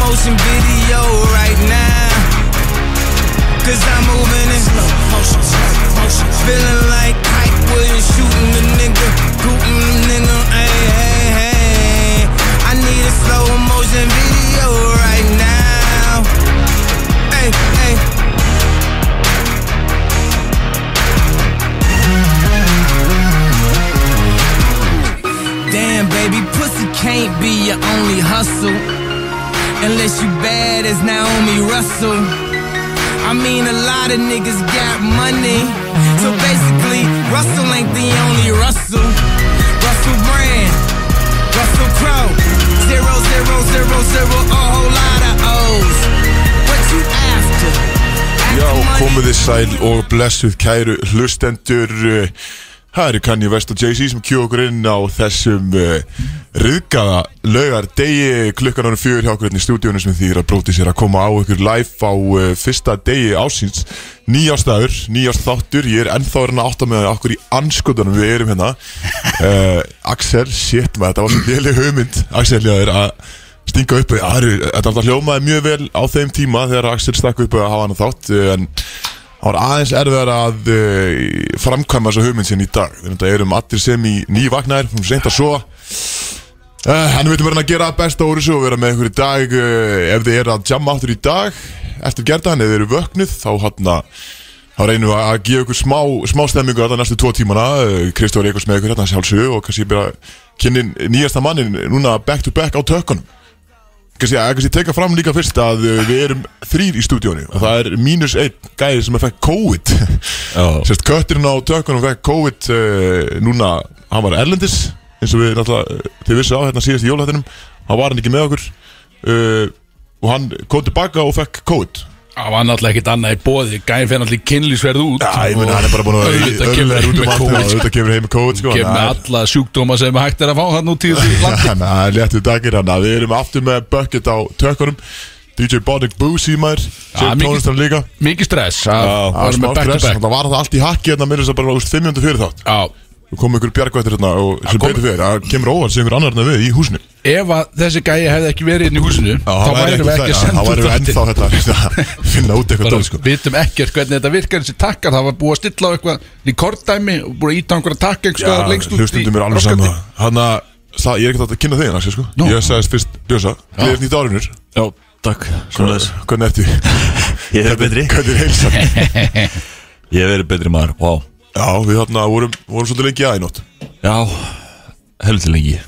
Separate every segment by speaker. Speaker 1: motion video right now. Cause I'm moving in slow motion, slow motion. Feeling like Kite Williams shooting the nigga, booting the nigga. Hey, hey, hey. I need a slow motion video right now. Hey, hey. Damn, baby, pussy can't be your only hustle. Unless you bad as Naomi Russell. I mean, a lot of niggas got money. So basically, Russell ain't the only Russell. Russell Brand, Russell Crowe. Zero, zero, zero, zero, a whole lot of O's. What you after? After
Speaker 2: Já,
Speaker 1: money?
Speaker 2: komið þið sæl og blessuð kæru hlustendur eh, Það eru Kanye West og Jay-Z sem kjú okkur inn á þessum uh, riðgaða laugar degi klukkan ánum fjör hjá okkur hérna í stúdíónu sem þýðir að bróti sér að koma á ykkur live á uh, fyrsta degi ásins nýjástaður, nýjást þáttur ég er ennþá verið að átta með það okkur í anskutunum við erum hérna uh, Axel, shit maður, þetta var svo léleg hugmynd Axel, já, er að stinga upp Það eru- Þetta alltaf hljómaði mjög vel á þeim tíma þegar Axel stakk upp að hafa hann þátt eh, en það var aðeins erfiðar að uh, framkvæma þessa hugmynd sinni í dag þannig að það erum allir sem í nývagnar hún seint að svo Uh, en við veitum verðin að gera besta úr þessu og vera með einhverju dag uh, ef þið eru að jamma áttur í dag eftir gerðan, ef þið eru vöknuð þá hérna hann þá reynum við að að gefa ykkur smá, smá stemmingu þetta næstu tvo tímana uh, Kristóri Eikos með ykkur hérna sjálfsög og kannski bara kynnin nýjasta mannin núna back to back á tökkunum kannski, að, kannski teka fram líka fyrst að uh, við erum þrýr í stúdíónu og það er mínus einn gæði sem að fekk COVID sérst kötturinn á tökkunum fekk COVID uh, núna, hann var erlendis eins og við náttúrulega, eh, þið vissu á hérna síðast í jólahættinum hann var hann ekki með okkur uh, og hann kom tilbaka og fekk COVID
Speaker 3: Það var náttúrulega ekkert annað í bóði Gæn fyrir náttúrulega kynlísverð út
Speaker 2: Já, ég meina hann er bara búin að
Speaker 3: Auðvitað kemur
Speaker 2: öðrulega út um allt
Speaker 3: heim með COVID,
Speaker 2: og auðvitað kemur heim með COVID sko
Speaker 3: Kemur með alla sjúkdóma sem hægt er að fá hann út í þessu landi
Speaker 2: Þannig að það er léttu dagir hann að við erum aftur með bucket á tökunum DJ Bonic Boozy maður
Speaker 3: Já,
Speaker 2: sem
Speaker 3: mikið-
Speaker 2: tónlistan líka
Speaker 3: Mikið stress að
Speaker 2: Það
Speaker 3: fara
Speaker 2: var smá
Speaker 3: með back to
Speaker 2: stress,
Speaker 3: back
Speaker 2: þannig að var það allt í hakki hérna með þess að bara úst 500 fyrir þátt
Speaker 3: Já,
Speaker 2: Þú kom ykkur bjargvættir hérna og sem
Speaker 3: kom-
Speaker 2: betur fyrir það kemur óvart sem ykkur annar hérna við í húsinu
Speaker 3: ef að þessi gæi hefði ekki verið inn í húsinu þá
Speaker 2: það væri
Speaker 3: værum við ekki að
Speaker 2: það-
Speaker 3: senda
Speaker 2: það væri
Speaker 3: út
Speaker 2: við
Speaker 3: þáttinn.
Speaker 2: ennþá þetta að finna út eitthvað
Speaker 3: Bara
Speaker 2: dót, sko.
Speaker 3: vitum ekkert hvernig þetta virkar þessi takkar, það var búið að stilla á eitthvað rekorddæmi og búið að íta á einhverja
Speaker 2: Já,
Speaker 3: takka einhverja lengst út
Speaker 2: hlustundum er alveg
Speaker 3: raskatið.
Speaker 2: sama Hanna, ég er ekkert að kynna þig annars, sko
Speaker 3: Nú.
Speaker 2: Ég sagðist fyrst, Ljósa, gleðist nýtt árinur
Speaker 4: Já, takk Svoleiðis.
Speaker 2: Hvernig ertu?
Speaker 4: Ég hef verið betri
Speaker 2: Hvernig er heilsan?
Speaker 4: Ég hef verið betri maður, vá
Speaker 2: Já, við þarna vorum, vorum svolítið lengi aðeinótt
Speaker 4: Já, helviti lengi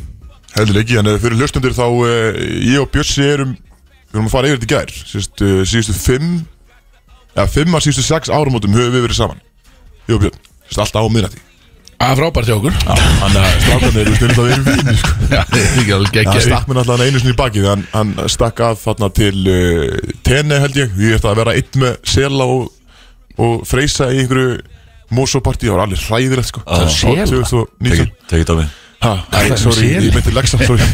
Speaker 2: Heldur lengi, en eh, fyrir hlustundur þá eh, Ég og Björnsi erum Við erum að fara yfir þetta í gær Sýst, uh, Síðustu fimm Eða fimm að síðustu sex árumótum höfum við verið saman Ég og Björn, sérst alltaf á miðnætti
Speaker 3: Það er frábært hjá okkur
Speaker 2: Þannig að strákan eru stundum að vera vini sko.
Speaker 3: Já, það er ekki alveg
Speaker 2: Já, hann
Speaker 3: ekki
Speaker 2: stakk mér náttúrulega einu sinni í bakið hann, hann stakk að þarna til uh, Tene held ég, ég ætti að vera einn með Sela og, og Freysa í einhverju Mosopartí, það var alveg hræðilegt sko
Speaker 4: Ah,
Speaker 3: Sela?
Speaker 2: Sela?
Speaker 4: Tekið á mig
Speaker 2: Hæ,
Speaker 3: það er
Speaker 2: sorry,
Speaker 3: Sela?
Speaker 2: ég myndi leggsa sorry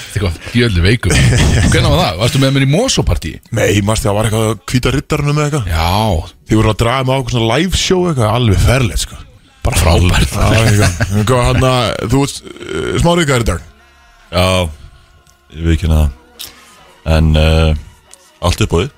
Speaker 3: Jöllu veikum Hvernig var það? Varstu með mér í Mosopartí?
Speaker 2: Nei, mannstu, það var eitthvað að hvíta riddarunum eða eitthvað
Speaker 3: Já,
Speaker 2: Þið voru að draga mig á eitthvað svona live show eitthvað, alveg ferlegt sko
Speaker 3: bara frábært
Speaker 2: Já, eitthvað. En hvað, hann að, þú veist, uh, smáriðgar í dag
Speaker 4: Já, ég veit ekki hana En uh, allt upp á því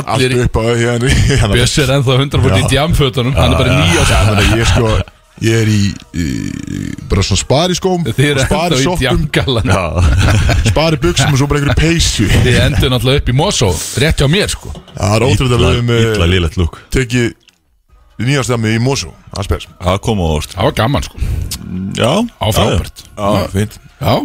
Speaker 3: Allir
Speaker 2: Allt upp á hérna hérna-
Speaker 3: Bjössi er ennþá 100% í
Speaker 2: Já.
Speaker 3: djamfötunum Hann er bara í nýja
Speaker 2: Já, þannig að ég sko Ég er í, í bara svona spari skóm
Speaker 3: Þið er ennþá
Speaker 2: spari
Speaker 3: í
Speaker 2: sokkum,
Speaker 3: djamgallan
Speaker 4: Já,
Speaker 2: spari buksum og svo bara einhverju peysu
Speaker 3: Þið endur náttúrulega upp í Mosó Rétt hjá mér sko
Speaker 2: Það er ótrúlega að við höfum
Speaker 4: ítla
Speaker 2: eh,
Speaker 4: lélegt lúk
Speaker 2: tekið nýjast það með í Mosó að spes
Speaker 4: Það kom á ást
Speaker 3: Það var gaman sko
Speaker 4: Já,
Speaker 3: Á frábært
Speaker 2: Já, fint
Speaker 3: Já,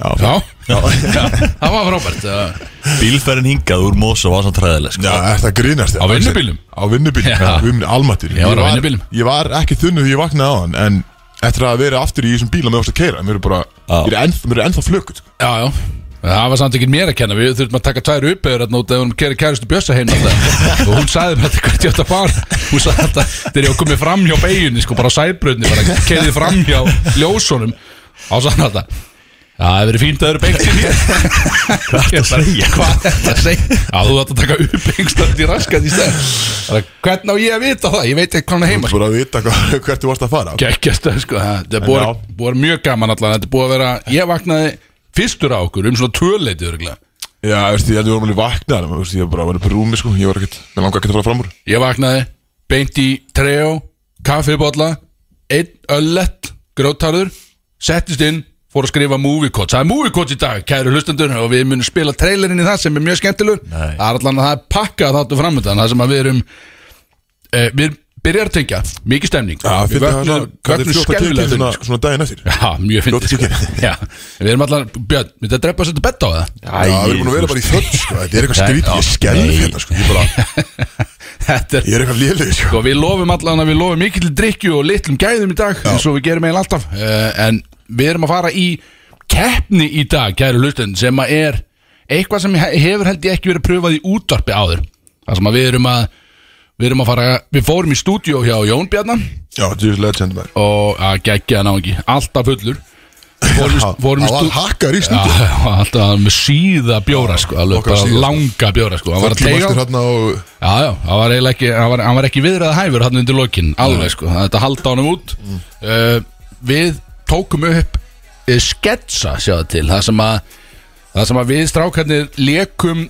Speaker 2: Já,
Speaker 3: já
Speaker 2: fínt.
Speaker 3: Það var frábært Það-
Speaker 4: Bílferðin hingað úr Mosa var svona træðileg
Speaker 2: Já,
Speaker 4: sko.
Speaker 2: þetta grínast
Speaker 3: Á vinnubílum?
Speaker 2: Á vinnubílum,
Speaker 3: Já.
Speaker 2: já, vinnubílum, almatir
Speaker 3: Ég var á vinnubílum.
Speaker 2: Ég var ekki þunnu því ég vaknaði á hann En eftir að vera aftur í þessum bíla með oss að keira Mér er bara,
Speaker 4: Já.
Speaker 2: mér er ennþá, mér er ennþá sko. flökut
Speaker 3: Já, já Það var samt ekki mér að kenna, við þurftum að taka tvær uppeður að nota ef hún kæri kæristu Bjössa heim alltaf og hún sagði mér þetta hvert ég átt að fara hún sagði þetta þegar ég var komið fram hjá beigunni sko bara á sæbröðni, bara keirið fram hjá ljósunum á sann alltaf Já, það hefur verið fínt að það eru beigt í mér Hvað er þetta að segja? Hvað er þetta að segja? Já, þú ætti að taka upp einhverstandi raskat í stæð Hvernig á ég að vita það? Ég veit ekki hvað hann er heima sko.
Speaker 2: Bara að vita hvað, hvert þú varst að fara
Speaker 3: Gekkjast sko, það það er
Speaker 2: En já.
Speaker 3: búið- búið að vera mjög gaman allan Þetta er búið að vera, ég vaknaði fyrstur á okkur um svona töleiti örgulega
Speaker 2: Já, veist, ég held að við vorum alveg vaknað veist, Ég var bara var upp í rúmi sko, ég var ekkert Mér langar ekki að fara fram úr
Speaker 3: Ég vaknaði, beint í trejó, kaffibotla, einn öllett, grótarður, settist inn, fór að skrifa movie coach. Það er movie coach í dag, kæru hlustendur, og við munum spila trailerinn í það sem er mjög skemmtilegur.
Speaker 4: Nei.
Speaker 3: Það er allan að það er pakkað þáttu framöndan, það sem að við erum, e, við byrjar að tengja, mikið stemning.
Speaker 2: Já,
Speaker 3: við
Speaker 2: fyrir það
Speaker 3: vöknum, vöknum
Speaker 2: svona,
Speaker 3: skellulega stemning. sko.
Speaker 2: svona daginn eftir
Speaker 3: Já, mjög
Speaker 2: Ljóta
Speaker 3: fyndið. sko.
Speaker 2: kikið.
Speaker 3: Já, við erum allan, Björn, myndið að drepa sér til betta á það?
Speaker 2: Já, við erum búin að vera bara í þöll sko. Þetta er eitthvað skrítið, ég skelf hérna sko. ég, bara,
Speaker 3: Þetta er
Speaker 2: ég er eitthvað lélið sko.
Speaker 3: Sko við lofum allan að við lofum mikill drikju og litlum gæðum í dag eins og við gerum eiginlega alltaf uh, en við erum að fara í keppni í dag kæru hlustin sem að er eitthvað sem he- hefur held ég ekki verið pröfað í útvarpi áður þar sem að við erum að við erum að fara við fórum í stúdíó hjá Jón Bjarnar
Speaker 2: Já, þetta er legend maður
Speaker 3: og að geggja hann á ekki alltaf fullur fórum, í- fórum í
Speaker 2: Það var
Speaker 3: stúdíó
Speaker 2: hakkar í
Speaker 3: Já,
Speaker 2: stundu
Speaker 3: alltaf með síða bjóra sko, alveg
Speaker 2: okkar
Speaker 3: bara
Speaker 2: síða, sko.
Speaker 3: langa bjóra sko, hann var að
Speaker 2: Öllum
Speaker 3: teiga
Speaker 2: eftir hérna og
Speaker 3: Já, já, hann var eiginlega ekki, hann var, hann var ekki viðræða hæfur hann undir lokin, alveg sko, þetta halda honum út
Speaker 2: Mm.
Speaker 3: uh, Við tókum upp uh, sketsa, sjáðu til, það sem að, það sem að við strákarnir lékum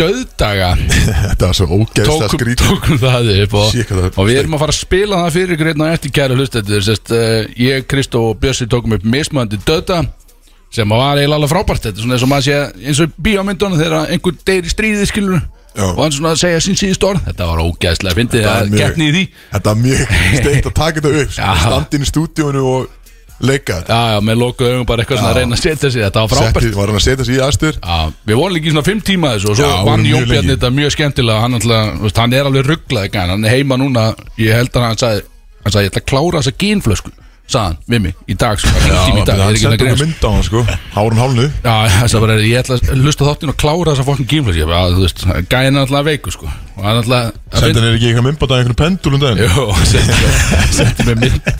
Speaker 3: döðdaga
Speaker 2: Þetta var svo ógeðslega
Speaker 3: tókum,
Speaker 2: skrítið
Speaker 3: tókum það upp og,
Speaker 2: Sé hvað það er
Speaker 3: og við erum að fara að spila það fyrir ykkur einn og eftir kæra hlustendur sest, uh, ég, Kristó og Bjössi tókum upp mismöndi döta sem að var eiginlega alveg frábært þetta er svona eins og maður sé eins og í bíómyndunum þegar einhver deyr í stríði skilur
Speaker 2: Já.
Speaker 3: og hann svona að segja sín síðust orð þetta var ógæðslega fyndið
Speaker 2: Þetta er
Speaker 3: að
Speaker 2: mjög-
Speaker 3: getni í því
Speaker 2: Þetta var mjög steikt að taka þetta upp sko.
Speaker 3: Já.
Speaker 2: Standin í stúdíónu og leika þetta
Speaker 3: já, já, með lokuðu augum bara eitthvað svona að reyna að setja sig þetta var frábært
Speaker 2: Settið var hann að setja sig í aðstöður
Speaker 3: Já, við vorum líka í svona fimm tíma þessu og
Speaker 2: Já,
Speaker 3: svo
Speaker 2: við
Speaker 3: vann
Speaker 2: vorum
Speaker 3: Jón
Speaker 2: mjög
Speaker 3: Bjarni
Speaker 2: lengi.
Speaker 3: þetta mjög skemmtilega hann, alltaf, þú veist, hann er alveg rugglaði gæn hann er heima núna, ég held að hann sagði hann sagði, ég ætla að klára þessa gínflösku sagðan við mig, í dag, sko, hann hringdi í mig í dag ég er
Speaker 2: Hann
Speaker 3: ekki að
Speaker 2: setti okkur
Speaker 3: grínast.
Speaker 2: mynd á hann sko Hárun hálnu
Speaker 3: Já, þess að bara, ég ætla að hlusta á þáttinn og klára þessa fokkin gínflösku, ég bara, að, þú veist gæn er alltaf veiku, sko og hann alltaf
Speaker 2: Sendi hann er ekki eitthvað mymbað að einhvern pendulum daginn
Speaker 3: Jó, setti setti mig mynd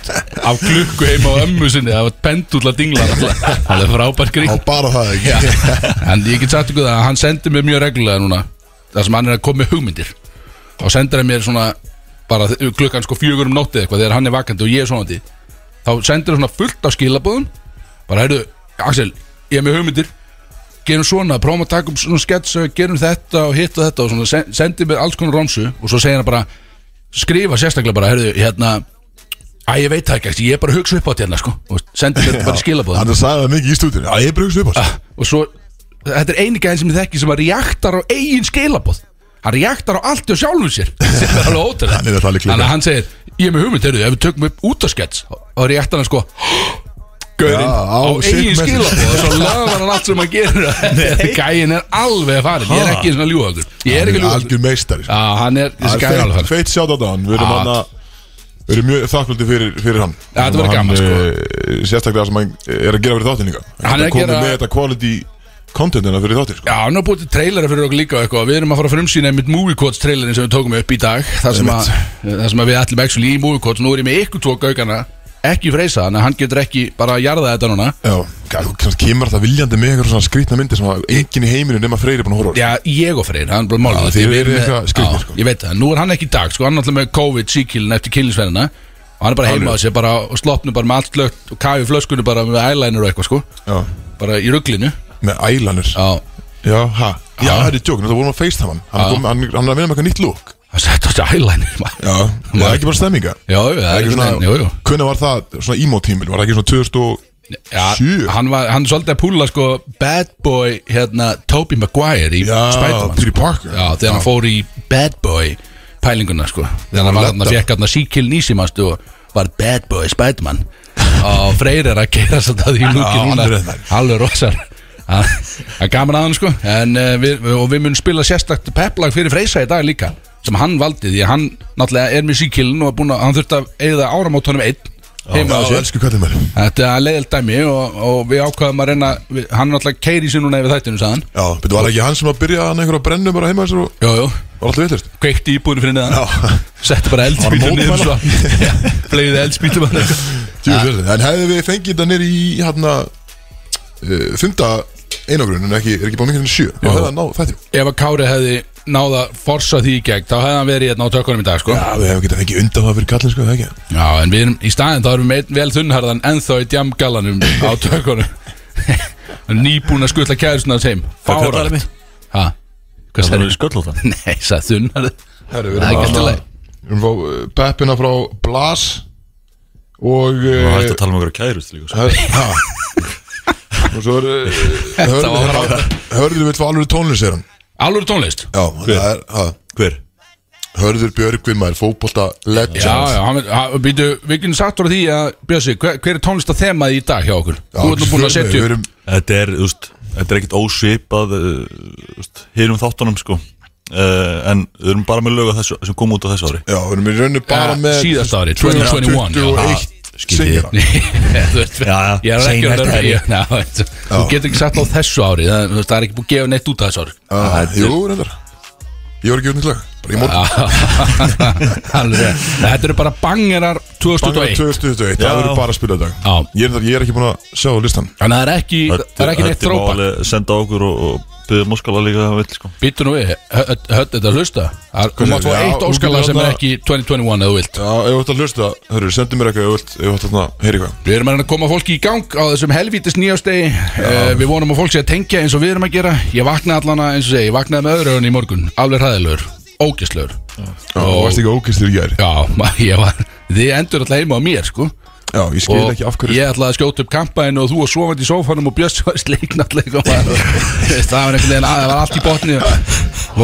Speaker 3: af klukku heima á ömmu sinni það var pendúla dingla alltaf það er frábær grín
Speaker 2: Á bara það ekki
Speaker 3: En ég get sagt ykkur það að hann sendir mér mjög reglulega núna Það sem hann er að koma með hugmyndir Þá sendir hann mér svona bara þ- klukkan sko fjögur um nóttið eitthvað þegar hann er vakandi og ég er svonandi þá sendir hann svona fullt af skilabóðum bara heyrðu, Axel, ég er með hugmyndir gerum svona, prófum að taka um svona skets gerum þetta og hitt og þetta og svona sen- sendir mér alls konar romsu og svo segir hann bara skrifa sérstaklega bara, heyrðu, hérna Æ, ég veit það ekki, Axel, ég er bara að hugsa upp á þetta hérna, sko og sendir mér bara skilabóðum
Speaker 2: Hann sagði það mikið í stúdíónu Já, ég brugst upp á
Speaker 3: Ah, og svo þetta er eini gæðin sem ég þekki sem að reaktar á eigin skilabóð hann reaktar á allt og sjálfum sér sem er alveg ótrúlega
Speaker 2: Hann er þetta alveg klikkað.
Speaker 3: að hann segir, ég er með hugmynd, heyrðu, ef við tökum upp útaskets og reaktar hann sko Gaurinn,
Speaker 2: Já,
Speaker 3: á,
Speaker 2: á sitt
Speaker 3: eigin
Speaker 2: message.
Speaker 3: skilabóð og svo löfum hann allt sem hann gerir þetta gæðin er alveg farin ég er ekki svona ljúhaldur ég er ekki ljúhaldur
Speaker 2: Algjör meistari sko.
Speaker 3: Já, hann er, þessi
Speaker 2: Það
Speaker 3: gæði er alveg
Speaker 2: er
Speaker 3: farin
Speaker 2: feitt sjátt á það hann Við erum
Speaker 3: Ah.
Speaker 2: hann að Við erum mjög þakklandi fyrir, fyrir hann
Speaker 3: Ja, þetta verður
Speaker 2: Hann,
Speaker 3: gaman, sko.
Speaker 2: eh, Sérstaklega sem hann er að gera fyrir þáttinn líka
Speaker 3: Hann
Speaker 2: Hann er
Speaker 3: er að
Speaker 2: komið
Speaker 3: gera-
Speaker 2: með þetta quality contentina fyrir þáttinn sko.
Speaker 3: Já, hann har búið til trailera fyrir okkur líka og eitthvað Við erum að fara að frumsýna einmitt Movie Quotes trailerin sem við tókum upp í dag Það sem, að, það sem að við ætlum ekki í Movie Quotes Nú er ég með ykkur tvo gaukana Ekki freysa, þannig að hann getur ekki bara að jarða þetta núna
Speaker 2: Já, gæ- þú kemur það viljandi með einhver svona skrýtna myndi sem að enginn í heiminu nema Freyri er búin að horfa á. sko.
Speaker 3: Já, ég og Freyr, hann er bara málum
Speaker 2: Já, þið eruð eitthvað skrýtnir, sko.
Speaker 3: Ég veit það, nú er hann ekki í dag, sko Hann er alltaf með COVID síkilin eftir kynlísverðina Og hann er bara heima á sér bara og sloppnum bara með allt lögt Og kafi flöskunni bara með eyeliner og eitthvað, sko
Speaker 2: Já,
Speaker 3: Bara í ruglinu
Speaker 2: með ælanur
Speaker 3: Já,
Speaker 2: Já, hæ? Já, það er í tjóknum, það vorum að facetime hann hann, er kominn- hann hann er að vinna með eitthvað nýtt lúk
Speaker 3: hann setti á sér eyeliner maður.
Speaker 2: Já, það er ekki bara stemminga
Speaker 3: Já, já, það er ekki svona Jú, jú
Speaker 2: Hvernig var það, svona emo-tímil, var það ekki svona 2000 og...
Speaker 3: Já,
Speaker 2: Sjö.
Speaker 3: hann var, hann er svolítið að púla sko Bad Boy, hérna, Tobey Maguire í
Speaker 2: Já,
Speaker 3: Spiderman sko.
Speaker 2: Peter Parker.
Speaker 3: Já, þegar hann fór í Bad Boy pælinguna sko Þegar hann var hann að
Speaker 2: Ledda.
Speaker 3: fekk hann að síkil nýsimastu og var Bad Boy Spiderman Og Freyr er að gera svolítið að því lúki
Speaker 2: Já,
Speaker 3: núna
Speaker 2: alveg reyndar.
Speaker 3: Alveg rosar Það er gaman að hann sko en, uh, við, Og við munum spila sérstakt peplag fyrir Freysa í dag líka Sem hann valdi því að hann náttúrulega er með síkilin og er búinn að, hann þurfti að eigða áramótunum einn heima á
Speaker 2: Já,
Speaker 3: sér
Speaker 2: elsku kallið mér
Speaker 3: Þetta er leiðild dæmi og, og við ákvaðum að reyna við, Hann er náttúrulega keiri sér núna yfir þættinu sagðan
Speaker 2: Já, betur var það ekki hann sem að byrja hann einhverja brennu bara heima þessar og
Speaker 3: Jú, jú,
Speaker 2: var alltaf villist
Speaker 3: kveikti íbúinu fyrir neðan Setti bara eldspýtur
Speaker 2: Var
Speaker 3: niður svo Já, Flegiði eldspýtur bara
Speaker 2: En hefði við fengið þetta nýr í hann að uh, fymta einogrun en ekki, er ekki búin mikið fyrir sjö og hefði það náð þættir
Speaker 3: Ef að Kári hefði náða forsa því í gegn Þá hefði hann verið hérna á tökunum í dag sko.
Speaker 2: Já, við hefum getað fengið undan það fyrir kallin sko, það ekki
Speaker 3: Já, en við erum í staðin Þá erum við með vel þunnharðan Ennþá í djamgallanum á tökunum Nýbúin að skutla kæðisuna þess heim
Speaker 4: Hvað kallar
Speaker 3: Fáralt
Speaker 4: mig?
Speaker 3: Hvað
Speaker 4: Það
Speaker 3: sagði
Speaker 4: er sköllóta
Speaker 3: Nei, ég sagði þunnar
Speaker 2: Það
Speaker 3: Það er ekki allt í lagi.
Speaker 2: Við erum að fá beppina frá Blas Og
Speaker 4: Það er
Speaker 2: eh,
Speaker 4: hægt að tala um okkur kærust líka sko.
Speaker 2: hör- Ha Og svo er eh, Hörður
Speaker 3: var bara-
Speaker 2: Hörður vill fá alveg tónlist er hann
Speaker 3: Alvöru tónlist
Speaker 2: Já, það er ha,
Speaker 4: Hver?
Speaker 2: Hörður Björgvin maður fótbolta legend
Speaker 3: Já, já, hann, hann, býtu, við getum sagt voru því að Bjössi, hver, hver er tónlist að þemaði í dag hjá okkur? Þú ert nú búin að setja
Speaker 2: Við
Speaker 3: upp
Speaker 2: erum
Speaker 4: Þetta er, þú veist Þetta er ekkit ósvipað uh, Hýrum þáttunum sko uh, En við erum bara með lög á þessu, sem kom út á þessu ári
Speaker 2: Já, við erum í rauninu bara
Speaker 3: Ja,
Speaker 2: með
Speaker 3: síðasta ári, 2021, já.
Speaker 2: 2021 Singara
Speaker 3: Þú veist,
Speaker 4: Já, já,
Speaker 3: Ég er ekki
Speaker 4: seinasta
Speaker 3: að
Speaker 4: helgi.
Speaker 3: vera Ná, veit, Þú getur ekki sagt á þessu ári Það, þú veist, það er ekki búið að gefa neitt út á þessu ári
Speaker 2: Ah, Jú, reyndar Ég var ekki unnið lag Bara í morgun
Speaker 3: Alveg. Þetta eru bara bangerar 2021
Speaker 2: 2021, það
Speaker 4: Já.
Speaker 2: verður bara að spila í dag
Speaker 3: Já.
Speaker 2: ég, er, ég er ekki búin að sjá listan
Speaker 3: Þannig að það er ekki, það er ekki neitt
Speaker 4: Þetta má
Speaker 3: þrópa
Speaker 4: alveg senda á okkur og, og byggja moskala líka að vill sko
Speaker 3: Býtu nú við, hödd hödd þetta að hlusta Það er- Þú
Speaker 2: Hvað
Speaker 3: mátt fá
Speaker 2: segir- já,
Speaker 3: eitt
Speaker 2: þú
Speaker 3: óskala
Speaker 2: getur
Speaker 3: sem er
Speaker 2: þarna-
Speaker 3: ekki 2021 eða þú vilt
Speaker 2: Já, ef þú ætti að hlusta, hörru, sendu mér eitthvað ef þú ætti að heyri hvað
Speaker 3: Við erum að reyna að koma fólki í gang á þessum helvítis nýjástegi uh, Við vonum að fólk sé að tengja eins og við erum að gera Ég vaknaði allana eins og segi, ég vaknaði með öðru augun í morgun Alveg hræðilegur, ógislegur
Speaker 2: Já, Þú varst ekki ógistur í gær
Speaker 3: Já, ma- ég var, þið endur alltaf heima á mér sko
Speaker 2: Já, ég skil
Speaker 3: Og
Speaker 2: ekki af hverju sko.
Speaker 3: Ég ætlaði að skjóta upp kampaðinu og þú var sofandi í sófanum og Bjössi var sleiknallega Það var einhvern veginn að það var allt í botni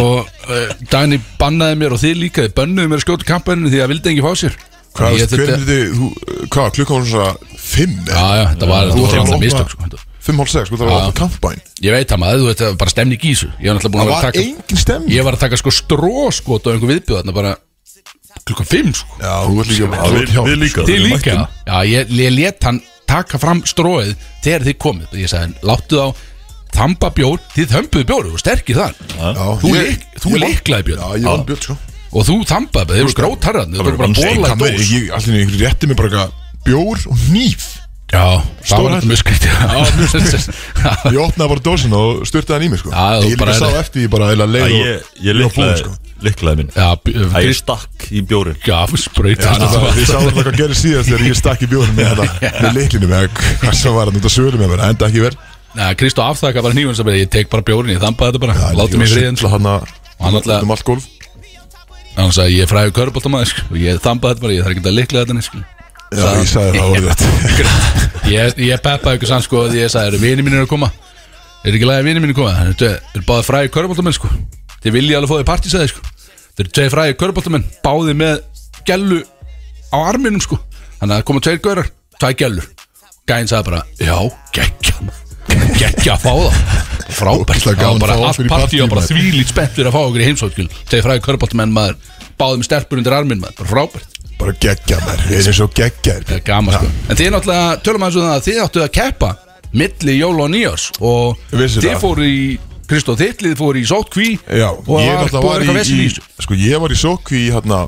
Speaker 3: Og uh, Dani bannaði mér og þið líka Þið bönnuðu mér að skjóta upp kampaðinu því að það vildi ekki fá sér
Speaker 2: Hvað,
Speaker 3: Ég
Speaker 2: veist,
Speaker 3: þurfti-
Speaker 2: hvernig þið, þú, hvað, klukka var svona fimm
Speaker 3: Já, já, þetta var, þetta
Speaker 2: Þú
Speaker 3: voru
Speaker 2: ætlar
Speaker 3: alltaf
Speaker 2: að
Speaker 3: mistök sko
Speaker 2: opna Fimm hálf sex, sko, það var alltaf kampbæn
Speaker 3: Ég veit það maður, þú veit það er bara stemning í þessu Ég var
Speaker 2: Það var
Speaker 3: náttúrulega búin að vera að taka
Speaker 2: engin stemning
Speaker 3: Ég var að taka sko stróskot á einhver viðbjóð Þarna bara klukkan 5 sko
Speaker 2: Já, þú ert líka
Speaker 4: Já,
Speaker 2: þú
Speaker 4: við,
Speaker 2: ert hjá-
Speaker 4: við líka
Speaker 3: Þið
Speaker 4: við
Speaker 3: líka
Speaker 4: mættum.
Speaker 3: Já, ég, ég let hann taka fram stróið Þegar þið komið Ég sagði, láttu þá þamba bjór Þið þömbuðu bjór, þú sterkir þar
Speaker 2: Já,
Speaker 3: Þú,
Speaker 2: ég-
Speaker 3: lik, þú
Speaker 2: ég vann-
Speaker 3: liklaði björn
Speaker 2: Já, ég vann björn, sko
Speaker 3: Og þú þambaði, þið eru grótarðan Þið eru bara
Speaker 4: Nei,
Speaker 3: bóla í
Speaker 2: Það
Speaker 3: dós
Speaker 2: meir, ég, allir einhverju rétti mér bara eitthvað bjór og nýf
Speaker 3: Já, það var þetta mjög skriti Já,
Speaker 2: Ég opnaði bara dósina og styrtaði hann í mig sko
Speaker 3: Já, þú
Speaker 2: Ég líka
Speaker 3: bara-
Speaker 2: sá eftir ég bara eða leið
Speaker 4: Já,
Speaker 2: og
Speaker 4: Ég, ég sko.
Speaker 2: var búinn, sko.
Speaker 4: liklaði, liklaði minn
Speaker 3: Já,
Speaker 4: Það ég
Speaker 3: Krist
Speaker 4: stakk í bjórin
Speaker 3: gaf
Speaker 2: Já,
Speaker 3: sprauta
Speaker 2: það- Við sáum alltaf hvað gerði síðast þegar ég stakk í bjóðunum með þetta með leiklinu með hvað sem var hann út að sölu með mér enda ekki verð
Speaker 3: Kristó afþakka bara nýjum Ég tek bara bjórin, ég þambaði þetta bara Láttu mig í sko." friðin
Speaker 2: hann að
Speaker 3: Hann náttúrulega-
Speaker 2: um allt gólf
Speaker 3: Hann sagði ég er fræður körbóltamaður sko, og ég þambaði þetta bara, ég þarf ekki að likla þetta neitt sko.
Speaker 2: Já, ég sagði það voru þetta
Speaker 3: Ég, ég peppaði ykkur sann sko því ég sagði, eru vinir mínir að koma? Er ekki lægið vinir mínir að koma? Það eru er báði fræður körbóltamenn sko. Þið vilja alveg fá því partísæði sko. Það eru tvei fræður körbóltamenn, báði með gellu á arminum sko. Þannig að það koma tveir görar, tvei gellur. Gæinn sagði bara, já, geggja maður. geggja að fá það frábært,
Speaker 2: Ógeðslega
Speaker 3: það var
Speaker 2: gaman
Speaker 3: bara
Speaker 2: að fá
Speaker 3: allt
Speaker 2: okkur í
Speaker 3: partí og
Speaker 2: partíið,
Speaker 3: bara
Speaker 2: maður.
Speaker 3: þvílít spennt fyrir að fá okkur í heimsókjul þegar fræði körbóltamenn maður báðum stelpur undir arminn maður, bara frábært
Speaker 2: Bara geggja mér, við erum svo geggja
Speaker 3: Það er gaman sko En þið náttúrulega, tölum aðeins um það að þið áttu að keppa Milli jól og nýjars Og
Speaker 2: Vissi
Speaker 3: þið
Speaker 2: það.
Speaker 3: fóru í Kristó Þittlið fóru í sótkví
Speaker 2: Já,
Speaker 3: Og það var búið að eitthvað vesinn í þessu
Speaker 2: Sko, ég var í sókví í hérna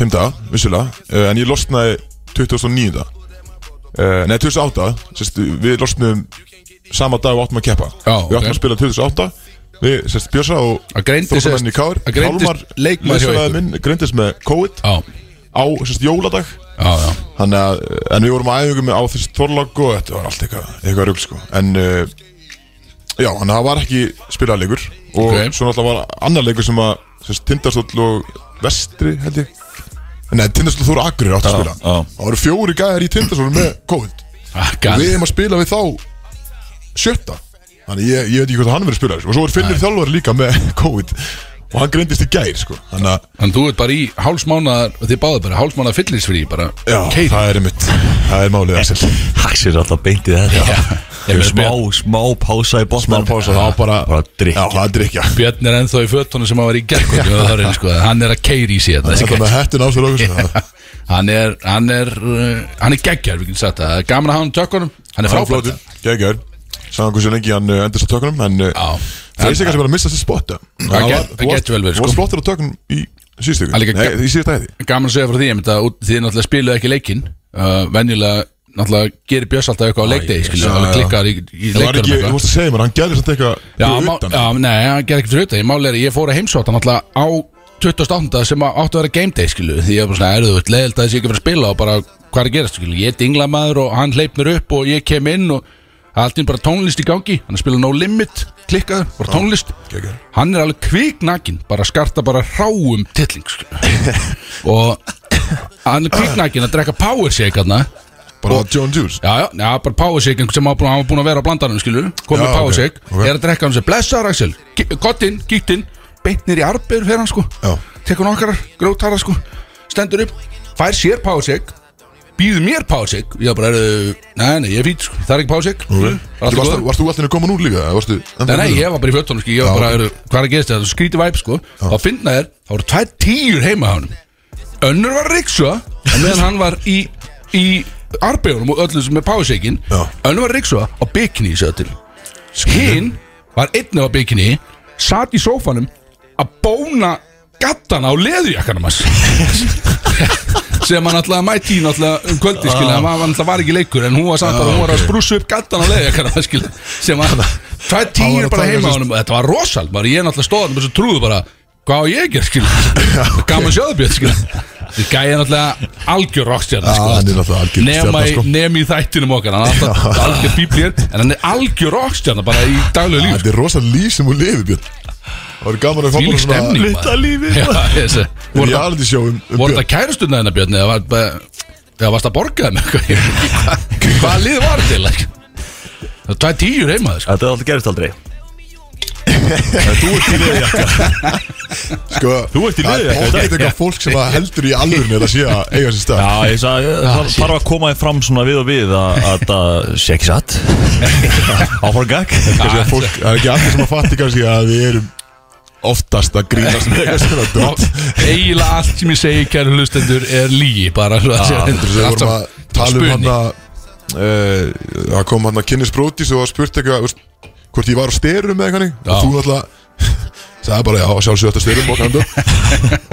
Speaker 2: Fimm dag, vissulega eh, En ég losnaði 2009 uh, Eh, Nei, 2008 sérst, Við losnum sama dag og áttum að keppa
Speaker 3: Já,
Speaker 2: Við áttum
Speaker 3: ok.
Speaker 2: að spila 2008 Við, sérst, Björsa og
Speaker 3: Að greindist-
Speaker 2: Þróttamenn í Kár
Speaker 3: að greindist leikmaður hjá ykkur.
Speaker 2: minn Greindist með COVID
Speaker 3: Já,
Speaker 2: Á, sérst, jóladag
Speaker 3: já, já
Speaker 2: Þannig að, en við vorum á æfingum á þessi tórlag og þetta var allt eitthvað, eitthvað rugl sko En, uh, já, þannig að það var ekki spilaðleikur Og
Speaker 3: Ok.
Speaker 2: svo náttúrulega var annar leikur sem að, sérst, Tindastóll og Vestri, held ég Nei, Tindastóll Þóra Akurir átti að spila
Speaker 4: já.
Speaker 2: Það voru fjóri gæðar í Tindastóll með COVID
Speaker 3: Ah,
Speaker 2: Og
Speaker 3: gal-
Speaker 2: við hefum að spila við þá sjötta Þannig ég, ég veit ekki hvort hann verið spilaður sko. Og svo er Finnir þjálfari líka með COVID Og hann greindist í gær, sko Þannig að,
Speaker 3: Þannig þú ert bara í hálsmánaðar Þið báðu bara hálsmánaðar fyllinsfrí Bara
Speaker 2: já,
Speaker 3: keyra.
Speaker 2: það er mitt Það er málið, Axel
Speaker 4: Haxir er alltaf beint í þetta
Speaker 3: Ég
Speaker 4: Ég
Speaker 3: meina,
Speaker 4: Smá, smá pása í botnum
Speaker 2: Smá pása, það var bara
Speaker 4: Bara drykja.
Speaker 2: Já, það er drikja
Speaker 3: Björn er ennþá í fötunum sem hann var í gerkvöldu sko. Hann er að keiri í sér
Speaker 2: Þetta með hættin á sér okkur svona.
Speaker 3: Hann er, hann er uh, Hann er geggjar, við getum sagt það Það er Gaman að hafa hann tökunum, hann er
Speaker 2: Það er
Speaker 3: frábært
Speaker 2: flottur, geggjör Sæðan hversu lengi hann uh, endist á tökunum En uh,
Speaker 3: Já.
Speaker 2: það er kannski bara að missa sér spotta
Speaker 3: Það get- það getur vel verið,
Speaker 2: Þú
Speaker 3: sko.
Speaker 2: varst flottur á tökunum í síðustu
Speaker 3: Það
Speaker 2: viku.
Speaker 3: líka
Speaker 2: Nei,
Speaker 3: ge-
Speaker 2: Í síðustu æði
Speaker 3: gaman að segja frá því einmitt að út- þið náttúrulega spiluðu ekki leikinn uh, venjulega náttúrulega gerir Björns alltaf eitthvað á leikdegi skilju,
Speaker 2: já,
Speaker 3: alveg
Speaker 2: já.
Speaker 3: klikkar í, í
Speaker 2: Það var
Speaker 3: leikdarum
Speaker 2: ekki, þú
Speaker 3: eitthvað
Speaker 2: varst að segja mér, hann gerði samt eitthvað
Speaker 3: Já,
Speaker 2: fyrir
Speaker 3: má-
Speaker 2: utan.
Speaker 3: já, nei, hann gerir ekki fyrir utan ég máli er að ég fór að heimsóta náttúrulega á 28. sem að áttu að vera game day skilju því ég var bara svona erðu, leðilt að þessi ekki að vera að spila og bara hvað er að gerast skilju, ég dingla maður og hann hleyp mér upp og ég kem inn og allt inn bara tónlist í gangi hann er að spila No Limit, klikkaður, bara tónlist
Speaker 2: geggjað.
Speaker 3: hann er alveg kviknakin bara skarta bara ráum tilling skilur. og hann er kviknakin að drekka power shake hann
Speaker 2: Bara John Juice
Speaker 3: Já, já, já, bara power shake einhvern sem hann var búinn- hann var búinn að vera á blandanum, skilur Kom
Speaker 2: Já,
Speaker 3: með power
Speaker 2: ok,
Speaker 3: shake,
Speaker 2: ok.
Speaker 3: er að drekka hann sem Blessaður Axel, gottinn, gíktinn Beintnir í arbeir fyrir hann, sko
Speaker 2: Já.
Speaker 3: Tekur nokkar, grótara, sko Stendur upp, fær sér power shake Býður mér power shake Ég bara, er, nei, nei, ég er fýt, sko Það er ekki power shake
Speaker 2: Ok.
Speaker 3: skilur. Var allt í
Speaker 2: Varstu-
Speaker 3: góðu.
Speaker 2: Varst þú alltaf komin úr líka? eða varstu ennþá
Speaker 3: Nei, nei,
Speaker 2: með
Speaker 3: ég var bara í fötunum, sko Ég var
Speaker 2: Já,
Speaker 3: bara,
Speaker 2: ok.
Speaker 3: er, hvað er að gerast þetta, skríti væp, sko Þá finna þér, þá voru tvær tíur heima á hann Önnur var Riksua á meðan hann var í, í arbegunum og öllu sem er páseikin
Speaker 2: Já.
Speaker 3: Önnur var Riksua á bikini í sötil Hinn var einnig á bikini Sat í sófanum að bóna gattana á leðurjakkanum hans sem hann alltaf mætti í náttúrulega um kvöldi
Speaker 2: Ah.
Speaker 3: skilja, hann var alltaf var ekki leikur en hún var samt að hún var að sprúsa upp gattan á leðurjakkanum skilja, sem hann tvað
Speaker 2: Hann var
Speaker 3: tíur
Speaker 2: að
Speaker 3: bara
Speaker 2: taka
Speaker 3: heima á
Speaker 2: sér-
Speaker 3: honum og þetta var rosal, bara ég náttúrulega stóð þarna með þessu trúðu bara, hvað á ég að gera skil gaman sjöðubjöð skil þetta gæði náttúrulega algjör sko. rockstjarn
Speaker 2: Já, Ah, hann er náttúrulega algjör
Speaker 3: nema
Speaker 2: stjarna,
Speaker 3: í,
Speaker 2: sko.
Speaker 3: nema í þættinum okkar hann er alltaf algjör bíblir en hann er algjör rockstjarn bara í daglegu sko. líf
Speaker 2: Þetta er rosa líf sem hún lifið Björn Það var gaman að fá
Speaker 3: Þvílík
Speaker 2: bara svona
Speaker 3: stemning, maður.
Speaker 4: lífið,
Speaker 3: Já, þessi. voru það-
Speaker 2: Reality show um, um
Speaker 3: voru
Speaker 2: Björn
Speaker 3: það kærustunna hennar Björn eða var bara eða varst að borga þeim eitthvað hvaða lið var þetta eiginlega? það er tvað tíur heima sko.
Speaker 4: Þetta er alltaf gerist aldrei Þú ert í leðjakka
Speaker 2: Sko,
Speaker 4: Þú ert í liði,
Speaker 2: Það er
Speaker 4: ekki?
Speaker 2: pocket eitthvað fólk sem að heldur í alvörinu Þetta sé að eiga sér stað
Speaker 4: Já, ég sagði, það þarf að koma þér fram svona við og við að að það sé ekki satt Áfram gag
Speaker 2: Kannski að fólk, það er ekki allir sem að fatti kannski að við erum oftast að grínast með eitthvað svona
Speaker 3: Og
Speaker 2: dót.
Speaker 3: eiginlega allt sem ég segi kæru hlustendur er lígi bara svo að segja
Speaker 2: Heldur þess að við vorum að tala um hann
Speaker 3: spuni.
Speaker 2: að Það kom hann að kynnis bróti og var spurt eitthvað veist, hvort ég var á styrum eða eitthvað og
Speaker 3: Já.
Speaker 2: þú náttúrulega sagði bara já, sjálfsögðu þetta styrum og kandu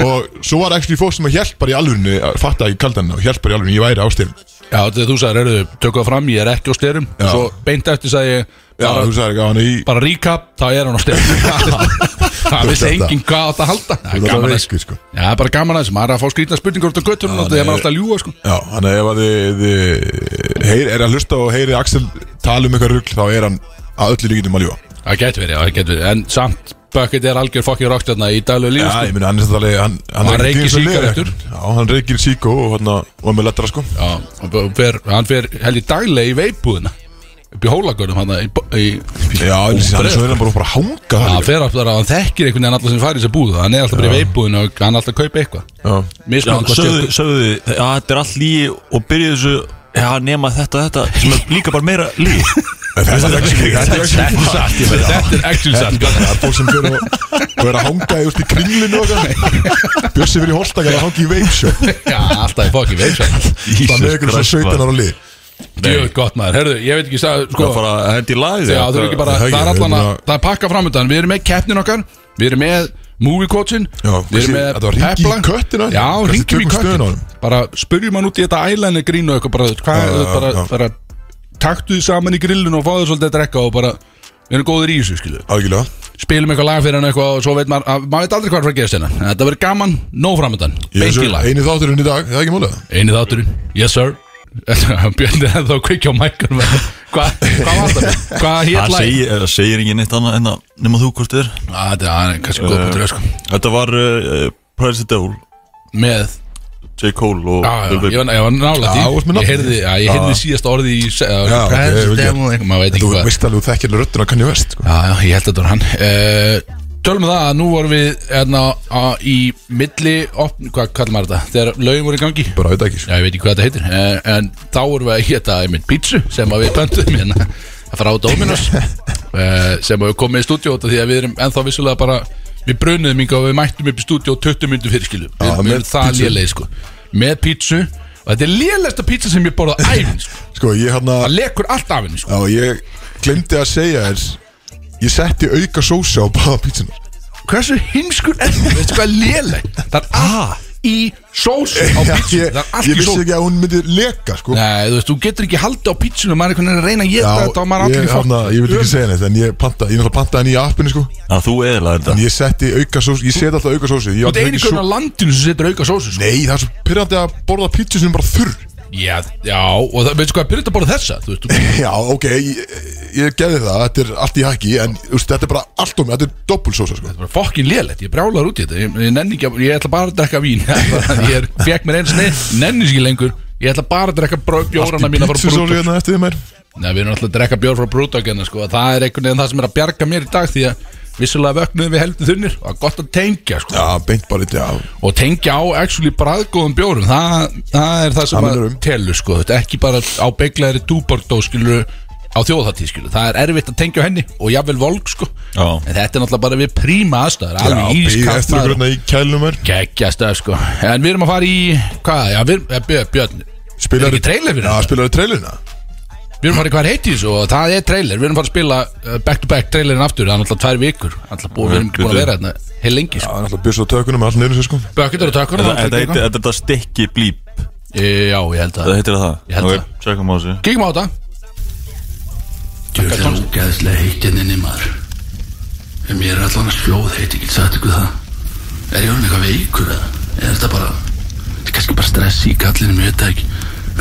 Speaker 2: og svo var ekki fólk sem að hjælt bara í alvörinu fatta ekki kaldan og hjælt bara í alvörinu, ég væri á styrum
Speaker 3: já þetta þú sagðir, erðu, tökum það fram, ég er ekki á styrum
Speaker 2: Já.
Speaker 3: svo beint eftir sagði ég
Speaker 2: Já,
Speaker 3: bara,
Speaker 2: þú sagði ekki að hann er í
Speaker 3: bara recap, þá er hann á styrum það
Speaker 2: Þú
Speaker 3: vissi
Speaker 2: veist
Speaker 3: enginn hvað átt að halda það
Speaker 2: Þú veist
Speaker 3: er gaman
Speaker 2: það
Speaker 3: aðeins
Speaker 2: veikur, sko.
Speaker 3: já, það er bara gaman aðeins, maður er að fá skrýtna spurningur út á göttunum, það er maður alltaf að ljúga sko.
Speaker 2: Já, hann ef að þið, þið heyr, er að hlusta og heyri Axel tala um eitthvað rugl þá er hann að öllu líkindum að ljúa
Speaker 3: það getur verið, já, það getur verið, en samt Bucket er algjör fokkið rockstjarna í daglegu lífi
Speaker 2: Já,
Speaker 3: sko.
Speaker 2: ég meina, hann er þetta alveg Hann,
Speaker 3: Og hann
Speaker 2: er
Speaker 3: reykir
Speaker 2: ekki dýr sem leiðir
Speaker 3: sígarettur.
Speaker 2: ekkert. Já, hann reykir síkó og hann var með lettara sko
Speaker 3: Já, og b- fer, hann fer helgi daglega í veipúðina upp í hólagörnum hann í, bo- í,
Speaker 2: Já, en þessi- hann er svo
Speaker 3: brauð.
Speaker 2: er hann bara bara að hanga
Speaker 3: hann
Speaker 2: það líka.
Speaker 3: fer alltaf að hann þekkir einhvern veginn alla sem fari í þessu búð hann er alltaf bara í veipúðinu og hann er alltaf að kaupa eitthvað
Speaker 2: Já,
Speaker 4: Já,
Speaker 3: mismönd hvort
Speaker 4: sögðu,
Speaker 3: ég
Speaker 4: sögðu, þið, já, þetta er allt lígi og byrjuðu þessu Já, nema þetta, þetta, sem er líka bara meira lígi
Speaker 2: En þetta er ekki Þetta er ekki
Speaker 3: Þetta er satt, ég meina, þetta er sko. actually satt
Speaker 2: Það er fólk sem fyrir að og er að hanga í, úst, í kringlinu og eitthvað. Bjössi fyrir hólstakar að hanga í veipsjó
Speaker 3: Já, alltaf í fokkið veipúðinu
Speaker 2: Það með ykkur svo 17 ára lið
Speaker 3: Djöð gott maður, herðu, ég veit ekki sag,
Speaker 4: Sko
Speaker 3: sko,
Speaker 4: að fara að hendi í lagið
Speaker 3: Já, það er ekki bara,
Speaker 2: Það er
Speaker 3: það er
Speaker 2: ekki,
Speaker 3: allan að
Speaker 2: ég meina-
Speaker 3: það er pakka framöndan, við erum með keppnin okkar við erum með movie coachin
Speaker 2: Já,
Speaker 3: við
Speaker 2: kannski-
Speaker 3: erum með
Speaker 2: þetta var hringi í
Speaker 3: Pepla.
Speaker 2: köttina.
Speaker 3: Já,
Speaker 2: Kannski
Speaker 3: ringjum í
Speaker 2: tökum stöðuna á
Speaker 3: köttin
Speaker 2: honum.
Speaker 3: bara spurjum hann út í þetta ælænir grínu og eitthvað bara,
Speaker 2: Já,
Speaker 3: hvað er
Speaker 2: já,
Speaker 3: þetta bara,
Speaker 2: já.
Speaker 3: bara taktu þið saman í grillun og fáðu svolítið að drekka og bara, við erum góðir í þessu, skilu
Speaker 2: Algjörlega
Speaker 3: spilum eitthvað lag fyrir hann eitthvað og svo veit maður, að- maður veit aldrei hvað er að fara að gerast hérna En þetta verður gaman, nóg framöndan,
Speaker 2: Ég er
Speaker 3: beint í
Speaker 2: svo-
Speaker 3: lag
Speaker 2: Eini þátturinn í dag, það er ekki málega
Speaker 3: Einið þátturinn, yes sir Björn er þá kveikja á mækkan Hvað hva var það? Hvað hétt
Speaker 4: Það
Speaker 3: lag?
Speaker 4: segir, það segir engin neitt annað en að nema þú hvort þið er
Speaker 3: Ah, Þetta það er kannski góð punktur sko.
Speaker 4: Þetta var uh, Price the Devil,
Speaker 3: Með
Speaker 4: J. Cole og
Speaker 3: Já, já,
Speaker 4: Lil
Speaker 3: ég
Speaker 4: Baby
Speaker 3: var, ég var nála
Speaker 2: Já, þú varst með
Speaker 3: því Ég
Speaker 2: nafnið.
Speaker 3: heyrði, já, ég heyrði síðast orði í se-
Speaker 2: Já,
Speaker 3: uh,
Speaker 2: ok,
Speaker 3: President
Speaker 2: vel gert.
Speaker 3: Devil, eitthvað, Maður veit
Speaker 2: Þú
Speaker 3: ekki hvað
Speaker 2: veist alveg, þú þekkir alveg röddina kannu vest sko.
Speaker 3: Já, já, ég held að þetta var hann uh, Tölum við það að nú vorum við hérna, á, í milli opn, Hvað kallar maður þetta? Þegar lögum voru í gangi
Speaker 2: Bara veit ekki sko.
Speaker 3: Já, ég veit ekki hvað þetta heitir uh, En þá vorum við að hétta einmitt pítsu sem að við pöntuðum hérna frá Dominos uh, sem að við komum með í stúdíó út af því að við erum ennþá vissulega bara við brunum yngi og við mættum upp í stúdíó 20 myndu fyrir skilu við,
Speaker 2: Já,
Speaker 3: við
Speaker 2: með
Speaker 3: erum það
Speaker 2: pítsu.
Speaker 3: léleg sko með pítsu og þetta er lélegasta pítsa sem ég borða æfin sko.
Speaker 2: Sko, ég hann
Speaker 3: það lekur allt af henni sko.
Speaker 2: Já, ég glemdi að segja þér Ég setti auka sósa á báða pítsunar
Speaker 3: hversu heimskur er það veistu hvað er léleg það er allt í sósu á
Speaker 2: Ah. Já,
Speaker 3: pítsu
Speaker 2: Ég,
Speaker 3: það er
Speaker 2: ég
Speaker 3: allt í
Speaker 2: vissi
Speaker 3: sósu
Speaker 2: ekki að hún myndi leka sko.
Speaker 3: Nei, þú veist, þú getur ekki haldið á pítsunum maður er einhvern veginn að reyna að
Speaker 2: Já,
Speaker 3: geta þetta og maður er
Speaker 2: ég,
Speaker 3: allir í
Speaker 2: hana, ég vil ekki segja neitt En ég pantaði, ég náttúrulega pantaði henni í appinu sko.
Speaker 4: Að þú eðlaði
Speaker 2: En
Speaker 4: þetta
Speaker 2: ég setti auka sósa, ég seti alltaf auka sósa Ég
Speaker 3: Þú ert
Speaker 2: aldrei
Speaker 3: eini
Speaker 2: fengið
Speaker 3: hvernig á landinu sem setur auka sósu sko.
Speaker 2: Nei, það er svo pyrrandi að borða pítsu sem er bara þurr
Speaker 3: Já, já, og það, veistu hvað, byrjum þetta bara þessa Þú veist, þú-
Speaker 2: Já, ok, ég, ég gerði það, þetta er allt í haki En úst, þetta er bara allt um, þetta er doppulsósa sko.
Speaker 3: það var fokkin lélegt, ég brjálaður út í þetta Ég, ég nenni ekki, að- ég ætla bara að drekka vín Ég er, fekk mér eins neitt, nenni sér ekki lengur Ég ætla bara að drekka brau- bjórana mína frá
Speaker 2: Pítsusósu
Speaker 3: Brúdók
Speaker 2: hérna eftir þið mér
Speaker 3: Nei, við erum alltaf að drekka bjór frá Brúdók hérna, sko Það er einhvern veginn það sem er að bjarga mér í dag Því að vissulega vöknuðum við heldur þunnir Og það er gott að tengja, sko
Speaker 2: Já, beint bara eitt, já
Speaker 3: og tengja á actually bræðgóðum bjórum það, það er það sem
Speaker 2: Það
Speaker 3: að
Speaker 2: munar um.
Speaker 3: telur sko, þetta er ekki bara á beiglaðri túbordó skilur á þjóðhattíð skilur, það er erfitt að tengja á henni og jafnvel volk sko,
Speaker 4: Já.
Speaker 3: en þetta er náttúrulega bara við príma aðstæður,
Speaker 2: Já,
Speaker 3: alveg
Speaker 2: beðið eftir okkur
Speaker 3: ískapnaður
Speaker 2: hérna í kælum er
Speaker 3: geggja stöð sko, en við erum að fara í hvað, já, við, eh, Björn, Björn Er
Speaker 2: Spilar
Speaker 3: ekki trailer fyrir
Speaker 2: Já,
Speaker 3: þetta?
Speaker 2: spilar trailina
Speaker 3: við erum að fara í hvað heiti þessu og það er trailer, við erum að fara að spila eh, back to back trailerin aftur, það er náttúrulega tvær vikur alltaf búið, við erum ekki búin að vera hérna heil lengi
Speaker 2: Það
Speaker 3: sko.
Speaker 2: er alltaf björs á tökunum, allt neyru sér sko
Speaker 3: Bökkutur og tökur
Speaker 4: Þetta þetta heitir þetta- þetta stikki blíp
Speaker 3: Já, ég held að
Speaker 4: Það heitir það
Speaker 3: Ég held
Speaker 4: Ok,
Speaker 3: það.
Speaker 4: Tjekkum á þessu
Speaker 3: Kíkum á þetta
Speaker 5: Djöfull er ógæðslega heitt hérna inni maður En mér er allan að fljóð heitt, ég get sagt ykkur það Er ég orðin eitthvað veikur eða? Er þetta bara, þetta er kannski bara stress í kallinu, mér veit það ekki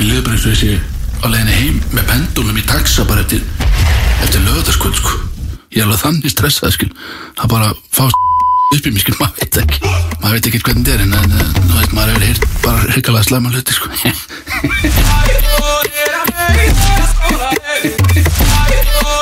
Speaker 5: Mér liður bara eins og þessi á leiðinni heim með pendulum í taxa bara eftir Eftir lögðarskvöld, sko Ég er alveg þannig stressað, skil Það bara fá upp í mig, skil, maður veit það ekki Maður veit ekki hvernig þetta er, en, en, en þú veit, maður hefur heyrt bara hrikalega slæma hluti, sko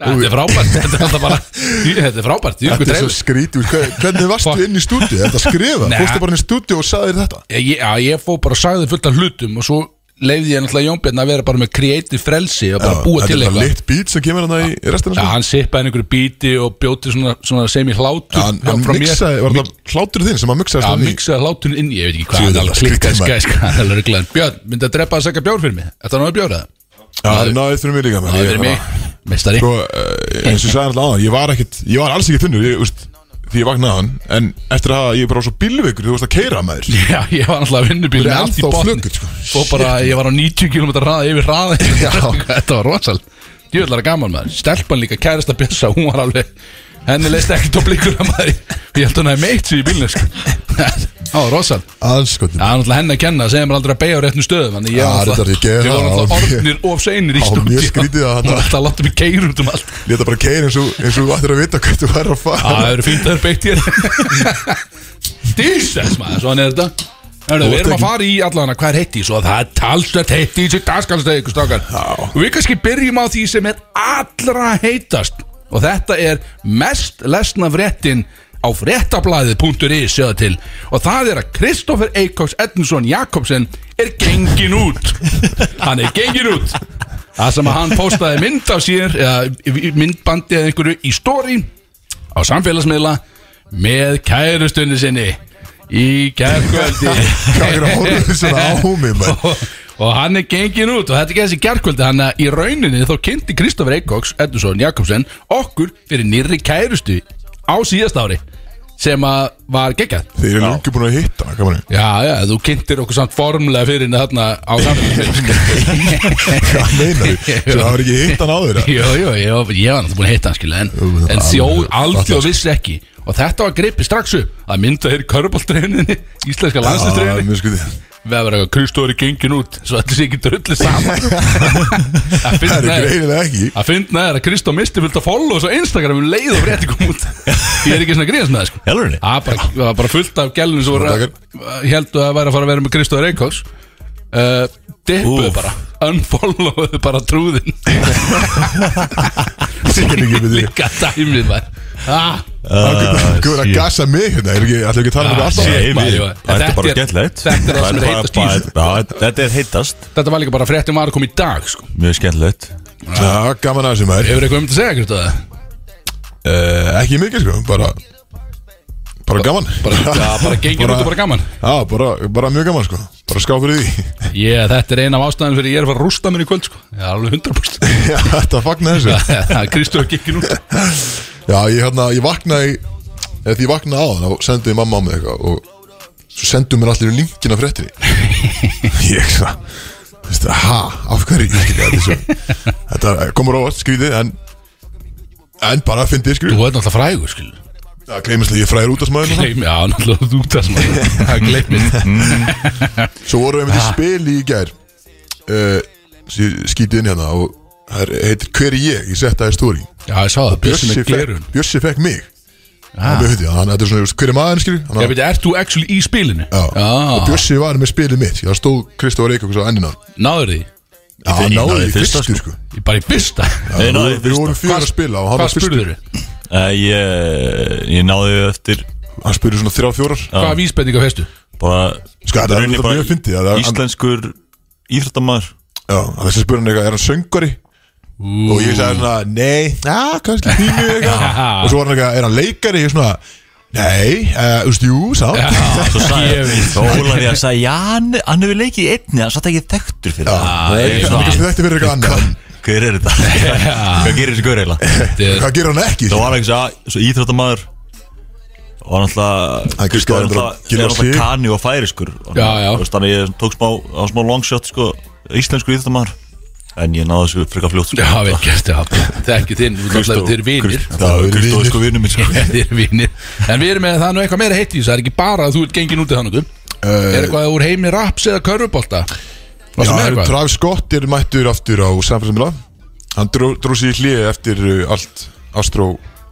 Speaker 3: Nei, Þetta er frábært, þetta er alltaf bara Jú, Þetta er frábært, ég
Speaker 2: Þetta
Speaker 3: er
Speaker 2: er svo
Speaker 3: dreifis
Speaker 2: skrítið, hver- hvernig varstu
Speaker 3: Fuck.
Speaker 2: inn í stúdíu? Þetta skrifa,
Speaker 3: Nei.
Speaker 2: fórstu bara inn í stúdíu og sagðir þetta
Speaker 3: ég, já, ég fó bara og sagði fullt af hlutum og svo leiði ég náttúrulega Jónbjörn að vera bara með creative frelsi og bara búa til
Speaker 2: Þetta er bara
Speaker 3: eitthvað
Speaker 2: lit beat sem kemur hann í restina
Speaker 3: Já,
Speaker 2: sko
Speaker 3: hann sippaði einhverju bíti og bjóti svona, svona semi hlátur
Speaker 2: Já, Hann, hann
Speaker 3: frá mér.
Speaker 2: mixaði, var það hlátur þinn sem hann mixaði sko?
Speaker 3: Já,
Speaker 2: stann í
Speaker 3: mixaði hláturinn inn, ég veit ekki hvað
Speaker 2: Sjöðu,
Speaker 3: hann alveg
Speaker 2: skrítið
Speaker 3: klikkaði
Speaker 2: maður.
Speaker 3: skæsk hann alveg rugglaði Björn, myndi að drepa að segja bjór fyrir mig Þetta er náðu bjór eða?
Speaker 2: Já, það náði fyrir mig líka
Speaker 3: Það er fyrir mig, mestari
Speaker 2: Sko, eh, eins og ég sagði alltaf aðan, ég var ekkit, ég var alls ekki þunnur, ég, úst, því ég vaknaði hann En eftir að ég bara á svo bílveikur, þú veist að keira maður
Speaker 3: Já, ég var náttúrulega
Speaker 2: Þú
Speaker 3: vinnubíl
Speaker 2: er
Speaker 3: með allt í
Speaker 2: ennþá
Speaker 3: botni
Speaker 2: flugur, sko.
Speaker 3: Og bara, ég var á 90 km hraða yfir hraða Þetta var rosal Djöðlar gaman maður Stelpan líka kærasta bjössa Hún var alveg Henni leist ekkert á blikuna maður Ég held hún að meitt sér í bílnum sko. Það var rosal Það
Speaker 2: Anskotin
Speaker 3: var náttúrulega henni að kenna Segja mér aldrei að beigja á réttnum stöðum Þannig ég
Speaker 2: Já,
Speaker 3: var
Speaker 2: reyndar, ég gerði
Speaker 3: Ég var
Speaker 2: það,
Speaker 3: náttúrulega
Speaker 2: já, mjög-
Speaker 3: orðnir of seinir í
Speaker 2: Já,
Speaker 3: stúdíu
Speaker 2: mjög skrítið að
Speaker 3: Hún
Speaker 2: þarna-
Speaker 3: var alltaf að láta mig keira út um allt
Speaker 2: Leta bara keira eins og, eins og ættir að vita hvað þú er að
Speaker 3: Já,
Speaker 2: fara
Speaker 3: Það eru fínt að það eru beitt hér Jesus maður, svona er þetta Hörru,
Speaker 2: Þú
Speaker 3: við
Speaker 2: ert
Speaker 3: erum að
Speaker 2: ekki-
Speaker 3: fara í allan að hvað er heitti Svo það er talsvert heitti í sig dagskalstegi ykkur strákar Og við kannski byrjum á því sem er allra heitast Og þetta er mest lesna fréttin á fréttablaðið.is sjöða til og það er að Kristoffer Eikóks Edmundsson Jakobsen er gengin út hann er gengin út það sem að hann postaði mynd af sér eða myndbandi eða einhverju í story á samfélagsmiðla með kærustunni sinni í gærkvöldi
Speaker 2: Krakkar horfðu svona á mig, maður.
Speaker 3: og, og hann er gengin út og þetta er ekki þessi gærkvöldi hann að í rauninni þá kynnti Kristoffer Eikóks Eddursson Jakobsen okkur fyrir nýrri kærustu á síðast ári sem að var geggjað
Speaker 2: Þeir eru lungi búin að hitta, kamarinn
Speaker 3: Já, já, þú kynntir okkur samt formlega fyrir henni þarna á samfélagsmiðlum
Speaker 2: Hvað meinar þú? Það var ekki hitt hann áður eða?
Speaker 3: Jú, jú, ég var, ég var náttúrulega búin að hitta hann skilja En,
Speaker 2: Jú,
Speaker 3: en
Speaker 2: alveg-
Speaker 3: þjóð aldrei
Speaker 2: allir-
Speaker 3: og vissi ekki Og þetta var gripið strax upp Að mynda þeir körbóltreininni Íslenska
Speaker 2: Já,
Speaker 3: landslistreininni
Speaker 2: mjög skrítið
Speaker 3: Við að vera eitthvað Kristóri gengin út Svo allir sé ekki drullu saman
Speaker 2: Það
Speaker 3: Að finna
Speaker 2: eru
Speaker 3: er
Speaker 2: greinilega ekki
Speaker 3: Að finna er að Kristó misti fullt að follow Svo Instagram um leið og frétti kom út Ég er ekki svona að gríðast með það sko
Speaker 4: Helvunni
Speaker 3: Það var bara, það var bara fullt af gælunum Svo
Speaker 2: Takk.
Speaker 3: heldur að væri að fara að vera með Kristóður Eikóks uh, Dippuðu
Speaker 4: Úff.
Speaker 3: bara Unfollowuðu bara trúðin
Speaker 2: Ég get ekki við því
Speaker 3: Líka dæmið var ah,
Speaker 2: Guður að gasa mig hérna, er ekki, ætlum ekki að tala um þetta alltaf
Speaker 3: shit.
Speaker 4: Nei,
Speaker 3: maður,
Speaker 4: við-
Speaker 3: jú.
Speaker 4: Þetta
Speaker 3: Þetta
Speaker 4: er bara
Speaker 3: er-
Speaker 4: skemmtilegt
Speaker 3: þetta er það sem er
Speaker 4: bara-
Speaker 3: heitast í
Speaker 4: bara-
Speaker 3: þessu.
Speaker 4: Já, Þetta er heitast
Speaker 3: Þetta var líka bara fréttum aðra kom í dag sko.
Speaker 4: Mjög skemmtilegt
Speaker 2: Já, gaman að þessu maður
Speaker 3: Hefur eitthvað um þetta að segja Kristóður?
Speaker 2: Eh, Ekki mikið sko, bara Bara gaman
Speaker 3: Bara, já, bara gengir út og bara gaman
Speaker 2: Já, bara, bara mjög gaman sko Bara ská fyrir því
Speaker 3: Ég, þetta er eina af ástæðan fyrir ég er að fara að rústa mér í kvöld sko. Já, alveg 100%
Speaker 2: Já, Þetta fagna þessu
Speaker 3: Það er Kristóður gengir út
Speaker 2: Já, ég, hérna, ég vaknaði eða því ég vaknaði á þann og sendiði mamma á mig eitthvað og svo senduðu mér allir linkina fréttinni ég svo Vist, ha, af hverju ég skilja þetta svo Þetta komur á oft skrítið en En bara að fyndi
Speaker 3: Þú
Speaker 2: skrítið
Speaker 3: ert náttúrulega frægur, skil
Speaker 2: Það gleymast að ég er fræður út af smaður núna.
Speaker 3: Gleim, já, náttúrulega þú ert það sem að- það er gleimist
Speaker 2: Svo vorum við með ah. spil í gær uh, Skítið inn hérna og það er- heitir Hver er ég? Ég sett það í stóri
Speaker 3: Já, ég sá það, bjössin er glerun
Speaker 2: fekk, Bjössi fekk mig ah. Þannig að þetta er svona, veist, hver er maðurinn skilju
Speaker 3: Ég
Speaker 2: Þannig að-
Speaker 3: veit, ert þú actually í spilinu?
Speaker 2: Já. Og
Speaker 3: Já,
Speaker 2: Bjössi var með spilið mitt Það stóð Kristóf Reykjavík á ennina
Speaker 3: náður því
Speaker 2: Já, hann
Speaker 4: ég
Speaker 2: náði
Speaker 4: náði
Speaker 2: í
Speaker 4: fyrsta,
Speaker 2: fyrstu sko
Speaker 3: Ég bara í fyrsta
Speaker 4: Nei,
Speaker 2: Við
Speaker 4: náði
Speaker 2: vorum- Við
Speaker 4: fyrsta.
Speaker 2: vorum fjóra að spila og hann
Speaker 3: Hvað
Speaker 2: var fyrstur.
Speaker 3: spurður þau?
Speaker 4: Eh, Ég, ég náði eftir
Speaker 2: Hann spurði svona þrjá fjórar
Speaker 3: Hvaða vísbendinga festu?
Speaker 4: bara
Speaker 2: Sko, það er
Speaker 4: rauninni
Speaker 2: þetta
Speaker 4: bara
Speaker 2: mjög fyndið, það er-
Speaker 4: Íslenskur íþróttamaður
Speaker 2: Já, þessi spurði hann eitthvað, er hann söngari? Og ég sagði svona, nei, já, kannski pínu eitthvað Og svo var hann eitthvað, er hann leikari? Ég svona, nei, eh, þú veist, jú, samt
Speaker 4: Svo
Speaker 3: Ég
Speaker 4: sagði
Speaker 3: veit.
Speaker 4: Svo Ólaf ég að sagði Já, hann, hann hefur leikið í einni Hann satt ekki þekktur fyrir
Speaker 2: Það
Speaker 4: það Ég
Speaker 2: er
Speaker 4: er
Speaker 2: kannski
Speaker 4: svona,
Speaker 2: þetta fyrir eitthvað annað
Speaker 4: Hver er þetta? Hvað gerir þessi gaur eiginlega?
Speaker 3: Þetta
Speaker 2: Hvað gerir hann ekki? sko?
Speaker 4: Það var ekki svo, svo íþróttamaður Og hann alltaf
Speaker 2: Hann giskaði
Speaker 4: Hann
Speaker 2: bara á
Speaker 4: alltaf
Speaker 2: Gylfa
Speaker 4: er alltaf
Speaker 2: Sig.
Speaker 4: kani og færiskur Og
Speaker 3: Já,
Speaker 4: hann-
Speaker 3: já.
Speaker 4: þú veist, Þannig ég tók smá, á smá longshot sko, Íslenskur íþróttamaður En ég náði þessu frekar fljótt sko.
Speaker 3: Já, vel gert, já Það er ekki þinn, þú náttúrulega þeir eru vinir
Speaker 4: Kristó- Það er Kristóð sko vinur minn sko.
Speaker 3: Þeir eru vinir En við erum með það nú eitthvað meira heitt í þessu Það er ekki bara að þú ert gengin út í þannig Er eitthvað úr heimi raps eða körfubolta? Var
Speaker 2: Já,
Speaker 3: sem er
Speaker 2: en
Speaker 3: eitthvað?
Speaker 2: Travis Scott er mættur aftur á samfélagsmiðla Hann dró, dró sér í hlið eftir uh, allt Astro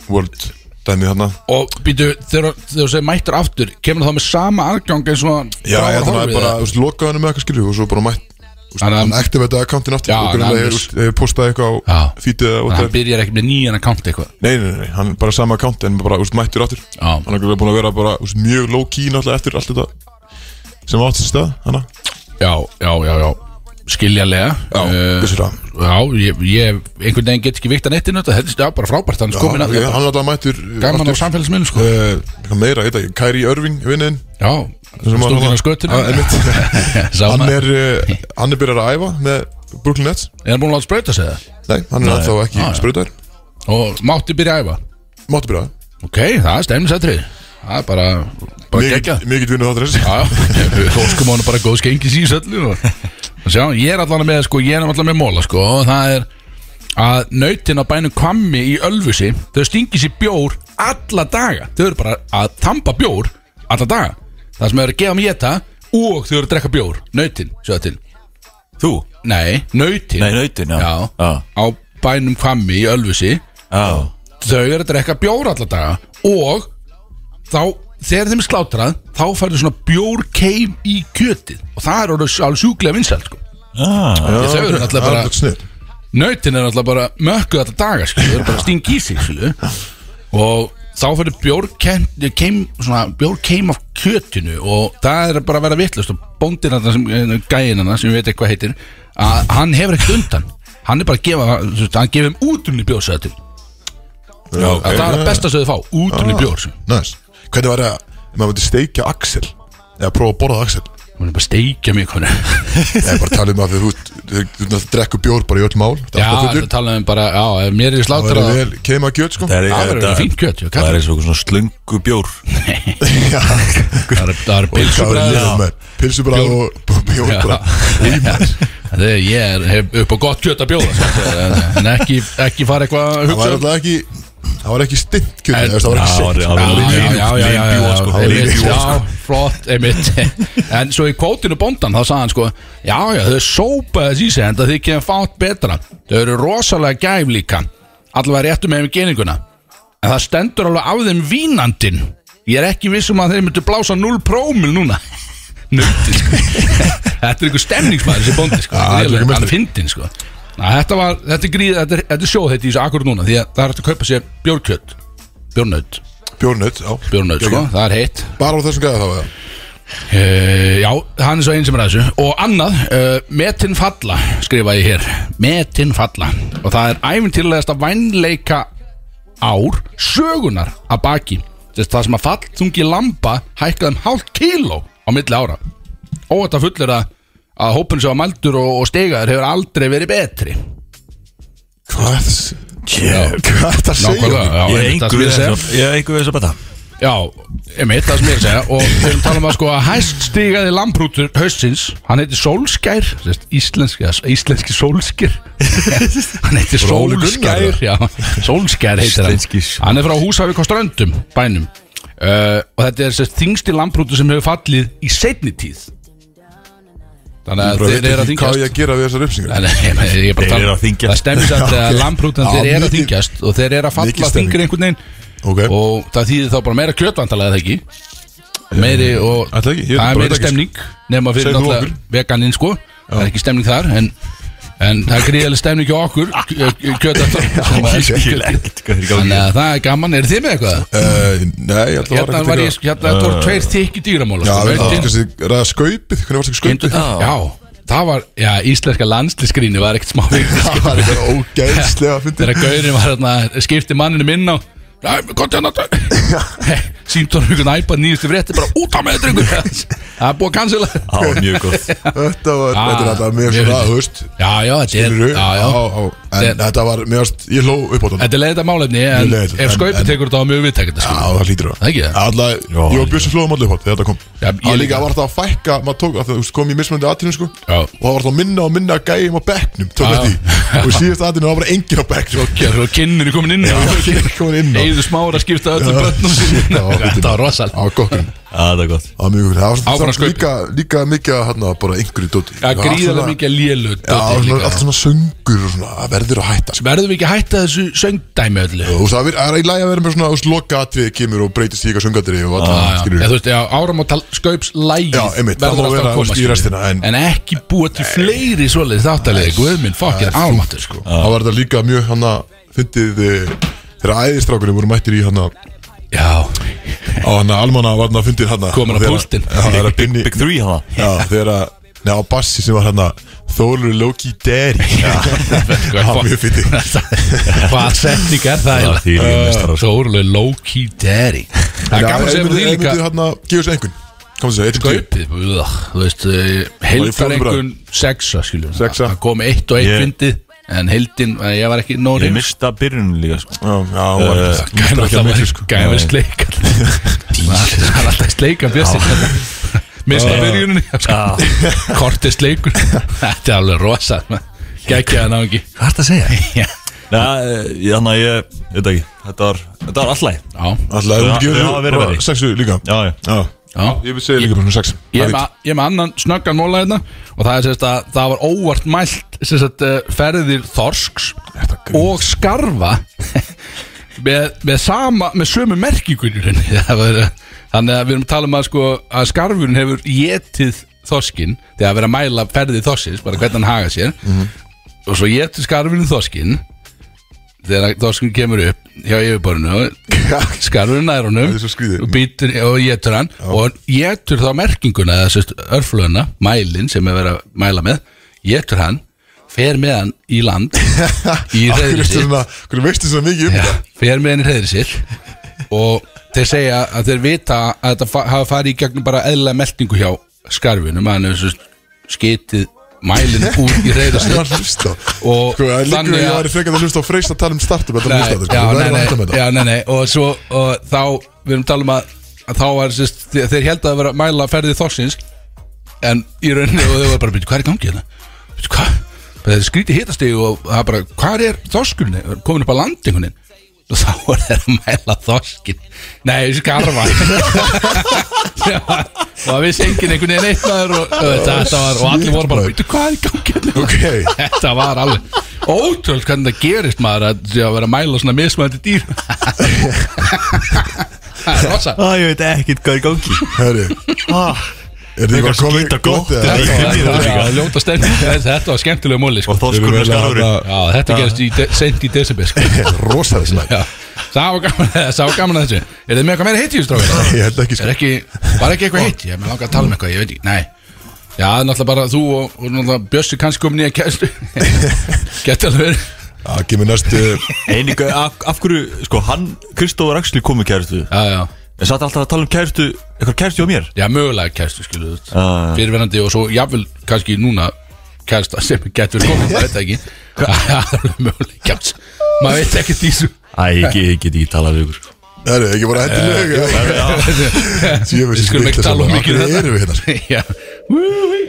Speaker 2: World dæmið hann
Speaker 3: Og býtu, þegar þegar þú segir mættur aftur Kemur þá með sama aðgang eins og hann
Speaker 2: Já,
Speaker 3: drafar
Speaker 2: ég, þannig að
Speaker 3: horfið,
Speaker 2: bara,
Speaker 3: eða?
Speaker 2: þú veist, lokaði hann með eitthvað skilju og svo bara mætt
Speaker 3: Þannig
Speaker 2: Hann
Speaker 3: að-
Speaker 2: activateði accountin aftur
Speaker 3: Já,
Speaker 2: og
Speaker 3: hann
Speaker 2: grunlega
Speaker 3: er-
Speaker 2: hefur hefur postað eitthvað á
Speaker 3: Já.
Speaker 2: feedið eða
Speaker 3: Hann
Speaker 2: whatever.
Speaker 3: byrjar ekki með nýjan account eitthvað
Speaker 2: Nei, nei, nei, hann er bara sama account en bara úst, mættur aftur
Speaker 3: Já.
Speaker 2: Hann er grunlega búin að vera bara úst, mjög low key náttúrulega eftir allt þetta sem átt sér stað hana
Speaker 3: Já, já, já, já Skiljanlega
Speaker 2: Já,
Speaker 3: Eh,
Speaker 2: vissir það
Speaker 3: Já, ég, ég einhvern veginn get ekki vikta nettinu Þetta þetta er bara frábært, hann er komin að
Speaker 2: Já, Hann er alltaf mættur uh,
Speaker 3: Gaman á
Speaker 2: aftur.
Speaker 3: samfélagsmiðlum sko
Speaker 2: Eh, eitthvað Meira, ég veit ekki, Kæri Örving, vinnin
Speaker 3: Já,
Speaker 2: sem var
Speaker 3: stúkin á
Speaker 2: hann-
Speaker 3: skötinu
Speaker 2: Já, einmitt.
Speaker 3: Sáma,
Speaker 2: hann
Speaker 3: er
Speaker 2: er, uh, hann er byrjar að æfa með Brooklyn Nets
Speaker 3: hann búin að láta sprauta sig það?
Speaker 2: Nei, hann er ennþá ekki
Speaker 3: Ah, já.
Speaker 2: sprautar
Speaker 3: Og mátti byrja að æfa
Speaker 2: Máttu byrja
Speaker 3: Ok, það er stemnisætri Það er bara, bara geggjað
Speaker 2: Mikið mikið vinnu þáttur
Speaker 3: Já, já, við óskum honum bara góðs gengis í söllu og, og sjá, ég er allan með sko, ég er allan með móla sko og það er að nautin á bænum Kvammi í Ölfusi þau stingis í bjór alla daga þau eru bara að þamba bjór alla daga, það sem þau eru að gefa mig geta og þau eru að drekka bjór, nautin sjáðu til,
Speaker 4: Þú?
Speaker 3: nei, nautin
Speaker 4: Nei, nautin, já
Speaker 3: já, á bænum Kvammi í Ölfusi
Speaker 4: já.
Speaker 3: þau eru að drekka bjór alla daga og þá þegar þeim er slátrað þá færðu svona bjórkeim í kjötið og það er orðið alveg sjúklega vinsæl sko.
Speaker 4: Ah,
Speaker 3: Ég sagði þér, náttúrulega bara-
Speaker 2: snill
Speaker 3: nautin er náttúrulega bara mökkuð alla daga sko. þau eru bara að stinga í sig sko. og þá færðu bjórkeim svona bjórkeim af kjötinu og það er bara að vera vittlust og bóndin þarna sem, gæinana sem ég veit ekki hvað heitir að hann hefur ekkert undan hann er bara að gefa, þú veist, hann gefum útunni bjórsæðatil
Speaker 2: Já,
Speaker 3: okay. það er að besta sem þau fá, útunni ah. bjór sko.
Speaker 2: Næs Hvernig var það að maður myndi steikja Axel eða prófa að borða Axel
Speaker 3: Hún er bara að steikja mig konu
Speaker 2: Ég er bara að tala um að þú þú- þú náttúrulega drekku bjór bara í öll mál Það er
Speaker 3: Já,
Speaker 2: alltaf
Speaker 3: það
Speaker 2: fullur
Speaker 3: tala um bara, já, ef mér er í
Speaker 2: Það
Speaker 3: slátra
Speaker 2: er
Speaker 3: Það
Speaker 2: vel keima kjöt sko
Speaker 4: það er,
Speaker 3: verður
Speaker 4: þetta-
Speaker 3: fínt kjöt, jú,
Speaker 4: Það er
Speaker 3: kallar.
Speaker 4: eins og svona slöngu bjór
Speaker 2: Já
Speaker 3: það er- það er pilsubræð
Speaker 2: Pilsubræð og og bjór bara
Speaker 3: Það er, ég er, hef upp á gott kjöt að bjóða sko, en, en ekki, ekki fara eitthvað að
Speaker 2: Það var
Speaker 3: hugsa um-
Speaker 2: alltaf ekki Það var ekki stint kjöt
Speaker 3: En-
Speaker 2: eða Það var ekki sint
Speaker 4: Já, það var
Speaker 3: Já,
Speaker 4: líf-
Speaker 3: já, já, já, já,
Speaker 4: lífbjór, sko.
Speaker 3: já, einmitt,
Speaker 4: Lífbjór, sko.
Speaker 3: já, flott, einmitt En svo í kvótinu bóndan þá sagði hann sko Já, já, þau sópaði þess í sig en það þykja þeim fátt betra Þau eru rosalega gæf líka Allavega réttu með þeim í geninguna En það stendur alveg af þeim vínandin Ég er ekki viss um að þeir myndu blása 0 prómil núna Nöndin sko Þetta er einhver stemningsmæður þessi bóndi sko
Speaker 2: Já, þetta er
Speaker 3: Hann er
Speaker 2: einhver
Speaker 3: alveg
Speaker 2: meistari.
Speaker 3: fyndinn sko Ná, þetta, var, þetta er gríð, þetta er, þetta er sjóðheiti í þessu akkur núna Því að það er hægt að kaupa sér bjórkjöt Bjórnaut
Speaker 2: Bjórnöð, já
Speaker 3: Björnöð, sko, það er heitt
Speaker 2: Bara á þessum gæða þá eða?
Speaker 3: uh, Já, hann er svo einn sem er að þessu Og annað, uh, metin falla skrifa ég hér, metin falla Og það er æfintýrlegasta vænleika ár sögunar að baki Þess, Það sem að fall þungi lamba hækkaði um hálft kíló á milli ára Og þetta fullir að, að hópin sem var mældur og, og stegaður hefur aldrei verið betri
Speaker 2: Hvað?
Speaker 4: Ég
Speaker 2: Hvað er það að segja?
Speaker 3: Nákvæmlega, já,
Speaker 4: er
Speaker 3: einmitt, það
Speaker 4: einhver
Speaker 3: sem
Speaker 4: við
Speaker 3: ég segi.
Speaker 4: þess að betta
Speaker 3: Já, einmitt, það sem ég er að segja Og við erum talað um að sko að hæst stigaði lambrútur haustins Hann heiti Solskær sérst, Íslenski, eða íslenski Solskir Hann heiti
Speaker 2: Óli Gunnar,
Speaker 3: Solskær já, Solskær heitir hann
Speaker 4: Íslenski Solskær.
Speaker 3: Hann er frá Húsavík á Ströndum, bænum uh, Og þetta er sérst, þingsti lambrútur sem hefur fallið í seinni tíð Þannig að
Speaker 2: Bara veit
Speaker 3: þeir eru að
Speaker 2: ekki Hvað ég
Speaker 3: þingjast
Speaker 2: að gera við þessar uppsingar
Speaker 3: Nei, nei, nei, ég er bara að
Speaker 4: Þeir eru að
Speaker 3: tala-
Speaker 4: þyngjast.
Speaker 3: Það stemmi samt að
Speaker 2: Já,
Speaker 3: lambrútan
Speaker 2: já,
Speaker 3: þeir eru að
Speaker 2: mikið-
Speaker 3: þingjast og þeir eru
Speaker 2: mikið
Speaker 3: að falla
Speaker 2: stemming.
Speaker 3: þingir einhvern veginn
Speaker 2: Ok
Speaker 3: og það þýðir þá bara meira kjötvandalega það ekki meiri og
Speaker 2: Eh, ætla ekki, ég veit
Speaker 3: það
Speaker 2: bara
Speaker 3: er meiri
Speaker 2: þetta ekki,
Speaker 3: stemning nema fyrir
Speaker 2: Segðu þú
Speaker 3: náttúrulega veganinn sko það er ekki stemning þar en, en það er gríðileg stemning hjá okkur kjötvandalega
Speaker 4: ekkert hvað þeir
Speaker 3: þannig að það er gaman, er þið með eitthvað?
Speaker 2: Eh, Nei, ég ætla að
Speaker 3: hérna var ég, hérna þetta voru tveir þykki dýramóla
Speaker 2: Já,
Speaker 3: sko,
Speaker 2: við
Speaker 3: Völdin-
Speaker 2: þarfum kannski að ræða skaupið Hvernig var það
Speaker 3: Kindur-
Speaker 2: skaupið?
Speaker 3: já, það var, já, íslenska landslisgríni var ekkert smá sko.
Speaker 2: Það var eitthvað ógeðslega að fyndi
Speaker 3: þegar gaurin var hérna skipti manninu minna og Nei, gott hérna Sýnt honum ykkur næpað nýjustu frétti bara út á með drengur Það er búið að cancela
Speaker 4: Á, mjög gott
Speaker 2: Þetta var,
Speaker 3: Ah,
Speaker 2: þetta er alltaf
Speaker 3: mjög
Speaker 2: mér svona,
Speaker 3: fyndið.
Speaker 2: þú veist
Speaker 3: Já, já, þetta er
Speaker 2: skilurðu,
Speaker 3: já, já.
Speaker 2: á, á, En
Speaker 3: Þetta-
Speaker 2: þetta var, mér varst, ég hló upp á þetta
Speaker 3: Þetta er leiðið að málefni en
Speaker 2: Mjög leiðinlegt,
Speaker 3: ef
Speaker 2: en-
Speaker 3: skaupið
Speaker 2: en-
Speaker 3: tekur þetta á mjög viðtækenda
Speaker 2: Já,
Speaker 3: sko.
Speaker 2: það hlýtur það
Speaker 3: Það ekki, það?
Speaker 2: Alltaf,
Speaker 4: Já,
Speaker 2: ég var bjössi hlóðum allir upp á þetta, þetta kom
Speaker 3: Já, ég
Speaker 2: Það var líka
Speaker 3: líka.
Speaker 2: var það að fækka, maður tók, að það þú veist, kom í mismunandi aðtíðum sko
Speaker 3: Já.
Speaker 2: Og það var það minna og minna gæjum á bekknum, tók
Speaker 3: Já.
Speaker 2: að því Og síðast aðtíðum var bara engin á bekknum
Speaker 3: Já, Svo kinnir er komin inn
Speaker 2: Ég er komin inn á
Speaker 3: Eður smára að skipta öllum
Speaker 2: Já.
Speaker 3: börnum
Speaker 2: Já,
Speaker 3: sinni
Speaker 2: fyndið.
Speaker 3: Þetta var rosal
Speaker 2: Á gokkurinn
Speaker 4: Já, það er gott
Speaker 2: Það var mjög gott. Það var svona-
Speaker 3: Áfram
Speaker 2: samt
Speaker 3: skaupið.
Speaker 2: líka, líka mikið hérna, bara einhverju dóti
Speaker 3: Já, gríðarlega mikið lélug
Speaker 2: Já, svona, allt svona söngur og svona, það verður að hætta sko.
Speaker 3: Verðum við ekki að hætta þessu söngdæmi öllu?
Speaker 2: Þú veist, það er- það er í lagi að vera með svona, þú veist, loka atvið kemur og breytist í eitthvað söngadri og
Speaker 3: Já,
Speaker 2: alltaf,
Speaker 3: já.
Speaker 2: skilur
Speaker 3: Já, þú veist, já, áramótal skaups lægið
Speaker 2: Já, einmitt, það má
Speaker 3: alltaf
Speaker 2: vera,
Speaker 3: að
Speaker 2: þú veist, í
Speaker 3: skilur.
Speaker 2: restina, en-
Speaker 3: ekki búa til fleiri svoleiðis þáttalegi Guð minn, fuck, ég er áramótur sko
Speaker 2: Það var þetta líka mjög, hann að, fyndið eh, þegar æðistrákunum voru mættir í hérna, hann að,
Speaker 3: sko. Já,
Speaker 2: á hann að almanna var hann að fyndið hann að
Speaker 3: Komin á
Speaker 2: þegar-
Speaker 3: púltinn.
Speaker 2: Já, þegar að binni,
Speaker 4: Big 3 hana
Speaker 2: já, þegar að, neða, á bassi sem var hann að Þórur Loki Derry
Speaker 3: sko,
Speaker 2: Það var mjög fyndið
Speaker 3: Hvað setning er það
Speaker 4: Það er því líka meistarar,
Speaker 3: eiginlega? Sórlega low-key daddy Það er gaman að segja því líka
Speaker 2: hann að gefa sér einhvern Kom þess að, eitthvað
Speaker 3: Gaupið, uða, þú veist
Speaker 2: í
Speaker 3: Heldar
Speaker 2: fjórum
Speaker 3: einhvern sexa, skiljum
Speaker 2: Sexa.
Speaker 3: Það kom eitt og eitt
Speaker 4: Ég-
Speaker 3: fyndið En heldin, ég var ekki nóri
Speaker 4: Ég mista byrjunum líka sko
Speaker 2: Já, já, hún var
Speaker 4: Eh,
Speaker 2: hún
Speaker 3: Gæmur
Speaker 2: drakk ekki mikið,
Speaker 3: alltaf
Speaker 2: sko.
Speaker 3: Gæmur sleik Það er alltaf sleikan bjössi Mista byrjuninni Korti sleikur Þetta er alveg rosa Gækjaði ná ekki Hvað er það að segja?
Speaker 4: Nei, þannig að eh, ég, ég veit ekki Þetta var, þetta var allæg
Speaker 3: Já,
Speaker 2: Alltaf, ef
Speaker 4: Já,
Speaker 2: hún
Speaker 4: já, verið
Speaker 2: gefur
Speaker 4: verið.
Speaker 2: þér sexu líka
Speaker 4: Já, já
Speaker 2: Já,
Speaker 3: já
Speaker 2: ég vil segja líka bara svona sex
Speaker 3: Ég er með- ég er með annan snöggan móla hérna og það er sérst að það var óvart mælt sérst að ferðir þorsks og skarfa með, með sama með sömu merkingunni rauninni. Það var- eh, þannig að við erum að tala um að sko að skarfurinn hefur getið þorskin þegar að vera að mæla ferðið þorsins bara hvernig hann haga sér og svo getið skarfurinn þorskin þegar að þorskin kemur upp hjá yfirborinu skarfurinn nær honum
Speaker 2: Það er svo skrýðið.
Speaker 3: og býtur og getur hann og getur þá merkinguna eða sérst örflöðuna, mælin sem er verið að mæla með, getur hann fer með hann í land í reyðri
Speaker 2: Hvernig svona, hvernig veistu svona mikið um
Speaker 3: Já,
Speaker 2: þetta?
Speaker 3: fer með henni reyðri sér og þeir segja að þeir vita að þetta fa hafa farið í gegnum bara eðlilega meldingu hjá skarfinum að hann hefur svo skitið mælinn út í reyðri
Speaker 2: Ég
Speaker 3: sér
Speaker 2: var að hlusta
Speaker 3: Og
Speaker 2: Sko, það líkur
Speaker 3: þannig
Speaker 2: að
Speaker 3: að-
Speaker 2: ég væri frekar að hlusta á freist að tala um startup Þetta er hlusta á þetta, sko,
Speaker 3: já,
Speaker 2: við
Speaker 3: nei,
Speaker 2: verðum að hætta
Speaker 3: nei,
Speaker 2: með þetta
Speaker 3: já, nei, nei, og svo og þá, við erum að tala um að, að þá var sérst, þeir, þeir held að vera að mæla ferðið þorsins en í rauninni og þau var bara, "Bíddu, hvað er í gangi hérna? Bíddu, Hvað? Bara Þetta er skrítið hitastegi og það bara, hvað er þorskurinn? Er Komin upp á landingunin og þá var þeir að mæla þorskin Nei, skarfa Já, og það vissi enginn einhvern veginn eitt maður og, og, þetta var, og allir voru bara, "Bíddu, hvað er í gangi hérna?
Speaker 2: Ok,
Speaker 3: Þetta var alveg ótrúld hvernig það gerist maður að, að vera að mæla svona mismæðandi dýr Það er rosa
Speaker 4: Æ, ég veit ekkert hvað er í gangi
Speaker 2: herri Ah. Er þið bara komið
Speaker 4: skýta
Speaker 2: gott
Speaker 4: gott.
Speaker 2: eða?
Speaker 4: Þetta var-
Speaker 3: Já, já, ljóta stemning. Þetta var skemmtilega múli sko.
Speaker 4: Og þorskurinn er skarfurinn
Speaker 3: Já, þetta gerist í de sent í desember sko.
Speaker 2: Rosalega snakk
Speaker 3: Já, það var gaman, það var gaman að þessu Er þið með eitthvað meira heitt í þessu strákar?
Speaker 2: Ég held ekki
Speaker 3: Er
Speaker 2: sko
Speaker 3: ekki, var ekki eitthvað heitt? Ég hef með langað að tala um eitthvað, ég veit ekki, nei Já, það er náttúrulega bara þú og, og náttúrulega Bjössi kannski kom nýja kæstu Gæti alveg verið
Speaker 2: Það kemur næstu
Speaker 4: Einingu, af, af hverju, sko, hann, Kristófur Axli kom með kæristu
Speaker 3: Já, já
Speaker 4: En satt alltaf að tala um kæristu, eitthvað kæristu á mér Ah.
Speaker 3: Já, mögulega kæstu, skilu þú
Speaker 4: Já, já.
Speaker 3: Fyrirverandi og svo jafnvel kannski núna kæsta sem getur komið, maður veit það ekki Það er alveg mögulega kæst Maður veit ekki því svo
Speaker 4: Æ, ég, ég get ekki talað við ykkur
Speaker 2: Það er ekki bara hætti
Speaker 3: Eh,
Speaker 2: lög Við
Speaker 3: Við skulum ekki tala um mikið
Speaker 2: Akkur erum við hérna sko?
Speaker 3: Já, Wúí.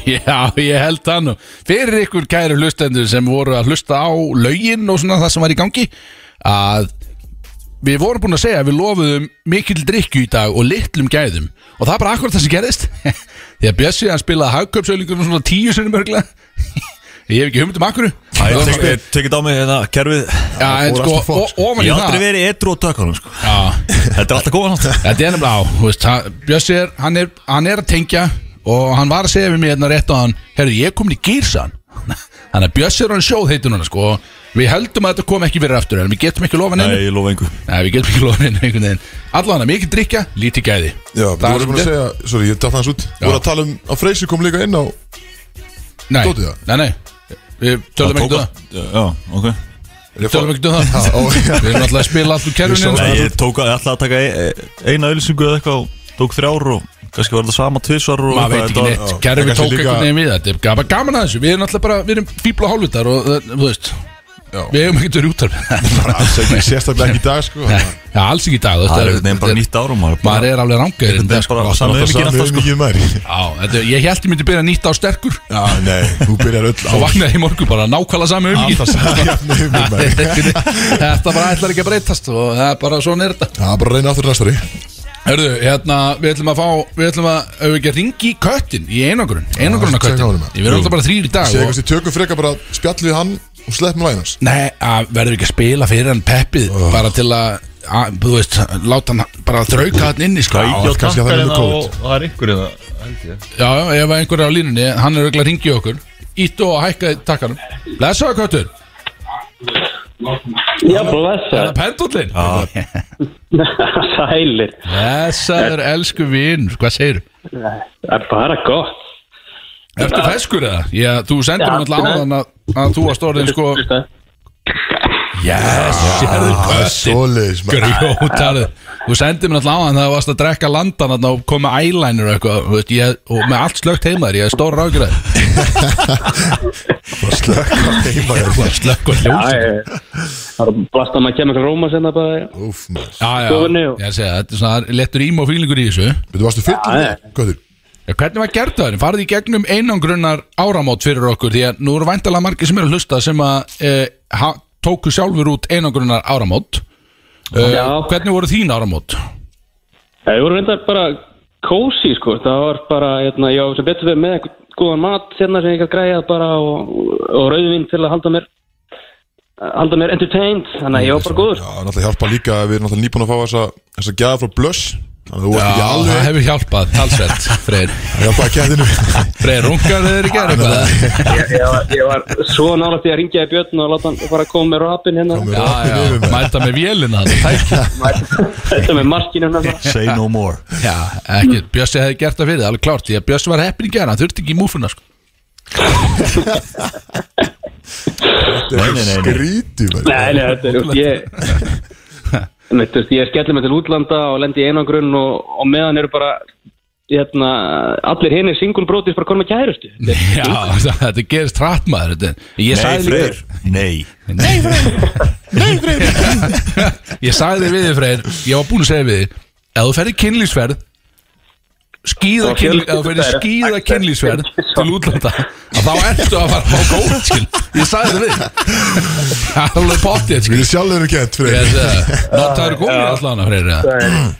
Speaker 3: Já, ég held það nú Fyrir ykkur kæru hlustendur sem voru að hlusta á lögin og svona það sem var í gangi að við vorum búin að segja að við lofuðum mikil drikju í dag og litlum gæðum og það er bara akkurat það sem gerðist því að Bjössi hann spilaði hagköpsauðlingur svona tíu sinni mörgla ég hef ekki humund um akkuru
Speaker 4: Æ, ég tek- ég tekið á mig hérna kerfið
Speaker 3: Já, en sko,
Speaker 2: alltaf fólk,
Speaker 3: o- ofan
Speaker 4: Ég
Speaker 3: í
Speaker 4: hef aldrei
Speaker 3: það
Speaker 4: verið edru á tökunum sko
Speaker 3: Já,
Speaker 4: Þetta er alltaf góðan átt
Speaker 3: Þetta er nefnilega á, þú veist, hann- Bjössi er, hann er, hann er að tengja og hann var að segja við mig hérna rétt á hann, herru, ég er komin í gýrsan. Þannig að Bjössi er hann sjóð heitur núna, sko, og við heldum að þetta kom ekki fyrir aftur, en við getum ekki lofa
Speaker 4: Nei,
Speaker 3: neinu.
Speaker 4: ég lofa engu
Speaker 3: Nei, við getum ekki lofa neinu einhvern veginn. Allan að mikið drikja, lítið gæði.
Speaker 2: Já,
Speaker 3: Það
Speaker 2: þú
Speaker 3: er
Speaker 2: voru búin að
Speaker 3: svolítið.
Speaker 2: segja Sorry, ég datt hans út Þú voru að tala um að Freysi kom líka inn á
Speaker 3: Nei,
Speaker 2: Dótið það?
Speaker 3: nei, nei, við tölum ekki um það.
Speaker 4: Já, ok
Speaker 2: Er ég að fá-
Speaker 3: Tölum ekki um það.
Speaker 2: Ó, já.
Speaker 3: Við erum alltaf að spila allt úr kerfinu.
Speaker 4: Nei, ég tók að, ég ætlaði að taka e- e- eina auðlýsingu eða eitthvað og Tók þrjár og kannski var þetta sama tvisvar og
Speaker 3: maður veit
Speaker 4: eitthvað,
Speaker 3: ekki
Speaker 4: þetta var-
Speaker 3: neitt, kerfi
Speaker 2: kannski
Speaker 3: tók
Speaker 2: líka-
Speaker 3: einhvern veginn við þetta er bara gaman að þessu, við erum náttúrulega bara við erum fíbla hálfutar og uh, þú veist
Speaker 2: Já.
Speaker 3: við hefum ekkert verið útarp
Speaker 2: Bara alls ekki, Sérstaklega ekki í dag sko
Speaker 3: Já, alls ekki í dag þú veist,
Speaker 4: Það er
Speaker 3: það
Speaker 4: einhvern veginn bara nýtt árum Maður
Speaker 3: eh, maður er alveg rangið
Speaker 4: einhvern veginn bara
Speaker 2: Það er
Speaker 4: Saman við mikið alltaf
Speaker 2: alltaf
Speaker 4: sko
Speaker 2: mikið mæri
Speaker 3: Já, þetta, ég held ég myndi byrja nýtt á sterkur
Speaker 2: Já, nei, þú byrjar öll á
Speaker 3: og vaknaði í morgun bara nákvæmlega um sami umgi
Speaker 2: Alltaf saman jafn umgið mæri
Speaker 3: Þetta bara ætlar ekki að breytast og það er bara svona er þetta
Speaker 2: Já, bara reyna aftur næstari
Speaker 3: Hörðu, hérna, við ætlum að fá við ætlum að, ef við ekki að ringi í köttin í einangrun, einangrun að
Speaker 2: Já,
Speaker 3: köttin
Speaker 2: tjekka á honum, ja.
Speaker 3: Ég verður alltaf bara þrýr í dag
Speaker 2: Segðu
Speaker 3: og-
Speaker 2: eitthvað sem tökum freka bara spjall við hann og sleppum lægin hans
Speaker 3: Nei, að verður ekki að spila fyrir hann Peppið bara til að, að þú veist, láta hann bara þrauka hann inni sko.
Speaker 4: Gæja.
Speaker 3: Já,
Speaker 4: Já,
Speaker 2: kannski að það er með COVID.
Speaker 6: og það er ykkur eða held ég
Speaker 3: já, ef að einhver er á línunni hann er auðvitað að ringja okkur Ítt og hækkaði takkanum Blessaðu köttur,
Speaker 7: Já, blessa
Speaker 3: það er pendullin
Speaker 7: Sælir
Speaker 3: Blessaður, elsku vinn, hvað segir
Speaker 7: Það er bara gott
Speaker 3: Ertu feskur eða? Já, þú sendir
Speaker 7: Já,
Speaker 3: mér alltaf
Speaker 7: nei.
Speaker 3: áðan að, að þú að stórðin sko Yes, sérðu köttin
Speaker 2: Svoleiðis maður.
Speaker 3: Grjótarðu Þú sendir mér alltaf á hann það varst að drekka landan þarna og koma með eyeliner og eitthvað þú veist, ég, og með allt slögt heima þér, ég er stóra rákjur
Speaker 2: Bara slökk á heima hjá þér.
Speaker 3: Slökkur ljós
Speaker 7: Það er blasta maður að kemur eitthvað róma senna bara
Speaker 2: Úff maður
Speaker 3: Já, já,
Speaker 7: Góður nýjó.
Speaker 3: ég segi það, þetta er svona lettur ím og fílingur í þessu
Speaker 2: Veitu, varstu fyllur
Speaker 7: Já,
Speaker 2: með? Hvað er
Speaker 3: Já, hvernig var gert það? Farðið í gegnum einangrunnar áramót fyrir okkur því að nú eru væntalega margir sem eru að hlusta sem að e, ha, tóku sjálfur út einangrunnar áramót e,
Speaker 7: Já.
Speaker 3: Hvernig voru þín áramót?
Speaker 7: Það voru reyndar bara kósi sko Það var bara, hérna, já, sem betur við með einhvern góðan mat hérna sem ég gæti græjað bara og, og rauðvinn til að halda mér halda mér entertained þannig að ég var bara góður
Speaker 2: Já, náttúrulega hjálpa líka að við erum náttúrulega nýbúin að fá þessa, þessa gæða frá Blöss Þannig að þú ert ekki
Speaker 3: það
Speaker 2: alveg
Speaker 3: hefur hjálpað, talsvert, Freyr
Speaker 2: að hjálpa að kæðinu
Speaker 3: Freyr, rungar þeir í gerð eitthvað?
Speaker 7: ég, ég, var, ég var svo nálægt í að ringja í björn og láta hann fara að koma með rapin hérna
Speaker 2: Komum við
Speaker 3: Já,
Speaker 2: rafin
Speaker 3: já,
Speaker 2: yfir með
Speaker 3: mæta með vélina þarna, tæki.
Speaker 7: þetta með markinu hérna
Speaker 4: Say no more
Speaker 3: Já, ekki, Bjössi hefði gert það fyrir það, alveg klárt Því að Bjössi var heppin í gera, hann þurfti ekki í múfuna sko.
Speaker 2: Þetta
Speaker 4: Nei,
Speaker 2: er
Speaker 4: nei, nei, nei.
Speaker 2: skríti
Speaker 7: Nei, nei, þetta er út ég Einmitt, þú veist, ég skellir mig til útlanda og lendi í einangrun og, og meðan eru bara hérna, allir hinir single brotis bara konum með kærustu
Speaker 3: Já, það- þetta gerist hratt maður þetta. Ég
Speaker 4: Nei,
Speaker 3: sagði
Speaker 4: Freyr Nei
Speaker 3: líka- Ég sagði við þið Freyr, ég var búin að segja við þið Ef þú ferði kynlýsferð skýða
Speaker 7: Og
Speaker 3: kynlýsferð ef þú ferði
Speaker 7: fjölskylduferð.
Speaker 3: skýða kynlýsferð til útlanda að þá ertu að fara á góð skil. Ég sagði það við Það er alveg pottið
Speaker 2: Við
Speaker 3: skil.
Speaker 2: erum sjálfur erum kent fyrir
Speaker 3: Ég eh, sagði, Notaður gómið allan að Freyr eða?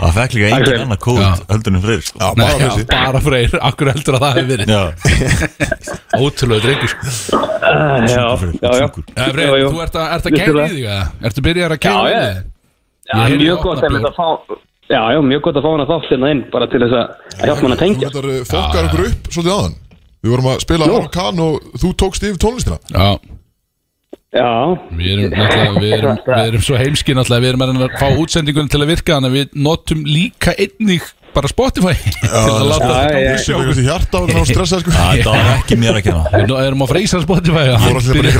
Speaker 4: Það fekk líka
Speaker 7: Freyr.
Speaker 4: engin annað kóð
Speaker 3: Já.
Speaker 4: Höldunum Freyr sko.
Speaker 2: Já,
Speaker 3: Nei,
Speaker 2: bara
Speaker 3: já,
Speaker 2: þessi
Speaker 3: bara Freyr, akkur heldur að það hefur verið
Speaker 4: Já,
Speaker 3: Ótrúlega drengur sko.
Speaker 7: Já, já, já
Speaker 3: Eh, Freyr,
Speaker 7: Jú, jú.
Speaker 3: Þú ert að, ert að keira í þig eða? Ertu byrjar að keira
Speaker 7: Já,
Speaker 3: í
Speaker 7: já.
Speaker 3: þig?
Speaker 7: Já,
Speaker 3: Ég heyrði
Speaker 7: mjög gott
Speaker 3: opna
Speaker 7: að
Speaker 3: bjór.
Speaker 7: þetta fá Já, já, mjög gott að fá hana þátt hérna inn bara til þess að að hjálpa hana að
Speaker 2: Þú
Speaker 7: tengja
Speaker 2: getur fokkar okkur upp svolítið aðan Við vorum að spila Arkan og þú tókst yfir tónlistina
Speaker 3: Já,
Speaker 7: Já,
Speaker 3: Við erum, náttúrulega- við erum, við erum svo heimskin alltaf, við erum að reyna að fá útsendingun til að virka þannig að við notum líka einnig bara Spotify til að láta
Speaker 7: já,
Speaker 3: þetta
Speaker 7: já.
Speaker 3: gangi
Speaker 2: Þú
Speaker 3: sjá
Speaker 2: séu
Speaker 3: okkur.
Speaker 2: eitthvað í hjarta og það stressa sko
Speaker 4: Já, þetta var ekki mér að kenna
Speaker 3: Við erum á freysa Spotify og
Speaker 2: Þú
Speaker 3: hann
Speaker 2: voru allir bara
Speaker 3: byrjar-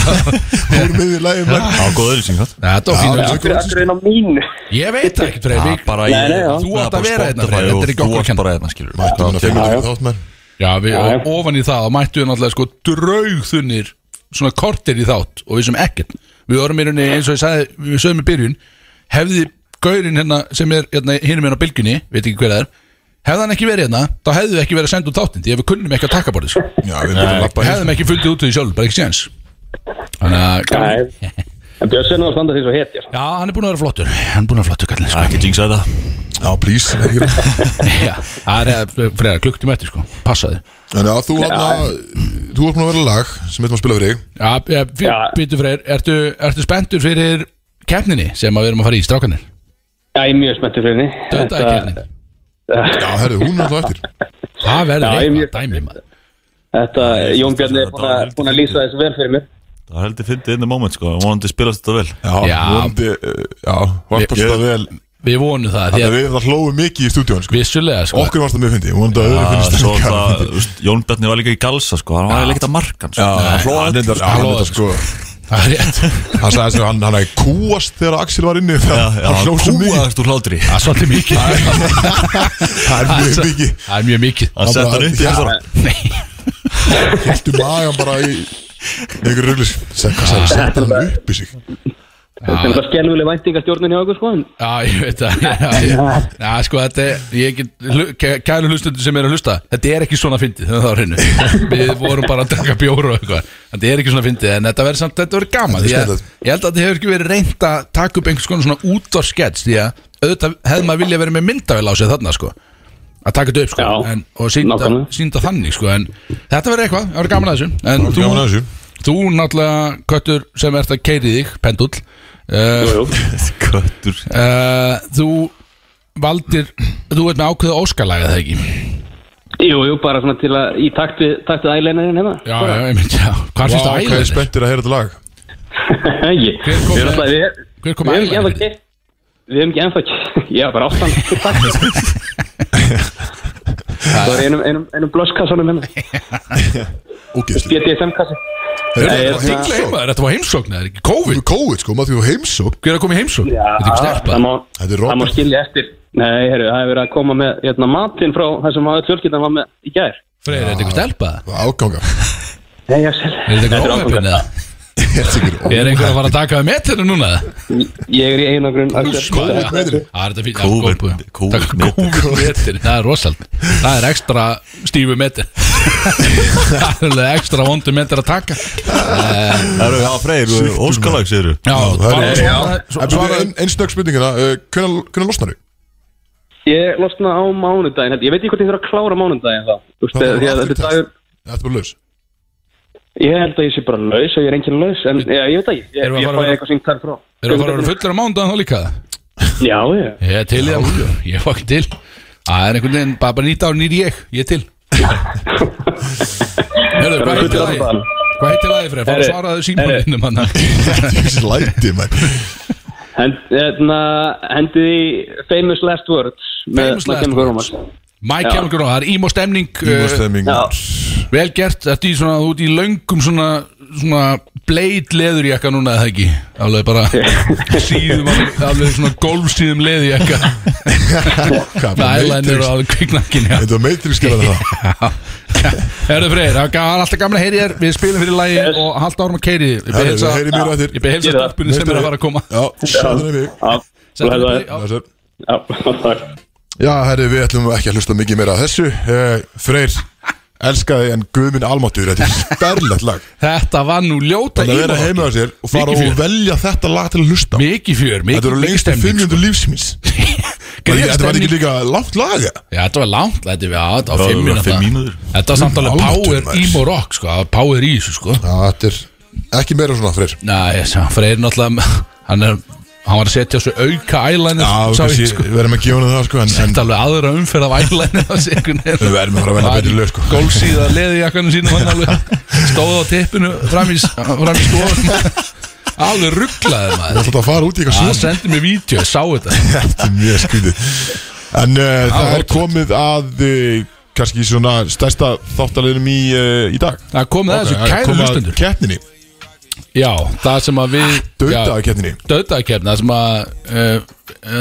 Speaker 2: einhverja sko. hægköpölsingu Þú voru með í lægum
Speaker 4: Það var góð auðlýsing það
Speaker 3: Nei, Þetta var fínur
Speaker 2: Já,
Speaker 3: sko.
Speaker 7: akkur, akkur inn á mínu
Speaker 3: Ég veit það ekkert
Speaker 4: Já,
Speaker 3: freyr
Speaker 4: bara
Speaker 7: Nei, nei, já.
Speaker 4: ég
Speaker 3: Þú átt að
Speaker 4: bara
Speaker 3: vera hérna,
Speaker 4: Spotify
Speaker 3: Freyr, þetta er ekki
Speaker 4: og
Speaker 3: okkur
Speaker 4: Þú
Speaker 3: að kenna.
Speaker 4: átt bara hérna, skilur
Speaker 2: Mættu hann að finna fyrir þátt menn
Speaker 3: Já, við,
Speaker 7: Já, já.
Speaker 3: og ofan í það, þá mættu við náttúrulega sko draugþunnir svona kortir í þátt og við sem ekkert Við við vorum í rauninni eins og ég sagði við sögum í byrjun hefði gaurinn hérna sem er hérna hinum hérna á bylginni veit ekki hver það er hefði hann ekki verið hérna þá hefðu við ekki verið að senda út þáttinn því að við kunnum ekki að taka bara þessu
Speaker 2: Já, við erum bara að lappa
Speaker 3: hefðum ekki fundið út úr því sjálf bara ekki séns þannig að
Speaker 7: Nei, en Björn Sveinn á að standa því svo hetja sko.
Speaker 3: já hann er búin að vera flottur hann er búin að vera flottur kallinn sko.
Speaker 4: Ekki jinxa þetta
Speaker 2: Já, please það er ekki rétt.
Speaker 3: já það er fyrir að klukktum eftir sko passaði
Speaker 2: En já, þú hann að Þú er búin að vera lag sem við erum að spila fyrir þig
Speaker 3: já, já, já.
Speaker 7: Já.
Speaker 3: býtu freyr ertu, ertu spenntur fyrir keppninni sem að við erum að fara í strákanir
Speaker 7: Já, ég er mjög smettur fyrir henni
Speaker 3: döndaði
Speaker 7: Þetta-
Speaker 3: keppnin
Speaker 2: Já, herðu, hún er alltaf eftir
Speaker 3: það verður
Speaker 7: Já, ég
Speaker 3: eitthvað
Speaker 7: mjög-
Speaker 3: dæmi maður
Speaker 7: Þetta, Jón Bjarni er
Speaker 4: þetta
Speaker 7: búin að-
Speaker 4: var-
Speaker 7: búin að lýsa þessu vel fyrir mér
Speaker 4: Það er heldur fyndið inn í moment sko Vonandi spilast þetta vel
Speaker 2: Já,
Speaker 3: Já.
Speaker 2: vonandi uh, Já, varpast
Speaker 4: Ég-
Speaker 2: það vel
Speaker 3: Við vonum það, því
Speaker 2: Þannig
Speaker 3: að
Speaker 2: að við erum það hlóðum mikið í stúdíón sko.
Speaker 3: vissulega sko
Speaker 2: Okkur varst það mjög fyndi Vonandi að öðru
Speaker 4: Það er
Speaker 2: finnst það
Speaker 4: svo
Speaker 2: líka
Speaker 4: það,
Speaker 2: fyndið.
Speaker 4: þú veist, Jón Bjarni var líka í galsa sko Hann var ekkert að markan sko
Speaker 2: Já,
Speaker 4: Hann hló að
Speaker 2: hann
Speaker 4: öllu,
Speaker 2: reyndar-
Speaker 4: sko.
Speaker 2: já, hann
Speaker 3: hló
Speaker 2: reyndar
Speaker 3: að
Speaker 2: sko
Speaker 3: Það er rétt
Speaker 2: Hann sagði sem hann hann hefði kúast þegar Axel var inni
Speaker 4: Já,
Speaker 2: Það
Speaker 4: já,
Speaker 2: hann hló svo mikið
Speaker 4: kúaðist úr hlátri
Speaker 3: Það er svolítið mikið
Speaker 2: Það er mjög mikið
Speaker 3: Það er mjög mikið
Speaker 4: Hann sett hann upp í þessara
Speaker 2: Hiltu magan bara í Ykkur ruglis Sæk, hvað sagði, setja hann upp í sig
Speaker 7: Þetta er náttúrulega skelvuleg væntingastjórnin hjá okkur sko en
Speaker 3: Já, ég veit það Já, ég- Já, sko, þetta er ég get, hlu- kæ- Kælu hlustundur sem er að hlusta Þetta er ekki svona fyndið, það var hreinu Við vorum bara að draka bjóru og eitthvað Þetta er ekki svona fyndið, en þetta verður samt Þetta verður
Speaker 2: Þetta
Speaker 3: gaman,
Speaker 2: er
Speaker 3: því að
Speaker 2: skemmtilegt.
Speaker 3: ég held að þetta hefur ekki verið reynd að taka upp einhvers konar svona útvarskets Því að auðvitað hefði maður vilja verið með myndavél á sig þarna, sko að taka þetta upp sko
Speaker 7: Já,
Speaker 3: en, og sínda,
Speaker 7: nákvæmlega.
Speaker 3: sínda þannig sko en þetta verður eitthvað, það verður gaman að þessu en
Speaker 2: verður gaman að þessu.
Speaker 3: þú náttúrulega köttur sem ert að keiri þig, pendull uh,
Speaker 7: Jú, jú.
Speaker 4: Köttur
Speaker 3: Uh, þú valdir þú veit með ákveða óskalaga það ekki já,
Speaker 7: Jú, jú, bara svona til að í takt við, takt við ælænerinn hérna
Speaker 3: já, ég myndi já. hvað
Speaker 2: Vá,
Speaker 3: finnst það
Speaker 2: hvað er
Speaker 3: ælæðir?
Speaker 2: spenntir að heyra þetta lag
Speaker 7: Ég,
Speaker 3: Hver kom með-
Speaker 7: við náttúrulega- við-
Speaker 3: hver kom
Speaker 7: við
Speaker 3: með
Speaker 7: hefum ekki ennþá
Speaker 3: ælæðir?
Speaker 7: keypt- Við hefum ekki ennþá keypt- Já, bara áttan Það var í einum, einum, einum blösskassanum hérna
Speaker 2: Ógeðslega
Speaker 7: GTSM-kassi
Speaker 3: það
Speaker 7: Nei,
Speaker 3: er
Speaker 2: hérna-
Speaker 3: heimsókn, þetta var heimsókn það er ekki COVID,
Speaker 2: COVID sko, maður því að heimsók
Speaker 3: hver er að koma í heimsókn þetta er ekki stelpa,
Speaker 7: það má,
Speaker 2: Þetta er
Speaker 7: það má
Speaker 2: Robert.
Speaker 7: skilja eftir Nei, heyrðu, það hefur verið að koma með hérna, matinn frá það sem að fjölskyldan var með í gær
Speaker 3: freyri, þetta er ekki stelpa
Speaker 2: Áganga
Speaker 7: Nei, ég sel
Speaker 3: er þetta ekki óheppin
Speaker 2: Þetta er
Speaker 3: eða?
Speaker 2: ekki
Speaker 3: er einhver að fara að taka það með þetta núna?
Speaker 7: Ég er í einagrun
Speaker 3: Úsma,
Speaker 7: Axel.
Speaker 3: já.
Speaker 2: COVID-metri.
Speaker 3: Já, þetta er fínt,
Speaker 4: COVID-
Speaker 3: það er góð-
Speaker 4: COVID-
Speaker 3: Takk, COVID-metri, það er rosald það er ekstra stífu metri það er alveg ekstra vondu metri að taka Eh,
Speaker 4: Það eru, já, Freyr, óskalag, segir þú
Speaker 3: já,
Speaker 2: það er-
Speaker 3: bara um
Speaker 2: Svara einn ein snögg spurningina uh, Hvernig losnar þau?
Speaker 7: Ég losna á mánudaginn held ég. Ég veit ekki hvort ég þurf að klára mánudaginn þá Þú veist,
Speaker 2: Það var
Speaker 7: því að
Speaker 2: aftur
Speaker 7: þetta er
Speaker 2: test.
Speaker 7: dagur
Speaker 2: Þetta er bara laus
Speaker 7: Ég held að ég sé bara laus og ég er enginn laus En já, ég veit ekki, ég,
Speaker 3: Erum við að
Speaker 7: ég
Speaker 3: fara að
Speaker 7: fæði
Speaker 3: vera-
Speaker 7: eitthvað síntal frá
Speaker 3: Erum við að fara að vera fullir á mándagan þá líka?
Speaker 7: Já, ég
Speaker 3: Ég er til í það, maður. ég var ekki til Það er einhvern veginn, bara, bara nýtt ár nýr ég, ég er til Hörðu, hvað
Speaker 7: Bara
Speaker 3: heitir
Speaker 7: fullir á
Speaker 3: lagi?
Speaker 7: mánudaginn.
Speaker 3: Hvað heitir lagi fyrir? Fáðu
Speaker 7: Herri,
Speaker 3: svaraðu símaninu manna hérna.
Speaker 2: Þessi læti maður
Speaker 7: Hend, hérna, Hendið í Famous Last Words
Speaker 3: Famous Last Words. Mike
Speaker 7: Já.
Speaker 3: Kjálkur, það er ímóstemning
Speaker 2: Ímastemming
Speaker 7: Já.
Speaker 3: Vel gert, þetta er svona, þú ert í löngum svona, svona blade leðurjakka núna eða ekki Alveg bara síðum, alveg, alveg svona golfsíðum leðurjakka Með eyeliner og alveg kviknakkin já
Speaker 2: Þetta var meitri skiljaði það
Speaker 3: Herðu Freyr, það var alltaf gaman að heyri þér Við spilum fyrir lagi
Speaker 7: Yes.
Speaker 3: og halda árum að keyri þig Ég
Speaker 2: Herru, við
Speaker 3: beð
Speaker 2: heyrum í þér
Speaker 3: heilsa-
Speaker 2: eftir.
Speaker 3: Ég beð heilsa
Speaker 7: Gerðu það.
Speaker 3: stelpunni sem er að fara að koma
Speaker 2: Já, sæðan er við
Speaker 7: Já,
Speaker 3: Settu
Speaker 7: Blessaður.
Speaker 3: þetta í- já.
Speaker 2: Blessaður.
Speaker 7: já, takk
Speaker 2: Já, herri, við ætlum ekki að hlusta mikið meira að þessu uh, Freyr, elskaði en guðminn almáttur Þetta er stærlegt lag
Speaker 3: Þetta var nú ljóta
Speaker 2: Þannig að vera
Speaker 3: ímá.
Speaker 2: heima á sér og fara
Speaker 3: Mikið
Speaker 2: og
Speaker 3: fjör.
Speaker 2: velja þetta lag til að hlusta á.
Speaker 3: Mikið fjör,
Speaker 2: Þetta
Speaker 3: mikið
Speaker 2: eru
Speaker 3: mikið
Speaker 2: lengstu
Speaker 3: stemning sko.
Speaker 2: 500 lífsmins Þetta var ekki
Speaker 3: Gríðarstemning.
Speaker 2: líka lágt lag eða?
Speaker 3: Já, þetta var langt, þetta var, já, þetta
Speaker 4: Já,
Speaker 3: var
Speaker 4: það
Speaker 3: 5
Speaker 4: var fimm
Speaker 3: mínútur
Speaker 4: mínútur.
Speaker 3: Þetta var samt alveg
Speaker 2: Almáttugur,
Speaker 3: power
Speaker 2: maður.
Speaker 3: emo rock, sko það var Power í þessu, sko
Speaker 2: Já, þetta er ekki meira svona, Freyr
Speaker 3: Næ, ég sá, Freyr náttúrulega Hann er, hann var að setja þessu auka
Speaker 2: Já,
Speaker 3: eyeliner sá ég,
Speaker 2: kannski,
Speaker 3: sko.
Speaker 2: við erum að gefa hana það sko en, en
Speaker 3: Þetta alveg aðra umferð af eyeliner á sig, einhvern veginn.
Speaker 2: við erum að fara að velja betri lög sko
Speaker 3: Gólfsíða leði jakkanum sínum hann alveg Stóð á tippinu fram í, fram í skóðum Alveg rugglaði
Speaker 2: Við
Speaker 3: maður
Speaker 2: ætlum að fara út í
Speaker 3: Það
Speaker 2: eitthvað svona
Speaker 3: sendi mér vídeo, ég sá þetta
Speaker 2: Þetta er mjög skrítið En uh, það er
Speaker 3: ótrúlegt.
Speaker 2: komið að uh, kannski svona stærsta þáttaleginum í, uh, í dag
Speaker 3: Það komið að þessu kæru
Speaker 2: komið að
Speaker 3: hlustendur
Speaker 2: Keppninni,
Speaker 3: Já, það sem að við
Speaker 2: döðdaði keppninni
Speaker 3: Döðdagkefni, það sem að uh,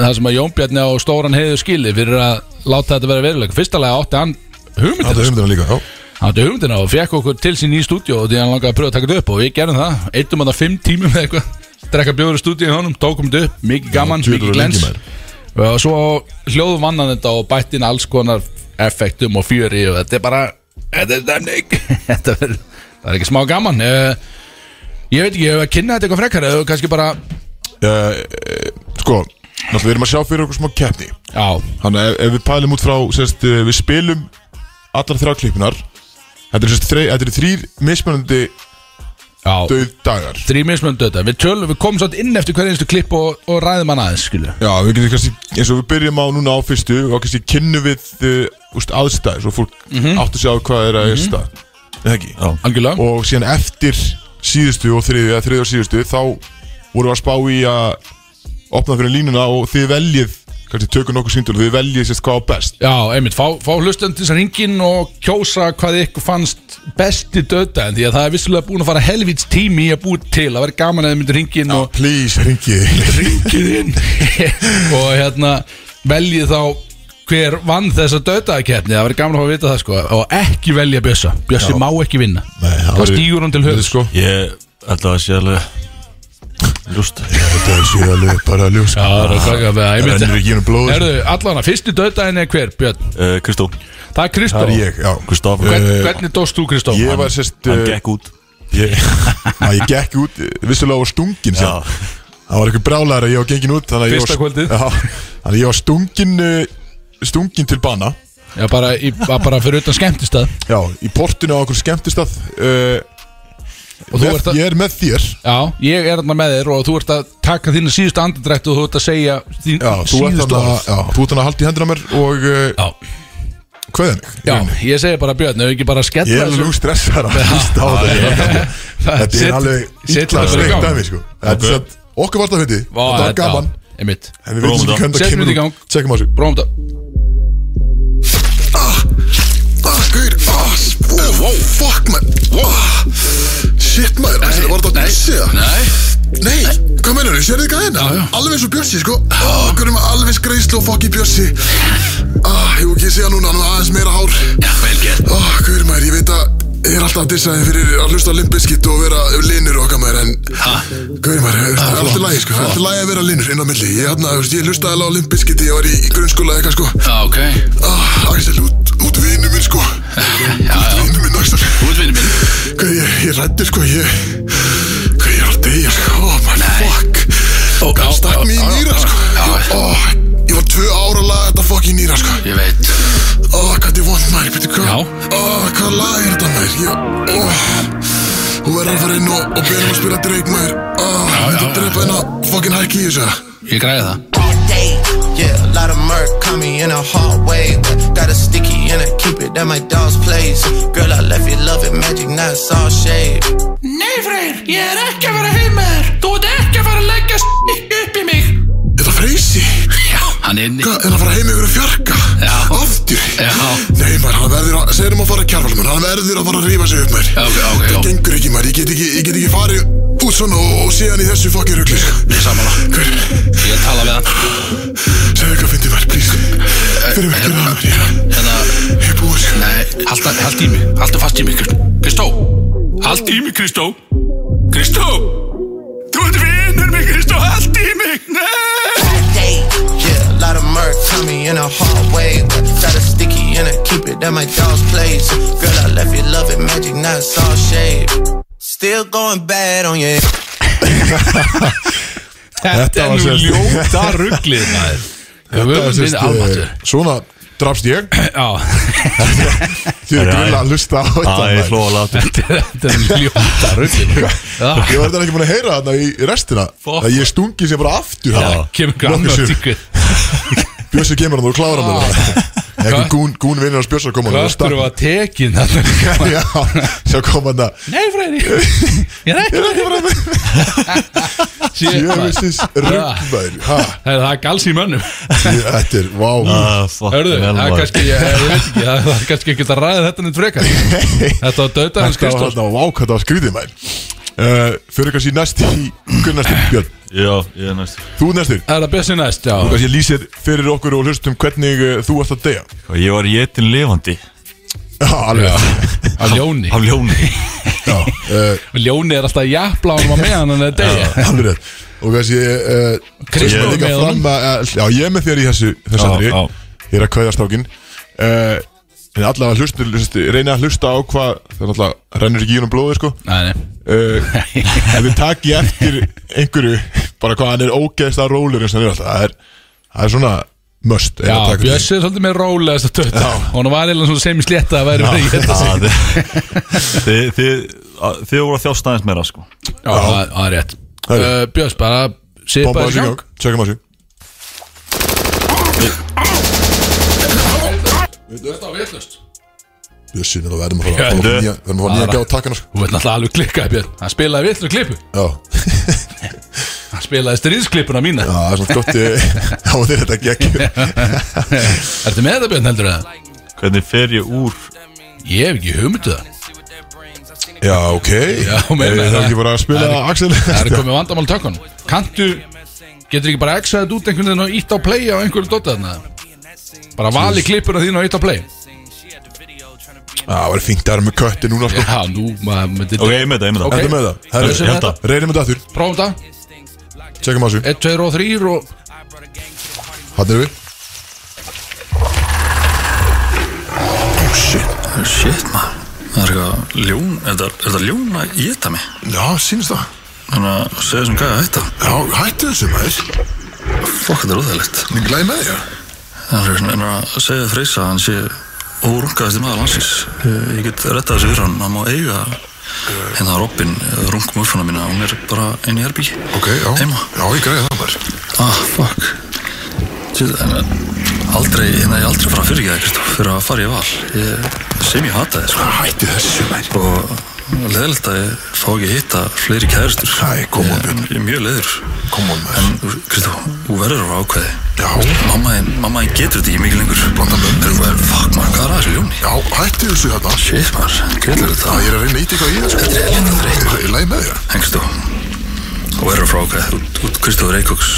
Speaker 3: Það sem að Jón Bjarni á stóran heiðu skili Fyrir að láta þetta vera veruleik Fyrsta lega átti hann
Speaker 2: Það
Speaker 3: hugmyndina
Speaker 2: er umdæma líka, já
Speaker 3: hann átti hugmyndina og fekk okkur til sín í stúdíu og því hann langaði að pröfa að taka þetta upp og við gerum það, eittum að það fimm um tímum eða eitthvað drekka bjóður í stúdíu í honum, tókum þetta upp, mikið gaman,
Speaker 2: djöfull
Speaker 3: mikið
Speaker 2: var lengi,
Speaker 3: glens
Speaker 2: maður.
Speaker 3: og svo hljóðum vannan þetta og bætt inn alls konar effektum og fjöri og þetta er bara þetta er stemning þetta er, það er ekki smá gaman Eh, ég veit ekki, ég hef að kynna þetta eitthvað frekar eða kannski bara,
Speaker 2: uh, Sko, náttúrulega við erum að sjá fyrir okkur smá keppni
Speaker 3: já,
Speaker 2: Þannig að ef, ef við pælum út frá, sérst, eh, við spilum allar þrjá klippunar Þetta eru sérst, þrei- þetta eru þrýr mismunandi
Speaker 3: já
Speaker 2: döð dagar
Speaker 3: þrýmismöndu þetta, við tölum, við komum svolítið inn eftir hverju einstu klipp og, og ræðum hann aðeins skilju,
Speaker 2: Já, við getum kannski, eins og við byrjum á núna á fyrstu og kannski kynnu við uh, úst, aðstæð svo fólk mm
Speaker 3: Mhm.
Speaker 2: -hmm. áttu sig á hvað er að mm -hmm. eða ekki
Speaker 4: Já.
Speaker 3: algjörlega
Speaker 2: og síðan eftir síðustu og þriðju eða þriðju og síðustu þá vorum við að spá í að opna fyrir línuna og þið veljið kannski tökum nokkuð síndul, þið veljið sérst hvað á best
Speaker 3: Já, einmitt, fá, fá hlustandi sem ringin og kjósa hvað ykkur fannst besti döðdæðin því að það er vissulega búin að fara helvíts tími í að búið til að vera gaman að þið myndir ringin og
Speaker 2: Please, ringið
Speaker 3: ringið inn og hérna veljið þá hver vann þessa döðdæðakeppni það verður gaman að fá að vita það sko og ekki velja Bjössa, Bjössi má ekki vinna
Speaker 2: Nei, það
Speaker 3: þá
Speaker 2: væri-
Speaker 3: stígur hún til höfð
Speaker 2: sko
Speaker 4: Ég held að það sé alveg Lúst
Speaker 2: Þetta er síðan alveg bara að ljós
Speaker 3: Já, það er klakka með það,
Speaker 2: Rennir
Speaker 3: einmitt
Speaker 2: ekki inn um blóð
Speaker 3: Herðu, allana, fyrsti döðdæðin er hver, Björn?
Speaker 4: Eh, Kristó
Speaker 3: Það er Kristó
Speaker 2: Það er ég, já Eh,
Speaker 4: Kristof
Speaker 3: Hvern, Hvernig dóst þú Kristó?
Speaker 2: Ég var sérst
Speaker 4: Hann
Speaker 2: eh,
Speaker 4: gekk út
Speaker 2: Ég, að ég gekk út, vissulega á stungin
Speaker 4: Já
Speaker 2: sem, Það var eitthvað brálaður að ég var gengin út Þannig að ég
Speaker 3: Fyrsta
Speaker 2: var,
Speaker 3: kvöldið.
Speaker 2: já, þannig að ég var stungin eh, Stungin til bana
Speaker 3: Já, bara, í, bara fyrir utan skemmtistað
Speaker 2: Já, í portinu á okkur skemmtistað uh,
Speaker 3: Og þú ert að-
Speaker 2: Ég er með þér
Speaker 3: Já, ég er þarna með þér og þú ert að taka þínu síðustu andardrætt og þú ert að segja þín
Speaker 2: Já, þú ert
Speaker 3: síðustu
Speaker 2: þarna
Speaker 3: orð
Speaker 2: já, Þú ert þarna að halda í hendur á mér og uh,
Speaker 3: Já,
Speaker 2: hvað er henni?
Speaker 3: já, ég segi bara Björn, ef við ekki bara skella
Speaker 2: Ég er alveg stressar að hlusta á þetta Þetta er alveg illa sveikt af mér sko Þetta er satt, okkur varst að fyndi Þetta var gaman
Speaker 3: Einmitt,
Speaker 2: En við veitum
Speaker 4: Prófum
Speaker 2: ekki
Speaker 4: þetta.
Speaker 2: hvernig það kemur
Speaker 3: Setjum þetta í gang.
Speaker 2: út Tjekkum á þessu
Speaker 3: bróðum þetta
Speaker 2: Ah, gauð, ah, wow, fuck man wow. Shit man, þessi var þetta að segja
Speaker 5: Nei,
Speaker 2: Nei, hvað mennur þau, sérðu þið gæðina? Alveg eins og Bjössi, sko Okkur er með alveg skreislu og fokki Bjössi ah, Ég vil ekki segja núna, hann var aðeins meira hár
Speaker 5: já, vel gert
Speaker 2: Guður maður, ég veit að ég er alltaf að dissa þið fyrir að hlusta á limbiskitt og vera linur og okkar maður En guður maður,
Speaker 5: Ah,
Speaker 2: það er alltaf lægi, sko Það er alltaf lægi að vera linur inn á milli Ég, hérna, þú veist, ég hlusta alveg á limbiskitt, ég var í, í grunnskóla eða eitthvað, sko
Speaker 5: Já, ok,
Speaker 2: ah, Axel, út, út vinnu minn, sko
Speaker 5: já, já,
Speaker 2: Vinnu minn, Axel
Speaker 5: útvinni minn
Speaker 2: Guð, ég, ég rætti, sko, ég Guð, ég er á degja, sko, oh my fuck
Speaker 5: Ó, já,
Speaker 2: Stakk mér í nýra, sko
Speaker 5: Já,
Speaker 2: Ó, ég var tvö ára að laga þetta fokk í nýra, sko
Speaker 5: ég veit
Speaker 2: Ó, hvað þið vond maður, betur hvað
Speaker 3: Já.
Speaker 2: Ó, hvað lag er þetta maður Ég, ó Hún verður að fara inn og, og byrja að spila dreik maður Ó, hún er að drepa henn að fokkin hækki í þessu
Speaker 5: Ég græði það
Speaker 8: all day. Yeah, a lot of murk caught me in a hard way. But got a sticky and I keep it at my dog's place. Girl, I left you loving magic, not saw shade.
Speaker 9: Nei freyr, ég er ekki að fara heim með þér Þú ert ekki að fara að leggja s*** upp í mig
Speaker 2: Þetta freysi
Speaker 5: Já, hann er inni
Speaker 2: Hvað, er að fara heim ykkur að fjarka
Speaker 5: Já.
Speaker 2: Aftur
Speaker 5: Já.
Speaker 2: Nei maður, hann verður að, segjum að fara að kjarvalum Hann verður að fara að rífa sig upp maður
Speaker 5: Já, ok, ok,
Speaker 2: Það
Speaker 5: já
Speaker 2: gengur ekki maður, ég get ekki, ég get ekki farið út svona og, og síðan í þessu fokkin rugli sko.
Speaker 5: Ég samanla
Speaker 2: Hver,
Speaker 5: Ég er að tala við hann
Speaker 2: segðu hvað fyndið var, please Fyrir mig, fyrir hann, ég,
Speaker 5: Hérna
Speaker 2: ég er búið sko.
Speaker 5: Nei, hald, hald í mig Haldu fast í mig, Kristó Kristó Hald í mig, Kristó Kristó Þú ert vinnur mig, Kristó Hald í mig Nei
Speaker 8: All day. Yeah, a lot of murk caught me in a hard way. But got a sticky and I keep it at my dog's place. Girl, I left you loving magic, not saw shade. Still going bad on your
Speaker 3: Þetta
Speaker 2: var
Speaker 3: er nú
Speaker 2: sérst-
Speaker 3: ljóta rugglið maður Þetta
Speaker 2: var sérst, eh, Svona drafst ég
Speaker 3: Já,
Speaker 2: Þið er grilla að hlusta á þetta
Speaker 4: Það er
Speaker 2: maður.
Speaker 4: hlóla
Speaker 3: þetta er nú ljóta sko. rugglið
Speaker 2: Ég var þetta ekki búin að heyra þarna í restina
Speaker 3: Fuck.
Speaker 2: Það ég stungi sér bara aftur þarna.
Speaker 3: Ah, Kemur
Speaker 2: Nokkuð
Speaker 3: grann og
Speaker 2: sinnum.
Speaker 3: tíkur
Speaker 2: Bjössi kemur hann og klárar hann alveg. Eitthvað gún, gún vinnir hans Bjössi að koma hann og
Speaker 3: Ah. Hvað eru
Speaker 2: stakk-
Speaker 3: að tekin þarna?
Speaker 2: Já, sjá kom hann að
Speaker 3: Nei freyr, ég er ekki að fara heim með þér Shit,
Speaker 2: Jöfisins ruggmæður
Speaker 3: Það er það er gals í mönnum
Speaker 2: Þetta er, vá
Speaker 3: Ah.
Speaker 2: wow.
Speaker 4: Ah,
Speaker 3: Hörðu,
Speaker 4: Hörðu,
Speaker 3: það er kannski, ég, ég veit ekki, það það er kannski ekki að ræða þetta nýtt frekar Þetta var döta hans
Speaker 2: Þetta var
Speaker 3: Kristóf
Speaker 2: hérna vákvæmt á skrýðið mæn uh, Fyrir kannski næst í Hver er næstur, Björn?
Speaker 4: Já, ég er næst
Speaker 2: Þú er næstur
Speaker 3: Það er að bjössi næst, já
Speaker 2: Þú kannski lýsir fyrir okkur eh, og hlustum hvernig uh, þú ert að deyja
Speaker 4: Ég var jetin lifandi
Speaker 2: Já, alveg
Speaker 3: Já. Af ljóni
Speaker 4: Af ljóni
Speaker 2: Já, uh,
Speaker 3: Ljóni er alltaf jafnla á með hann en það degja
Speaker 2: alveg rétt Og kannski uh,
Speaker 3: Kristján
Speaker 2: ég er
Speaker 3: er
Speaker 2: líka
Speaker 3: með
Speaker 2: fram að, að- Já, ég er með þér í þessu
Speaker 4: Já,
Speaker 2: Þessu andri
Speaker 4: já.
Speaker 2: Ég er að kveðja snákin uh, En allavega hlustu, hlustu Reyna að hlusta á hvað Það er alltaf Rennur ekki í húnum blóði sko
Speaker 3: Nei, nei
Speaker 2: uh, Ef þið takki eftir einhverju Bara hvað hann er ógeðst að rólur eins og hann er alltaf Það er, það er svona Möst
Speaker 3: Já, Bjössi er svolítið með rólegast að tötta og hann var eða svona sem í slétta að væri verið í hérna. þetta sig
Speaker 4: Já, þið- Þið þið- að- þið voru að þjást aðeins meira sko
Speaker 3: Já, það það er rétt
Speaker 2: Það er rétt.
Speaker 3: Uh, Bjöss, bara
Speaker 2: Bomba
Speaker 3: Sipa
Speaker 2: þessu hjá Tjökkum á þessu
Speaker 3: Þetta var villust
Speaker 2: Bjössi, við verðum að fara Við verðum að fara nýja að gá takkana sko
Speaker 3: Þú veit náttúrulega alveg klikkað Björn Hann spilaði villu klippu
Speaker 2: Já,
Speaker 3: Hann spilaði stríðsklippuna mína
Speaker 2: Já, það er svona gott eh, á þér þetta geggjum
Speaker 3: Ertu með þetta Björn heldur það?
Speaker 4: Hvernig fer ég úr
Speaker 3: Ég hef ekki hugmyndu það
Speaker 2: Já, ok
Speaker 3: Já, meina
Speaker 2: Eh, Það er
Speaker 3: það.
Speaker 2: ekki bara að spila
Speaker 3: Það er-
Speaker 2: Axel
Speaker 3: Það er komið vandamál tökkan Kantu Getur ekki bara exaðið þetta út einhvern veginn og ítt á play á einhverju dótið þarna Bara vali klippuna þín og ítt á play
Speaker 2: Já, það var fínt að vera með kötti núna sko
Speaker 3: Já, nú maður myndi
Speaker 4: Ok, ég með það, ég með það
Speaker 3: Ok.
Speaker 2: Þetta með það Herru,
Speaker 3: Lausum
Speaker 2: ég
Speaker 3: þetta. Eh.
Speaker 2: held að- Reynum þetta aftur
Speaker 3: Prófum það
Speaker 2: Tjökkum á þessu
Speaker 3: 1, 2 og 3 og
Speaker 2: Hann er við
Speaker 5: Oh shit maður Það er eitthvað ljón Er það- er það ljón að geta mig?
Speaker 2: Já, sínist það
Speaker 5: Þannig að segja þessum gæði að hætta
Speaker 2: Já, hættu þessu maður
Speaker 5: Fokk þetta er óþægilegt
Speaker 2: Ég glæði með þér
Speaker 5: Það er svona en að segja freysa að hann sé órungaðast í maður landsins Eh, Ég get rettað þessu fyrir hann Hann má eiga hérna Robin rungmurfuna mína Hún er bara inn í herbyggi
Speaker 2: Ok, já
Speaker 5: Heima
Speaker 2: Já, ég græði það maður
Speaker 5: Ah, fuck Shit, en, eh, Aldrei, hérna ég er aldrei að fara að fyrirgeða Kristoff Fyrir að fara í val ég, Sem ég hata þér sko
Speaker 2: Hættu þessu maður
Speaker 5: og leðilegt að ég fá ekki að hitta fleiri kæristur
Speaker 2: Æ, kom on, Björn.
Speaker 5: Ég er mjög leður
Speaker 2: Come on, maður
Speaker 5: En, Kristó, þú verður að ákveði
Speaker 2: Já.
Speaker 5: Mamma þín, mamma þín getur þetta ekki mikið lengur Blanda með Þú verður, fuck maður, hvað er að þessu ljóni?
Speaker 2: Já, hættu þessu þetta
Speaker 5: Shit maður, hann getur þetta
Speaker 2: er að reyna að íti hvað ég er sko
Speaker 5: Þetta er lítið þreytt
Speaker 2: Ég glæði með þér
Speaker 5: En Kristó, þú verður að frá ákveði Kristó Reykjóks,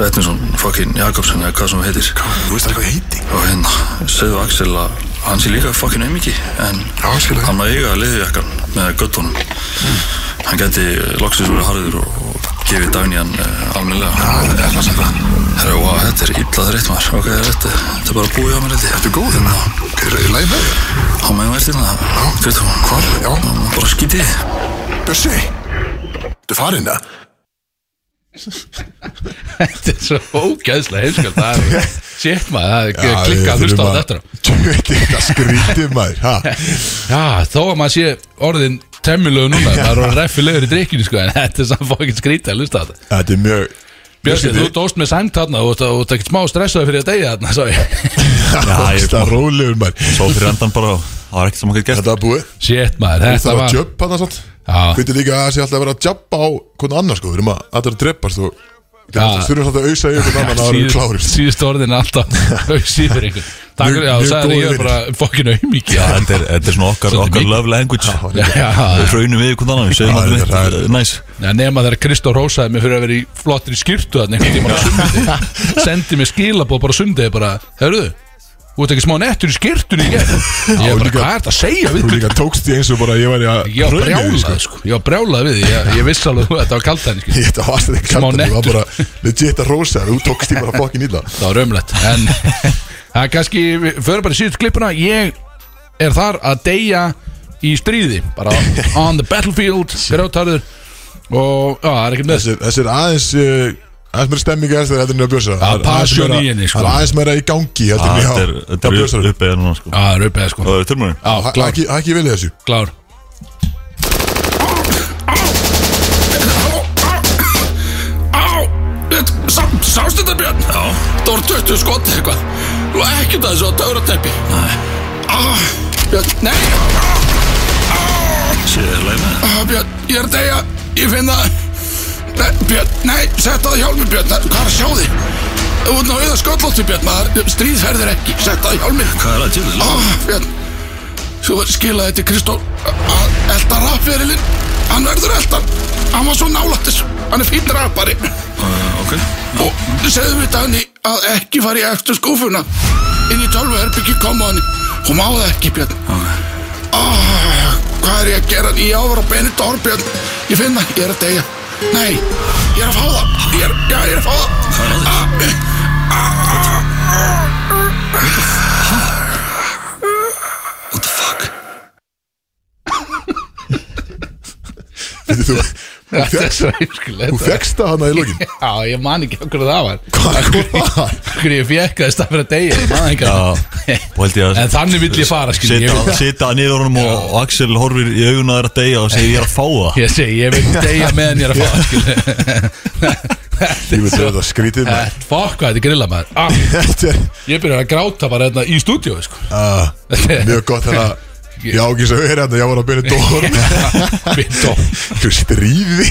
Speaker 5: Vettinsson, fucking Jakobsen Eða hvað sem þú heitir
Speaker 2: Þú veist það hvað ég heiti
Speaker 5: Og hérna, segðu Axel að hann sé líka fucking auðmiki En
Speaker 2: Já, Mm. skil ég.
Speaker 5: hann að eiga liðjakkan með göttunum Hann gæti loksins verið harður og, og gefið dagni hann uh, almennilega Já, það er það sem það Herra, wow, þetta er illa þreitt maður Ok, þetta, þetta er bara búið hjá mér þetta Þetta er góð hérna
Speaker 2: Er ég glæði með þér
Speaker 5: Há meðan vært hérna Kristó,
Speaker 2: Hvar? Já.
Speaker 5: Bara skítið
Speaker 2: Bjössi Þú farin það
Speaker 3: Þetta er svo ógæðslega heimskjöld Það er Shit maður, það er klikkað að hlusta á þetta
Speaker 2: Tjökki, það skrítið maður Ha
Speaker 3: Já, þó að maður sé orðin temmilög núna, maður er reffilegur í drikkinu sko, en þetta er samt fókinn skrítið að lusta þetta
Speaker 2: Þetta er mjög
Speaker 3: Björsi, þú dóst með sæmt þarna og þú ert ekkert smá stressaði fyrir að deyja þarna, sá ég
Speaker 4: ég-
Speaker 2: Það er rólegur maður
Speaker 4: Svo fyrir endan bara Það var ekkert sem maður gæti gert
Speaker 2: Þetta er búið
Speaker 3: Shit maður, þetta
Speaker 2: Það var
Speaker 3: var
Speaker 2: jöpp hann samt
Speaker 3: Já.
Speaker 2: Fyrir líka að það sé alltaf að vera að jabba á hvernig annar sko Við erum að þetta er að sko. dreppast og Það þurfum samt að ausa yfir hvernig annar að það eru
Speaker 3: Síðust-
Speaker 2: klárist
Speaker 3: Síðust orðin alltaf Sýður einhver Takk fyrir,
Speaker 2: Mjög-
Speaker 3: já, þú
Speaker 2: mjög
Speaker 3: sagði
Speaker 2: góðir
Speaker 3: ég er bara fókinn auðmiki
Speaker 4: Já, Þetta er, þetta er svona okkar,
Speaker 3: Svolítið
Speaker 4: okkar
Speaker 3: mikið.
Speaker 4: love language
Speaker 3: Já, já.
Speaker 4: Við hraunum við hvernig annan Við segjum
Speaker 2: Já,
Speaker 4: aldrei
Speaker 2: þetta er-
Speaker 4: neitt Næs
Speaker 3: Já, nema þegar Kristó rósaði mig fyrir að vera í flottri skýrtu þarna einhvern tímann á sundi sendi mig skilabóð bara á sundi bara, hörðu, þú ert ekki smá nettur í skýrtunni í gerð ég er bara,
Speaker 2: líka-
Speaker 3: hvað er þetta að segja
Speaker 2: Þú
Speaker 3: við
Speaker 2: líka tókst því eins og bara ég væri að
Speaker 3: ég var
Speaker 2: hrauna yfir,
Speaker 3: brjálað, sko, ég var brjálað við því ég, ég vissi alveg að þetta var kalt henni, sko
Speaker 2: Ég þetta varst þetta
Speaker 3: Smá
Speaker 2: kallt Það var
Speaker 3: nettur.
Speaker 2: bara legit að rósa þér, Þú tókst því bara fokkin illa
Speaker 3: það var ömlegt, en það er kannski, við förum bara í síðust klippuna ég er þar að deyja í stríði, bara on the battlefield, grjótarður og, já, það er ekki með
Speaker 2: Þessi þessi er aðeins uh, aðeins meira stemming aðeins þegar þetta er nýja bjösa
Speaker 3: Það er passion í henni, sko.
Speaker 2: Það er aðeins meira í gangi heldur en
Speaker 4: Já,
Speaker 2: ég á-
Speaker 4: Þetta er,
Speaker 2: á
Speaker 4: þetta
Speaker 2: Bjössanum.
Speaker 4: er uppeða núna sko
Speaker 3: Já, það er uppeða, sko
Speaker 4: Það er törmurinn
Speaker 3: Já,
Speaker 2: Ha-
Speaker 3: klár,
Speaker 2: Ekki ekki vilja þessu
Speaker 3: klár
Speaker 9: Á, þetta- sá, sást þetta Björn? Já Það voru 20 skot eða eitthvað Þú var ekkert að þessu á töfrateppi Nei Á, Björn, nei Á,
Speaker 5: Sér er leið með
Speaker 9: á, Björn, ég er að deyja Ég finn það Nei, Björn, nei, setta það hjálmi Björn Nei, Hvað er að sjá þig? Þú ert nú auðvitað skollóttu Björn maður Stríðferðir ekki, setta það hjálmin
Speaker 5: Hvað er að djöðu?
Speaker 9: Ó, Björn Þú verður skilaði þetta Kristó að elda rapferilinn Hann verður eldan Hann var svo nálættis Hann er fínn rapari Ah,
Speaker 5: Ok
Speaker 9: Og segðu við Dani að ekki fara í eftir skúfuna Inn í tölvu herbyggi koma hann Hún má það ekki Björn ah, hvað er ég að gera? Ég á að vera á Benidorm, Björn. Ég finn það, ég er að deyja. Nei, ég er að fá það. Ég er, já, ég er að fá það. Ah. Það er
Speaker 2: Þú, þú
Speaker 3: Þetta er
Speaker 2: fékkst-
Speaker 3: svo heimskulegt
Speaker 2: þú fegst það hana í lokin
Speaker 3: Já, ég man ekki okkur það var
Speaker 2: Hvað
Speaker 3: Af hverju-
Speaker 2: kom það?
Speaker 3: af Hverju ég fekk að stað fyrir að deyja Ég man ekki það.
Speaker 4: og held ég að
Speaker 3: En þannig vill ég fara, skil, ég vil-
Speaker 4: Sita, sita niður honum og, og Axel horfir í auguna þeirra deyja og segir ég er að fá það
Speaker 3: Ég segi, ég vil deyja meðan ég er að fá það, skil
Speaker 2: Ég veit að það skrítið maður.
Speaker 3: Þetta- Fuck hvað þetta er grilla maður ah,
Speaker 2: Þetta er
Speaker 3: Ég byrjar að gráta bara hérna í stúdíu sko.
Speaker 2: ah, mjög gott þannig að Ég á ekki svo verið hérna, ég var að byrja dórum
Speaker 3: Bindó.
Speaker 2: Þú stríði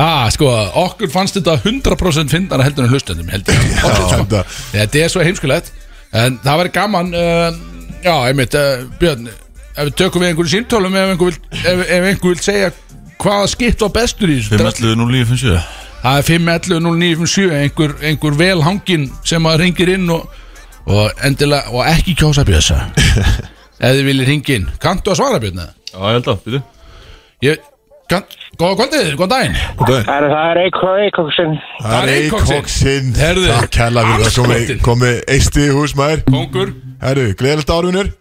Speaker 3: ah, sko, Okkur fannst þetta 100% fyndara heldur en hlustendum heldur en okkur, sko.
Speaker 2: enda.
Speaker 3: Þetta er svo heimskulegt En það væri gaman uh, Já, einmitt, uh, Björn Ef við tökum við einhverju símtölum Ef einhver vill, ef, ef einhver vill segja hvaða skipt var bestur í þessu
Speaker 4: Fimm
Speaker 3: drasli.
Speaker 4: ætluðu nú lífið finnst ég
Speaker 3: Það er 5.11.09.57 einhver, einhver vel hangin sem að ringir inn og, og endilega og ekki kjósa bjösa Ef þið viljið ringi inn Kanntu að svara Björn? eða?
Speaker 6: Já, ég held að, býtu
Speaker 3: Ég, kann, góða kvöldið, góðan daginn
Speaker 7: Það er, það er Eikó Eikóksson
Speaker 2: Það er eikóksinn
Speaker 3: Heyrðu,
Speaker 2: Takk hella fyrir það komið
Speaker 3: andskotinn.
Speaker 2: komi eisti í hús maður
Speaker 3: Kongur
Speaker 2: Herru, gleðilegt árunur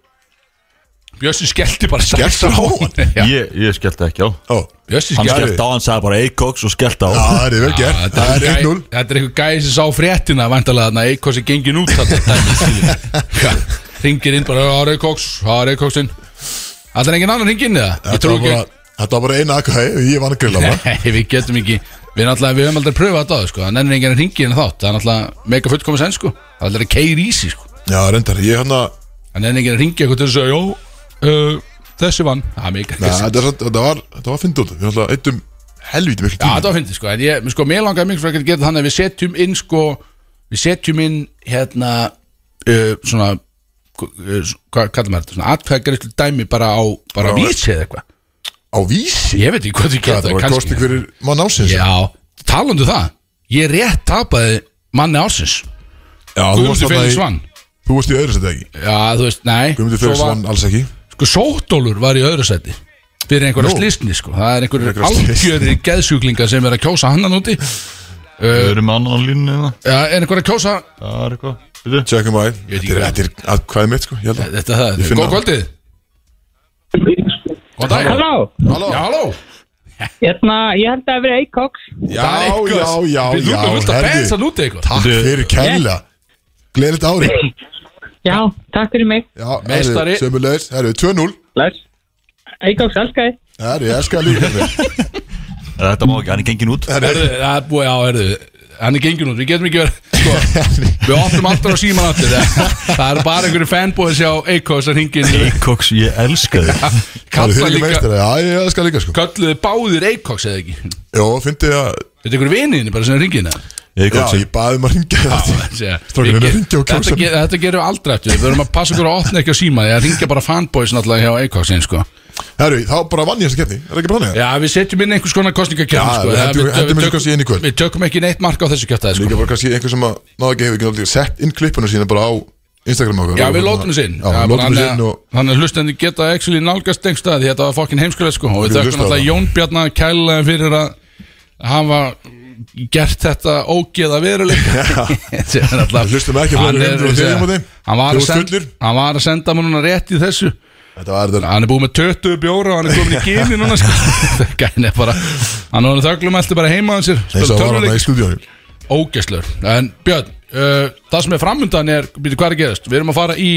Speaker 3: Bjössi skellti bara
Speaker 2: Skellti
Speaker 3: strax
Speaker 2: á hann?
Speaker 3: Já,
Speaker 6: Ég, ég skellti ekki á
Speaker 2: Ó,
Speaker 3: Bjössi
Speaker 4: Hann
Speaker 3: skellti
Speaker 2: gerði-
Speaker 4: skellt á, hann sagði bara Eikoks og skellt á
Speaker 2: já, það er vel gert
Speaker 3: Þetta
Speaker 2: Það er
Speaker 3: einhver
Speaker 2: 1-0
Speaker 3: gæ- þetta er eitthvað gæði sem sá fréttina Væntalega þarna Eikos er gengin út þarna, dæmi, skilur. Hvað, Hringir inn bara Það er Eikoks, það er Eikoksinn Það er engin annan hringin eða? Ég
Speaker 2: Þetta
Speaker 3: trú
Speaker 2: var
Speaker 3: ekki
Speaker 2: bara- þetta var bara eina aðkvæði Ég vann að grilla maður
Speaker 3: Nei, við getum ekki Við náttúrulega, við höfum aldrei pröfað þetta áður, sko Það nennir enginn að hringi inn þátt Það er náttúrulega mega fullkomis enn sko Það er aldrei að keir í sig sko
Speaker 2: Já, reyndar, ég hérna- hann að
Speaker 3: Það nennir enginn að hringi eitthvað til þess að Jó, uh, þessi vann Það er mega
Speaker 2: Nei, þetta er samt- þetta var, þetta var fyndið út Við ætla eittum helvítið miklu
Speaker 3: Já,
Speaker 2: tíma
Speaker 3: þetta var fyndið sko En ég, sko, mér langaði mikið frekar að gera þannig að við setjum inn sko Við setjum inn hérna uh, Svona uh, s- Hvað kallar maður þetta? Svona atkvæðgreiflu dæmi bara á Bara
Speaker 2: Já,
Speaker 3: vísi eða eitthvað
Speaker 2: Á vísi
Speaker 3: Ég veit ekki hvað þið
Speaker 2: Hvað,
Speaker 3: geta
Speaker 2: þetta var kostning fyrir mann ásins
Speaker 3: Já, talandu það Ég rétt tapaði manni ársins
Speaker 2: já þú varst
Speaker 3: Guðmundur
Speaker 2: þarna
Speaker 3: Felix
Speaker 2: í-
Speaker 3: vann
Speaker 2: Þú varst í öðru sætti ekki
Speaker 3: Já, þú veist, nei
Speaker 2: Guðmundur
Speaker 3: Svo
Speaker 2: Felix
Speaker 3: var-
Speaker 2: vann alls ekki
Speaker 3: Sko, sóttólur var í öðru seti Fyrir einhverja
Speaker 2: Nú.
Speaker 3: slísni, sko Það er einhverjir
Speaker 2: Einhverjar slysni.
Speaker 3: algjörir geðsjúklingar sem er að kjósa hannan úti
Speaker 4: Við erum með annan línu
Speaker 6: hérna.
Speaker 4: eða
Speaker 3: Já, er einhverjir að kjósa
Speaker 4: Það er eitthvað Býtu
Speaker 2: Tjekkum að
Speaker 3: veit
Speaker 2: Þetta er-
Speaker 3: ekki
Speaker 2: þetta er aðkvæði mitt sko Ég held að
Speaker 3: Þetta er það,
Speaker 2: Ég finn
Speaker 3: góð
Speaker 2: það.
Speaker 3: kvöldið Góð dag
Speaker 10: Halló,
Speaker 2: Halló
Speaker 3: Já, halló
Speaker 10: hérna, ég held að það verið Eikoks
Speaker 2: Já, já, já,
Speaker 3: Við
Speaker 2: já
Speaker 3: lúkum vilt að
Speaker 2: herðu.
Speaker 3: bensa núti eitthvað
Speaker 2: Takk
Speaker 4: Þetta-
Speaker 2: fyrir kæla Gleðilegt ári
Speaker 10: Já, takk fyrir mig
Speaker 2: Já,
Speaker 3: Meistari.
Speaker 2: Sömmulegis, herru, 2-0
Speaker 7: Læs
Speaker 10: Eikoks, elskar þið
Speaker 2: Herru, ég elskar líka Herru,
Speaker 4: Þetta má ekki, hann er gengin út
Speaker 3: Herðu, það er búið á, herðu Hann er gengin út, við getum ekki verið sko, Við opnum aftur á síman aftur það- Það er bara einhverju fanbóðis hjá Eikos að hringin
Speaker 4: Eikoks, ég elska þig
Speaker 2: þið
Speaker 3: Kalla
Speaker 2: eru
Speaker 3: líka
Speaker 2: meistari Já, ég elskar líka sko
Speaker 3: Kalluðu báðir Eikos eða ekki Þetta
Speaker 2: Jó, fyndi ég að
Speaker 3: er einhverju viniðinni bara sem er hringin það
Speaker 2: Já,
Speaker 4: Eikoks,
Speaker 2: ég baði um að ringja það Strákar, við erum að hringja á
Speaker 3: þetta,
Speaker 2: kjósan.
Speaker 3: ge- þetta gerum við aldrei eftir Við verum að passa okkur að opna ekki á síma Því að ringja bara fanboys náttúrulega hjá Eikos sko.
Speaker 2: Herru, þá bara vann ég þessa keppni Er það ekki brannig?
Speaker 3: Já, við setjum inn einhvers konar kostningakjörn
Speaker 2: Já,
Speaker 3: sko.
Speaker 2: við
Speaker 3: Það-
Speaker 2: hendum- hendum þessu
Speaker 3: tökum-
Speaker 2: kannski inn í kvöld.
Speaker 3: Við tökum ekki neitt mark á þessu kjötaði sko.
Speaker 2: Líka bara kannski einhver sem að náðu ekki hefur ekki náttúrulega sett inn klippuna sína bara á Instagram okkar
Speaker 3: Já, við lótum þess inn
Speaker 2: Já, við lótum þess inn og
Speaker 3: Þannig að hlustendur geta actually nálgast engsta Því þetta var fokkin heimskulegt sko Og
Speaker 2: Við
Speaker 3: við þökkum
Speaker 2: hlustaði
Speaker 3: alltaf
Speaker 2: það.
Speaker 3: Jón Bjarnar kælega fyrir að hafa gert þetta ógeða veruleika Sem er alltaf-
Speaker 2: Hlustum ekki á fleiri
Speaker 3: Hann er-
Speaker 2: hundruð og þriðja
Speaker 3: segja,
Speaker 2: móti.
Speaker 3: Hann var
Speaker 2: Þú
Speaker 3: að
Speaker 2: ert
Speaker 3: senda-
Speaker 2: fullur.
Speaker 3: hann var að senda mér núna rétt í þessu
Speaker 2: Þetta var þetta
Speaker 3: Hann er búið með 20 bjóra og hann er komin í gini núna sko. Gæni er bara Hann er þöglum alltaf bara heima hann sér
Speaker 2: eins og
Speaker 3: spila
Speaker 2: var hann
Speaker 3: tölvuleik.
Speaker 2: í stúdíónu
Speaker 3: Ógæslur En Björn, uh, það sem er framöndan er Býtu hvað er að geðast, við erum að fara í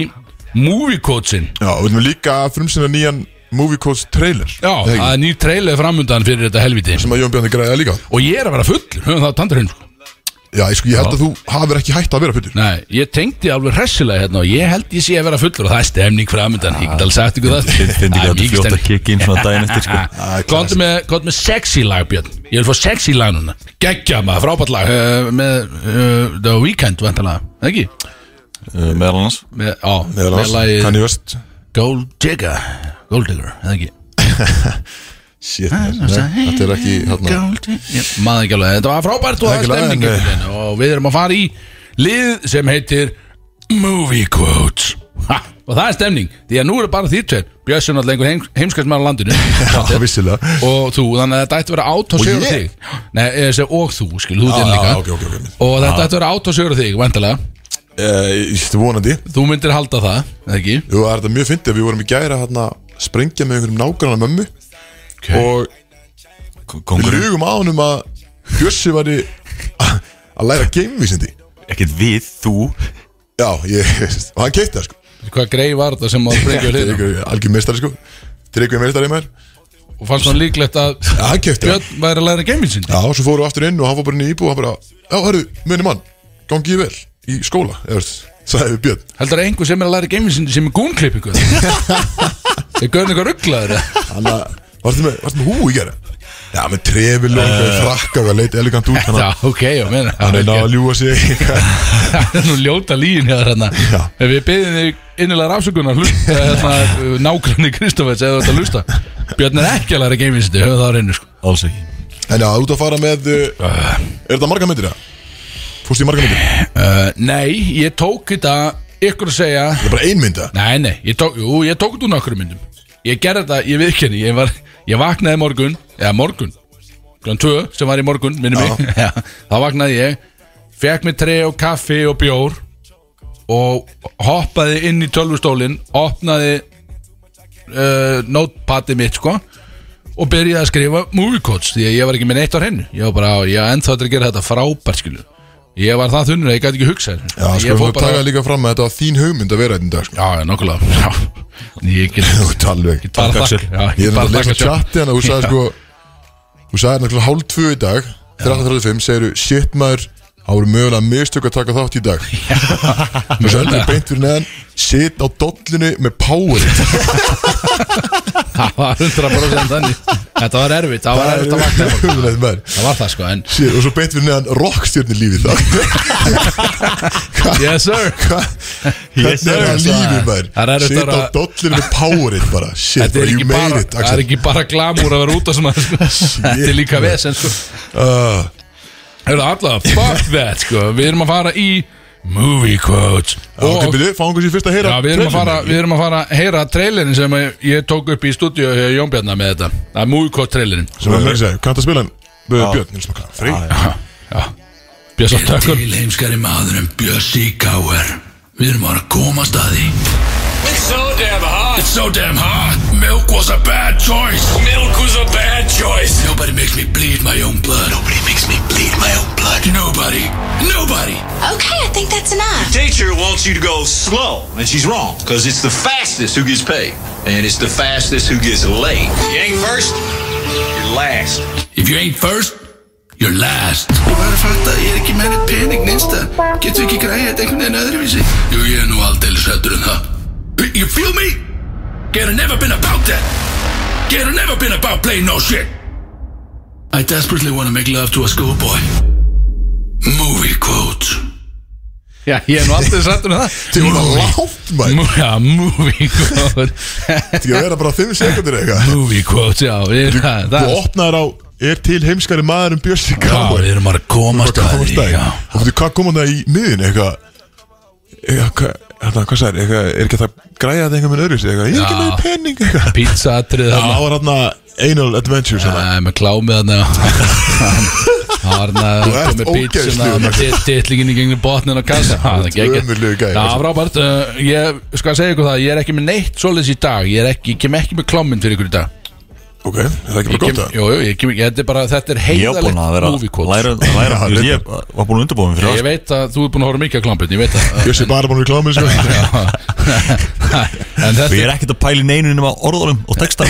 Speaker 3: Movie Coachin
Speaker 2: Já, og við viljum líka frumsina nýjan Movie Coach trailer
Speaker 3: Já,
Speaker 2: Nei,
Speaker 3: það er nýr trailer framöndan fyrir þetta helviti
Speaker 2: Sem að Jón Bjarni græða líka
Speaker 3: Og ég er að vera full, höfum það tandur sko.
Speaker 2: Já, ég, sko, ég held að þú hafir ekki hægt að vera fullur
Speaker 3: Nei, ég tengdi alveg hressilega hérna Og ég held ég sé að vera fullur og það er stemning framöndan Ég get alveg sagt ykkur það
Speaker 4: Fyndi
Speaker 3: Það er
Speaker 4: ekki að þetta
Speaker 3: mikil
Speaker 4: fljótt að
Speaker 3: stemning.
Speaker 4: kikki inn svona daginn eftir sko
Speaker 3: Góðum með, góðum með sexy lag Björn Ég vil fá sexy lag núna Gekkja maður, frábært lag uh, Með uh, The Weeknd vantalega, ekki?
Speaker 4: Eh, Meðal annars
Speaker 3: Með, á,
Speaker 2: Meðal
Speaker 3: með lagið
Speaker 2: annars Kanni vest
Speaker 3: Gold Digger Gold Digger, eða ekki
Speaker 2: Shit, nei, þetta er ekki hérna,
Speaker 3: Gold Digger Maður ekki alveg, þetta var frábært og
Speaker 2: Það er
Speaker 3: það
Speaker 2: ekki lag,
Speaker 3: stemning
Speaker 2: en,
Speaker 3: einhvern veginn. Og við erum að fara í lið sem heitir Movie Quotes ha, Og það er stemning, því að nú eru bara þýr tveir Björnsson alltaf einhver heims, heimskastmæður á landinu Já,
Speaker 2: vissilega
Speaker 3: Og þú, þannig að þetta ætti að vera át og
Speaker 2: Og
Speaker 3: sigur á
Speaker 2: ég?
Speaker 3: þig Nei, ég segi, og þú, skil, þú
Speaker 2: Já,
Speaker 3: þinn líka
Speaker 2: já, Ah, ok, ok, ok, mynd.
Speaker 3: Og þetta
Speaker 2: Já.
Speaker 3: ætti að vera át og sigur á þig, vandalega
Speaker 2: Ég stu vonandi
Speaker 3: Þú myndir halda það, eða ekki?
Speaker 2: Jú, það er þetta mjög fyndið Við vorum í gæra hérna Sprengja með einhverjum nágrannar mömmu Og
Speaker 3: Mhm.
Speaker 2: Við lugum á honum að Bjössi var í Að læra gamevísindi
Speaker 4: Ekkert við, þú
Speaker 2: Já, ég Og hann keitti það sko
Speaker 3: Hvað greið var þetta sem að breyka við hliðina?
Speaker 2: Algjör meistari sko Tryggvið meistari maður
Speaker 3: Og fannst hann líklegt að
Speaker 2: Já, hann keypti það.
Speaker 3: Björn væri að læra geiminn sín
Speaker 2: Já, svo fóru aftur inn og hann var bara inn í íbúð og hann bara, já, hörru, muni mann, gangi ég vel í skóla, eða veist, sagði við Björn
Speaker 3: Heldur það einhver sem er að læra geiminn sín sem er gúnklipp ykkur? Ég görði eitthvað rugglaður
Speaker 2: Þannig að, varstu með, varstu með húu í gera? Já, með trefil og uh, frakka og að leita elegant út
Speaker 3: Eh. Já,
Speaker 2: hann
Speaker 3: ok, já, meina
Speaker 2: er náða að ljúa sig
Speaker 3: Það er nú ljóta líin hjá þarna Ef við beðum þig innilega rafsökunar hérna, Nágranni Kristofers eða þetta lusta Björn er ekki að læra geimvísindu Hefur það á reynu sko
Speaker 4: Alls ekki
Speaker 2: En já, út að fara með, uh,
Speaker 3: Eh.
Speaker 2: er þetta marga myndir það? Fórstu í marga myndir?
Speaker 3: uh, Nei, ég tók þetta Ykkur að segja
Speaker 2: Það er bara ein mynd það?
Speaker 3: Nei, nei, ég tók, jú, ég tók þetta úr nokkru myndum Ég gerði þetta, ég viðkenni Ég, var, ég vaknaði morgun, eða morgun Grann 2 sem var í morgun, minni mig Já, Þá vaknaði ég Fekk mér tre og kaffi og bjór Og hoppaði inn í tölvustólin Opnaði uh, notepadi mitt sko og byrjaði að skrifa movie codes því að ég var ekki með neitt á hennu ég var bara, ég var ennþá til að gera þetta frábært skilu ég var það þunnur að ég gæti ekki hugsa
Speaker 2: Já, sko, við taka líka fram að þetta var þín hugmynd að vera þetta í dag, sko
Speaker 3: Já, já, nokkulega já. Ég get
Speaker 2: Þú ert alveg
Speaker 3: bara þakka já,
Speaker 2: Ég er
Speaker 3: bara
Speaker 2: náttúrulega
Speaker 3: þakka
Speaker 2: leikast á chatti hann og þú sagði sko Þú sagði náttúrulega hálf tvö í dag 13.35 segir þú Shit maður, það voru mögulega mistök að taka þátt í dag Þú sagði mér beint fyrir neðan Shit á dollinu með power
Speaker 3: Það var 100% þannig Þetta var erfitt, það var erfitt að vakna í morgun.
Speaker 2: Hugulegt maður
Speaker 3: Það var það sko, en
Speaker 2: Shit, og svo beint fyrir neðan rockstjörni lífið það
Speaker 3: Yes sir
Speaker 2: Hva- Hvernig er það lífið
Speaker 3: Það er
Speaker 2: maður
Speaker 3: erfitt að
Speaker 2: Shit á
Speaker 3: vera-
Speaker 2: dollinu með power bara Shit,
Speaker 3: Þetta er
Speaker 2: bara
Speaker 3: ekki
Speaker 2: you made
Speaker 3: bara,
Speaker 2: it
Speaker 3: það er
Speaker 2: Axel.
Speaker 3: ekki bara glamúr að vera út af sem að sko. Þetta er líka vesen sko
Speaker 2: Ah,
Speaker 3: Hörðu allavega, fuck that sko Við erum að fara í movie quotes
Speaker 2: Ok, byrju, fáum hversu fyrst að heyra
Speaker 3: Já, við erum, að fara,
Speaker 2: trailerinn.
Speaker 3: við erum að fara að heyra trailerin sem ég, ég tók upp í stúdíu hjá Jón Bjarnar með þetta Það er movie quote trailerin
Speaker 2: sem er meira að segja, kanntu að spila hann Björn, Nils Makka, frí
Speaker 3: Björnsson
Speaker 5: Er
Speaker 3: Tökur
Speaker 5: til heimskari maður en Bjössi Káer Við erum bara að komast að því
Speaker 9: It's so damn hot.
Speaker 5: It's so damn hot Milk was a bad choice
Speaker 9: Milk was a bad choice.
Speaker 5: Nobody makes me bleed my own blood Nobody makes me bleed my own blood Nobody Nobody
Speaker 11: Okay, I think that's enough.
Speaker 9: Teacher wants you to go slow, and she's wrong, because it's the fastest who gets paid, and it's the fastest who gets late. You ain't first, you're last.
Speaker 5: If you ain't first You're last Ég var að fatta að ég er ekki með neitt pening neinsta Getur ekki græðið þetta einhvern veginn öðruvísi Jú, ég er nú aldeilis hættur en það You feel me? Gera never been about that Gera never been about playing no shit I desperately wanna make love to a schoolboy Movie quote
Speaker 3: Já, ég er nú aldrei sattur með það
Speaker 2: Þið voru látt maður
Speaker 3: Mú, já, movie quote
Speaker 2: Þið verða bara 5 sekundir eitthvað
Speaker 3: Movie quote, já við, það,
Speaker 2: Þú
Speaker 3: það,
Speaker 2: opnaðar á Er til heimskari maður um Björnsi
Speaker 3: já,
Speaker 2: Káar
Speaker 3: við erum bara að komast að
Speaker 2: Komast
Speaker 3: því
Speaker 2: það
Speaker 3: já.
Speaker 2: Og veitu hvað kom hann það í miðin eitthvað Eitthvað, hvað- þarna, hvað sagði, eitthvað, er ekki það græja þetta einhvern veginn öðru eitthvað, ég er ekki
Speaker 3: Já.
Speaker 2: með penning eitthvað
Speaker 3: Pizza atrið
Speaker 2: Já, það var hann að Anal Adventures hann
Speaker 3: Nei, með klámið hann Harna,
Speaker 2: Þú ert
Speaker 3: með pítsuna
Speaker 2: ógeðslegur,
Speaker 3: með
Speaker 2: Max.
Speaker 3: tit- titlingin í gengni botnin og kassa Ha, það er geggjað.
Speaker 2: ömurlegur gæi,
Speaker 3: Já,
Speaker 2: Max.
Speaker 3: frábært uh, Ég skal segja ykkur það, ég er ekki með neitt svoleiðis í dag Ég er ekki, ég kem ekki með kláminn fyrir ykkur í dag
Speaker 2: Ok, er það ekki
Speaker 3: Ég
Speaker 2: bara
Speaker 3: kem,
Speaker 2: gott það?
Speaker 3: Jú, jú, ég kem, ég, þetta er bara, þetta er
Speaker 4: Ég var búin að vera
Speaker 3: heiðalegt movie
Speaker 4: að
Speaker 3: quotes
Speaker 4: læra, að læra
Speaker 2: Já,
Speaker 4: ég, ég var búin að undirbúin fyrir sko.
Speaker 3: Ég veit að þú er búin að horfa mikið á kláminn, ég veit það
Speaker 2: Björnsi bara búin að kláma þessu
Speaker 3: En þetta
Speaker 4: það Ég er ekkert að pæli neinu nema orðalum og texta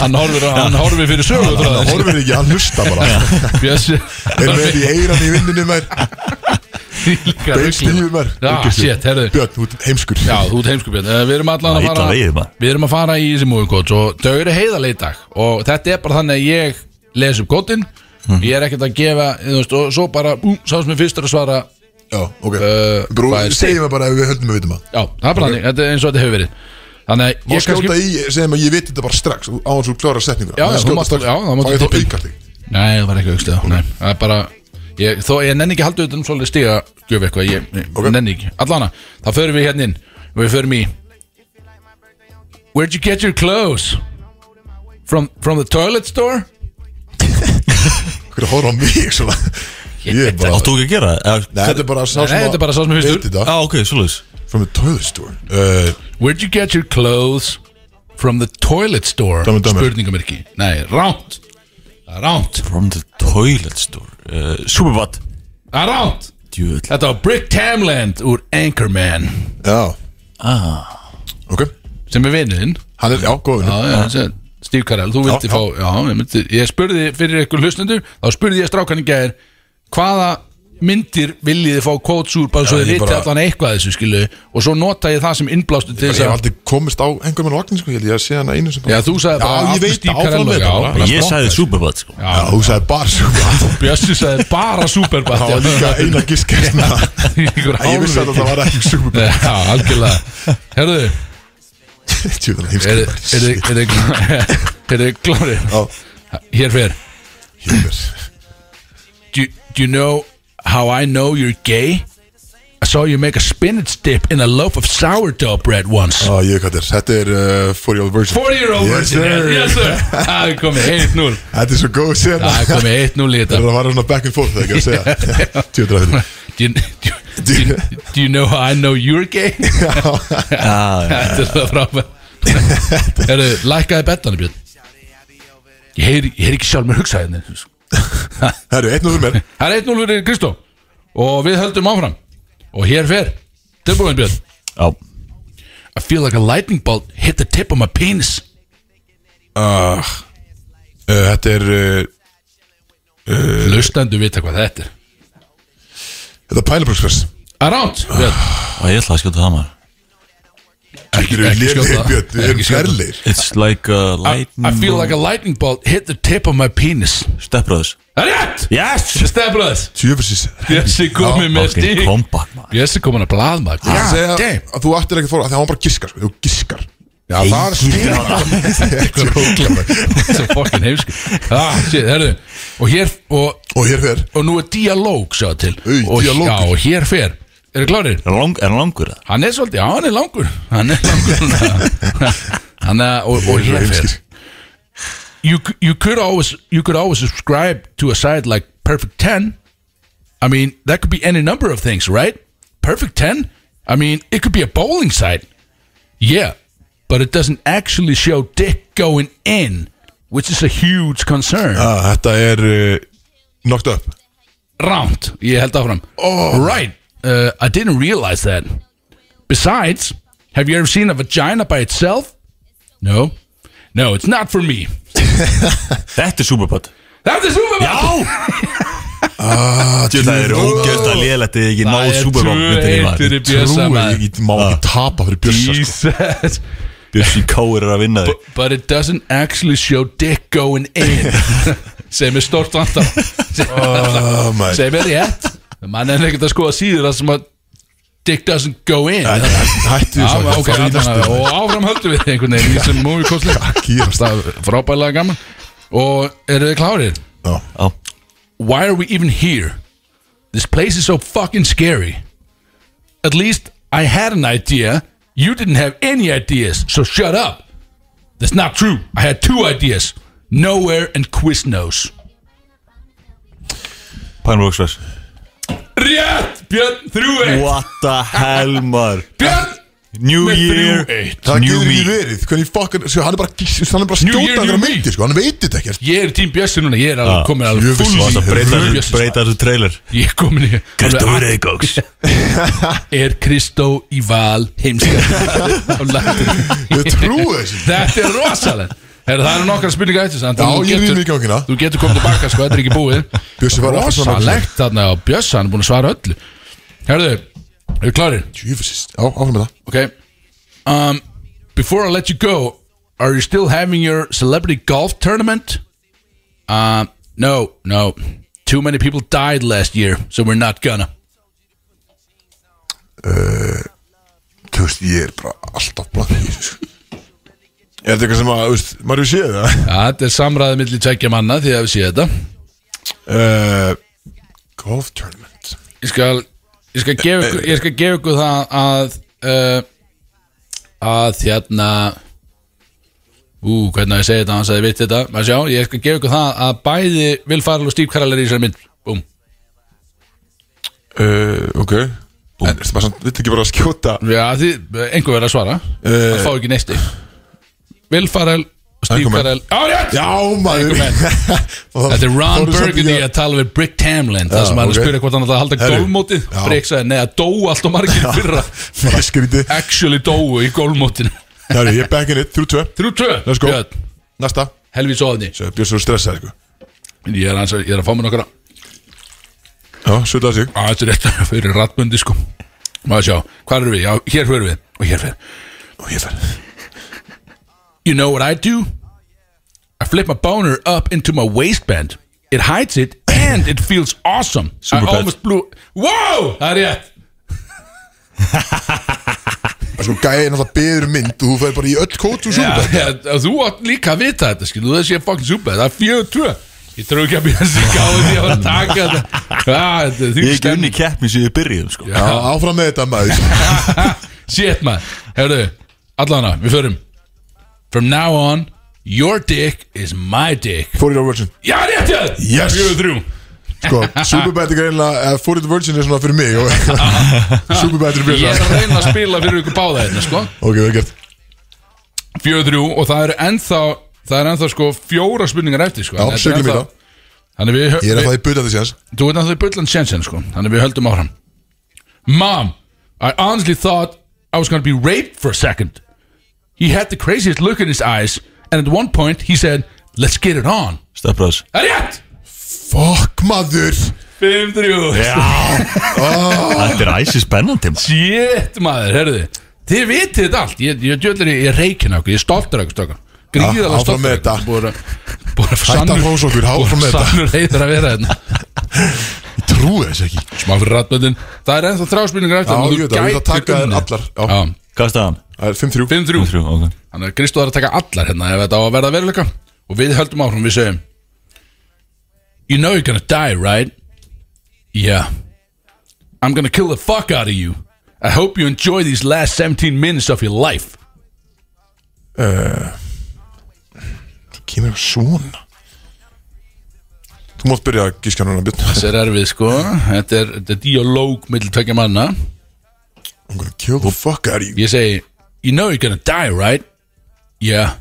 Speaker 3: hann horfir, á- hann horfir fyrir sögu
Speaker 2: Hann horfir ekki, hann hlusta bara
Speaker 3: Bjössi
Speaker 2: Er með því eiran í vinnunni maður
Speaker 3: Líka
Speaker 2: Bein
Speaker 3: ruglið.
Speaker 2: stífur maður
Speaker 3: Já, shit, herðu
Speaker 2: Björn, þú ert heimskur
Speaker 3: Já, þú ert heimskupið Við erum allan að
Speaker 4: Það er illa
Speaker 3: fara
Speaker 4: vegið, maður.
Speaker 3: Við erum að fara í þessi movie quotes og þau eru heiðarlega í dag og þetta er bara þannig að ég les upp kótin
Speaker 2: Hm.
Speaker 3: ég er ekkert að gefa eh, þú veist, og svo bara, ú, sá sem er fyrstur að svara
Speaker 2: Já, ok
Speaker 3: Uh,
Speaker 2: Brú,
Speaker 3: hvað er-
Speaker 2: segjum við bara ef við höldum að vitum að
Speaker 3: Já, það er bara þannig, þetta er eins og þetta hefur verið Þannig að
Speaker 2: Má
Speaker 3: ég
Speaker 2: skjóta í, segjum að ég veit þetta bara strax Á hans þú klára setninguna
Speaker 3: Já,
Speaker 2: Má
Speaker 3: já,
Speaker 2: skjóta
Speaker 3: þú mátt-
Speaker 2: strax.
Speaker 3: já, það máttu
Speaker 2: Fæ ég
Speaker 3: tippin.
Speaker 2: þá aukar þig
Speaker 3: Nei, það var ekki aukstuð Nei, það er bara ég, Þó ég nenni ekki að halda auðvitað um svolítið stiga Gjöf eitthvað, ég, ég
Speaker 2: Ok.
Speaker 3: nenni ekki Allana, þá förum við hérna inn Við förum í Where'd you get your clothes? From, from the toilet store?
Speaker 2: Hver að horfa á mig svona Ég er bara
Speaker 4: Áttu ekki að gera það?
Speaker 2: Nei, þetta er bara sá sem
Speaker 3: Nei, þetta er bara sá sem hefur
Speaker 2: Veit þetta
Speaker 4: Já, ok, svolítið
Speaker 2: From the toilet store uh,
Speaker 3: Where'd you get your clothes from the toilet store?
Speaker 4: Dæmi, dæmi.
Speaker 3: Spurningamerki Nei, ránt Það er Ránt
Speaker 4: From the toilet store uh, Superbad
Speaker 3: Það er ránt
Speaker 4: Djöfull.
Speaker 3: Þetta var Brick Tamland úr Anchorman
Speaker 2: Já
Speaker 3: ah.
Speaker 2: Ok
Speaker 3: Sem er vinnuðinn
Speaker 2: Hann er, já, góð
Speaker 3: Já, já, sem- Steve Carell, þú vildi
Speaker 2: já.
Speaker 3: fá Já, ég, myndi, ég spurði fyrir ykkur hlustendur Þá spurði ég strákan í gær Hvaða myndir viljið þið fá quotes úr bara svo
Speaker 2: Já,
Speaker 3: þið
Speaker 2: ég
Speaker 3: viti
Speaker 2: bara-
Speaker 3: allan eitthvað af þessu skilu og svo nota ég það sem innblástu til
Speaker 2: Ég
Speaker 3: þess
Speaker 2: hef
Speaker 3: að
Speaker 2: aldrei komist á einhver mann vagnin sko, ég held ég að sé hana einu sem
Speaker 3: Já, þú sagði bara
Speaker 2: Já, ég
Speaker 3: Agnes
Speaker 2: veit
Speaker 3: Steve
Speaker 2: áfram
Speaker 3: Carell,
Speaker 2: með
Speaker 3: já,
Speaker 2: þetta
Speaker 3: bara
Speaker 4: Ég
Speaker 3: flott.
Speaker 4: sagði Superbad sko
Speaker 2: Já, þú sagði bara svo
Speaker 3: Bjössi sagði bara Superbad
Speaker 2: Það var líka eina giskert með það
Speaker 3: Einhver
Speaker 2: Ég vissi að
Speaker 3: hálfviti.
Speaker 2: það var ekki
Speaker 3: Já,
Speaker 2: Superbad
Speaker 3: algjörlega Herðu,
Speaker 2: Tjóðan
Speaker 3: er
Speaker 2: heimskert
Speaker 3: þið Er þið klári? Hér fer do, do you know how I know you're gay? I saw you make a spinach dip in a loaf of sourdough bread once
Speaker 2: Já, ég veit hvað þetta er Þetta er uh, 40 old version
Speaker 3: 40 year old
Speaker 2: Yes, sir.
Speaker 3: Yes sir Það er komið 1-0
Speaker 2: Þetta er svo góð sér
Speaker 3: Það er komið 1-0 í þetta
Speaker 2: Það var svona back and forth Það er ekki að segja Tjóðan hefur
Speaker 3: do you, do, you, do you know how I know you're gay? Þetta er svo frábæð Herru, lækkaði bettanu Björn Ég heyri, ég heyri ekki sjálf mér hugsaði henni
Speaker 2: Herru, 1-0 fyrir mér
Speaker 3: Það er 1-0 fyrir Kristó Og við höldum áfram Og hér fer Tilbúin Björn
Speaker 4: Já
Speaker 3: I feel like a lightning bolt hit the tip of my penis
Speaker 2: Ah, uh, Þetta er uh,
Speaker 3: Lustandu vita hvað þetta er
Speaker 2: Þetta er Pælabrúksfest
Speaker 3: Around Björn
Speaker 4: Og ég ætla að skjóta það maður
Speaker 2: Ekki lélegir,
Speaker 3: skjóta.
Speaker 2: Ah, Björn, við
Speaker 3: Ekki
Speaker 2: erum
Speaker 3: skjóta.
Speaker 2: ferlegir.
Speaker 4: It's like a
Speaker 3: I,
Speaker 4: lightning
Speaker 3: I feel like a lightning bolt hit the tip of my penis
Speaker 4: Stepbrothers
Speaker 3: Það er rétt
Speaker 4: Yes
Speaker 3: Steflaðis
Speaker 2: Tjöfisins
Speaker 3: Jössi komið með
Speaker 4: Fucking
Speaker 3: stík
Speaker 4: comeback maður
Speaker 3: Jössi komin að blaðma
Speaker 2: Ég segja
Speaker 3: damn.
Speaker 2: að þú ættir ekki að fóra Þegar hann bara giskar sko, Þú giskar Já, það er
Speaker 3: Eitthvað
Speaker 2: stíð
Speaker 3: Svo fucking heimsku ah, shit, herðu. Og hér og,
Speaker 2: Og hér fer
Speaker 3: og nú er dialóg sjá til
Speaker 2: Ui,
Speaker 3: og,
Speaker 2: dialógur.
Speaker 3: Já og hér fer Eru klárir?
Speaker 4: Er hann lang- er hann langur það?
Speaker 3: Hann er svolítið Já hann er langur Hann er langur Hann er og, og hér fer
Speaker 2: Heimskir
Speaker 3: you c- you could always you could always subscribe to a site like Perfect Ten. I mean, that could be any number of things, right? Perfect Ten. I mean, it could be a bowling site. Yeah, but it doesn't actually show dick going in, which is a huge concern.
Speaker 2: Já, Þetta er uh, Knocked up
Speaker 3: Round. Ég held áfram. Oh. Right. Uh, I didn't realize that. Besides, have you ever seen a vagina by itself? No. No, it's not for me.
Speaker 4: Þetta er Superbad
Speaker 3: That is Uber. Ah,
Speaker 4: Þetta er ógjöld að lélætt Eða ekki náð Superbad myndinni maður
Speaker 3: fyrir Bjössa
Speaker 2: Trúi,
Speaker 3: maður. Ah.
Speaker 2: ég má ekki tapa fyrir Björsa sko.
Speaker 3: Jesus
Speaker 4: Bjössi Káir er að vinna þig
Speaker 3: But it doesn't actually show dick going in sem er stort vantar
Speaker 2: Oh my
Speaker 3: sem er rétt mann er ekkert að skoða síður það sem að dick doesn't go in
Speaker 2: Æ,
Speaker 3: Já,
Speaker 2: Hættu þess að
Speaker 3: Ah, ok, allavega. og áfram höldum við einhvern veginn í sem múi kostlega
Speaker 2: Kýrast að
Speaker 3: frábæðlega gaman og eru þið klárir?
Speaker 4: Já
Speaker 3: Why are we even here? This place is so fucking scary. At least I had an idea. You didn't have any ideas, so shut up. That's not true. I had two ideas Nowhere and Quiznos.
Speaker 4: Pine Rocks Rush
Speaker 3: Rétt! Björn, þrjú eitt!
Speaker 4: What the hell maður
Speaker 3: Björn!
Speaker 4: New
Speaker 3: Með
Speaker 4: Year
Speaker 3: þrjú eitt.
Speaker 2: Það
Speaker 4: New
Speaker 2: getur ekki
Speaker 4: Me
Speaker 2: verið Hvernig fokkan sko, Hann er bara gís- Hann er bara að
Speaker 3: New
Speaker 2: skjóta
Speaker 3: year,
Speaker 2: einhverja
Speaker 3: new me.
Speaker 2: myndir sko, Hann veit þetta ekkert
Speaker 3: Ég er tím Bjössi núna, ég er alveg komin alveg
Speaker 2: jöfus,
Speaker 3: full
Speaker 2: þú varst að
Speaker 4: Breyta þessu-
Speaker 3: Bjössi.
Speaker 4: breyta þessu trailer
Speaker 3: Ég er komin í
Speaker 4: Kristofur Eikóks
Speaker 3: Er Kristó í val heimska
Speaker 2: Ég trúi þessu
Speaker 3: Þetta er rosalegt Herra, það eru nokkra spurningar eftir samt,
Speaker 2: Já,
Speaker 3: en þú
Speaker 2: ég
Speaker 3: getur-
Speaker 2: rýði í gangina.
Speaker 3: Þú getur komið tilbaka, sko, þetta er ekki búið
Speaker 2: Bjössi var aftur svona
Speaker 3: Rosalegt þarna á Bjössa, hann er búin að svara öllu Herðu, eru klárir?
Speaker 2: Jöfus Já, áfram með það
Speaker 3: Ok um, Before I let you go Are you still having your celebrity golf tournament? Um, no, no Too many people died last year So we're not gonna
Speaker 2: Þú veist, ég er bara alltaf blank í þessu sko. Er þetta eitthvað sem að, þú veist, maður hefur séð það?
Speaker 3: ja, Þetta er samræðið milli tveggja manna Því að við séu þetta
Speaker 2: Uh, golf tournament
Speaker 3: ég skal ég skal gefa ykkur, ég skal gefa ykkur það að uh, að eh, hérna Ú, hvernig að ég segi þetta, hann sagði vitt þetta Maður sjá, ég skal gefa ykkur það að bæði Will Farrell og Steve Carell er í þessari mynd Búm
Speaker 2: uh, Ok En er maður samt, vill ekki bara skjóta
Speaker 3: Já, því, einhver verður að svara
Speaker 2: Eh.
Speaker 3: Það fá ekki neisti Will Farrell og Steve
Speaker 2: Anchorman.
Speaker 3: Carell Já, rétt!
Speaker 2: Já, maður
Speaker 3: Þetta er Ron
Speaker 2: Fórum samt í
Speaker 3: Burgundy
Speaker 2: það.
Speaker 3: að tala við Brick Tamlin
Speaker 2: Já,
Speaker 3: Það sem hann
Speaker 2: ok.
Speaker 3: okay. spyrir hvort hann ætlaði að halda
Speaker 2: Herru,
Speaker 3: gólmótið
Speaker 2: já.
Speaker 3: Brick sagði, neða, dó allt og margir í fyrra
Speaker 2: Nei, skrítið
Speaker 3: Actually dóu í gólmótinu
Speaker 2: Herru, ég er back in it, 3-2
Speaker 3: 3-2
Speaker 2: Let's go
Speaker 3: Björn.
Speaker 2: Næsta
Speaker 3: Helvís ofni
Speaker 2: Björn svo stressað, sko
Speaker 3: Ég er, hans, ég er að fá mér nokkra
Speaker 2: Já, svolítið sig
Speaker 3: Á, Þetta er rétt fyrir ratbundi sko Maður sjá, hvað erum við? Já, hér fyrir við Og hér fyrir
Speaker 2: Og hér fyrir
Speaker 3: You know what I do? I flip my boner up into my waistband It hides it and it feels awesome I
Speaker 4: Superbad.
Speaker 3: almost blew Wow, það er rétt
Speaker 2: Það er Sko, gæði náttúrulega beður mynd og þú fær bara í öll kót og
Speaker 3: Já,
Speaker 2: svona
Speaker 3: já, Þú átt líka að vita þetta skilu Það sé fucking super, það er fjöðu tvö Ég trú ekki að býja að sika á því að vera að taka þetta Já, þetta er því
Speaker 4: Ég er ekki unni keppni sem ég byrjuðum sko
Speaker 2: Já, áfram með þetta maður
Speaker 3: Shit man Hefðu, allana, við förum From now on Your dick is my dick
Speaker 2: Fórið á Virgin
Speaker 3: Já, rétt ég
Speaker 2: Yes.
Speaker 3: Fjöðu þrjú
Speaker 2: Sko, Superbad er greinlega Fórið á Virgin er svona fyrir mig og Superbad er
Speaker 3: Ég
Speaker 2: fyrir
Speaker 3: er að reyna að spila fyrir ykkur báða hérna sko
Speaker 2: Ok, vel gert
Speaker 3: Fjöðu þrjú Og það eru ennþá Það eru ennþá sko fjóra spurningar eftir sko
Speaker 2: Já,
Speaker 3: Þetta er
Speaker 2: sökjum í
Speaker 3: ennþá-
Speaker 2: það.
Speaker 3: Þannig við
Speaker 2: Ég er að það í butandi séns
Speaker 3: Þú veit að það er bullan sjensen sko Þannig við höldum áfram Mom, I honestly thought I was gonna be raped for a second He had the craziest look in his eyes And at one point he said Let's get it on
Speaker 4: Stefbröðs
Speaker 3: Það er rétt
Speaker 2: Fuck, maður
Speaker 3: 5-3
Speaker 4: Þetta er æsi spennandi maður.
Speaker 3: Shit maður, herðu Þið vitið þetta allt Ég, ég djöldur í ég reikin okkur, ég er stoltur okkur stakar
Speaker 2: Já,
Speaker 3: Gríðalega
Speaker 2: áfram
Speaker 3: stoltur
Speaker 2: með
Speaker 3: af ykkur.
Speaker 2: þetta.
Speaker 3: Búið að- Búið að
Speaker 2: Hætt að hrósa okkur, áfram með
Speaker 3: búið að
Speaker 2: þetta.
Speaker 3: Sannur heitur að vera þetta
Speaker 2: Ég trúi þess ekki
Speaker 3: Smá fyrir ratböndin Það er ennþá þráspilningar eftir
Speaker 2: Já,
Speaker 3: þannig
Speaker 2: ég veit að við það taka þér allar Já,
Speaker 3: Já,
Speaker 4: Hvað er staðan?
Speaker 2: það er 5-3
Speaker 3: 5-3
Speaker 4: Þrjú, ok
Speaker 3: Þannig að Kristó þarf að taka allar hérna ef þetta á að verða veruleika og við höldum áfram, við segjum You know you're gonna die, right? Yeah I'm gonna kill the fuck out of you I hope you enjoy these last 17 minutes of your life
Speaker 2: Kemur eitthvað svona Þú mátt byrja að gíska núna Björn
Speaker 3: Þessi er erfið sko Þetta er, þetta er dialóg mill tvekja manna
Speaker 2: I'm gonna kill the fuck out of you
Speaker 3: Ég segi You know you're gonna die, right? Yeah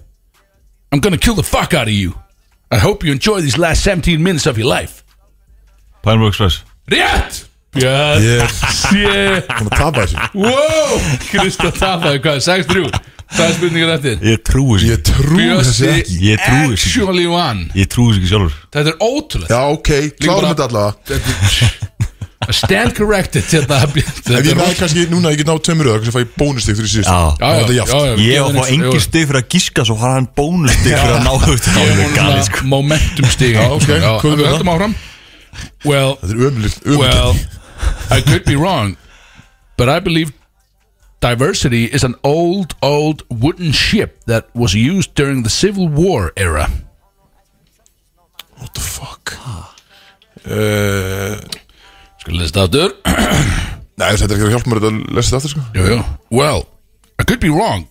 Speaker 3: I'm gonna kill the fuck out of you I hope you enjoy these last 17 minutes of your life
Speaker 4: Pineapple Express
Speaker 3: Rétt! Yes
Speaker 2: Ég
Speaker 3: Yeah
Speaker 2: er búin að tapa þessu
Speaker 3: Wow, Kristó tapaði hvað, 6-3 Það er spurningar eftir
Speaker 4: Ég trúi þessu
Speaker 2: Ég trúi þessu ekki
Speaker 4: Ég trúi þessu ekki.
Speaker 3: actually won
Speaker 4: Ég trúi þessu ekki sjálfur
Speaker 3: Þetta er ótrúlega
Speaker 2: Já, ok, klárum
Speaker 3: bara-
Speaker 2: þetta allavega
Speaker 3: Stand corrected hérna, Þetta
Speaker 2: Ef
Speaker 3: er
Speaker 2: ég næði
Speaker 3: rosa-
Speaker 2: kannski núna, ég get náð tömur öðru, kannski fæ ég bónustig fyrir síðust
Speaker 3: Já,
Speaker 4: Já.
Speaker 3: já,
Speaker 2: Þetta er
Speaker 3: já,
Speaker 2: jaft.
Speaker 3: já,
Speaker 4: Ég á
Speaker 3: gefum
Speaker 4: að fá
Speaker 3: henni-
Speaker 4: engin
Speaker 3: jú,
Speaker 4: stig fyrir að gíska svo har hann bónustig fyrir að ná þetta
Speaker 3: gefum
Speaker 4: Það
Speaker 3: honum
Speaker 4: er galið
Speaker 3: svona
Speaker 4: sko
Speaker 3: hérna, Momentum stig Já,
Speaker 2: ok,
Speaker 3: já,
Speaker 2: hvað er
Speaker 3: Við
Speaker 2: það?
Speaker 3: höldum áfram Well,
Speaker 2: Þetta er ömulegt,
Speaker 3: well
Speaker 2: ömulegt
Speaker 3: I could be wrong But I believe diversity is an old, old wooden ship That was used during the Civil War era
Speaker 2: What the fuck uh,
Speaker 3: Skulle lista aftur
Speaker 2: Nei, þetta er ekki að hjálpa mér að lesa þetta aftur sko
Speaker 3: Jú, jú. Well, I could be wrong,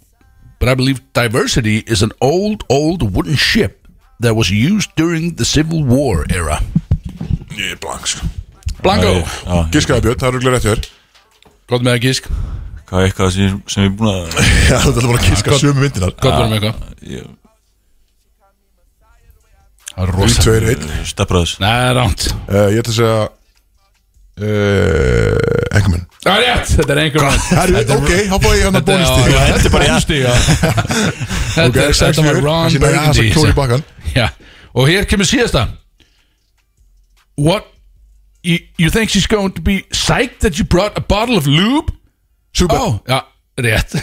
Speaker 3: but I believe diversity is an old, old wooden ship that was used during the Civil War era.
Speaker 2: Ég er blank sko
Speaker 3: Blanco,
Speaker 2: Gískaði Björn, það er auðvitað rétt hjá þér
Speaker 3: gott með að gísk,
Speaker 4: Hvað er eitthvað sem, sem ég er búin að
Speaker 2: Já, þetta er bara að gíska sömu myndinar
Speaker 3: gott verið með eitthvað.
Speaker 4: ég-
Speaker 3: Það er
Speaker 2: Við
Speaker 3: rosa.
Speaker 2: tveir
Speaker 4: eh,
Speaker 2: einn
Speaker 4: Stefbröðs
Speaker 3: Nei, það er ránt.
Speaker 2: Uh, Ég ætla að segja uh, Engamenn
Speaker 3: Það er rétt, þetta er einhver mann.
Speaker 2: Herru, ok, þá fá ég
Speaker 3: hérna
Speaker 2: hann að bónusti
Speaker 3: Þetta er bara bónusti, já. Þetta er þetta var Ron Burgundy.
Speaker 2: Kóri bakkan
Speaker 3: Já, og hér kemur síðasta What you, you think she's going to be psyched that you brought a bottle of lube?
Speaker 2: Super.
Speaker 3: oh, Já, rétt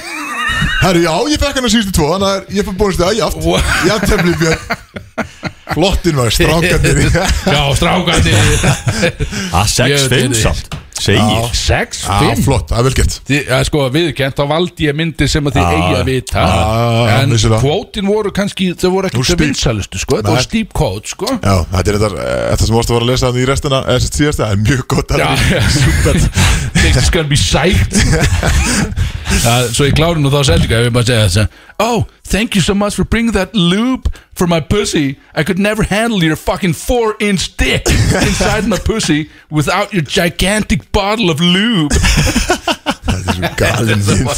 Speaker 2: Herru, já, ég fekk hann að síðustu tvo Þannig að ég fekk bónusti að jaft
Speaker 3: Wow.
Speaker 2: Jaft tefli björn Flottin var strákandir
Speaker 3: Já, strákandi
Speaker 4: Að
Speaker 3: Ég
Speaker 4: 6-5
Speaker 3: veit
Speaker 4: Ah, samt Segir
Speaker 3: 6,
Speaker 2: Já,
Speaker 3: 5
Speaker 2: flott, það er vel gett
Speaker 3: Já, sko, viðkjönt, þá valdi ég myndir sem að þið
Speaker 4: Já,
Speaker 3: eigi að vita
Speaker 2: Ah, já, já,
Speaker 3: En
Speaker 2: vissulega.
Speaker 3: kvótin voru kannski, þau voru ekki
Speaker 2: Nú
Speaker 3: þau
Speaker 2: stíf.
Speaker 3: vinsælustu, sko Þetta
Speaker 2: Nei.
Speaker 3: var stíp kvót, sko
Speaker 2: Já, þetta er þetta, eh, þetta sem vorst að vera að lesa þannig í restina eða sem síðasta, það er mjög gott að
Speaker 3: Já, super Things is gonna be psyched uh, Svo ég klárin og þá sendinga Ég bara segja þess Oh, thank you so much for bringing that lube for my pussy I could never handle your fucking four inch dick Inside my pussy Without your gigantic bottle of lube
Speaker 2: galin
Speaker 3: mynd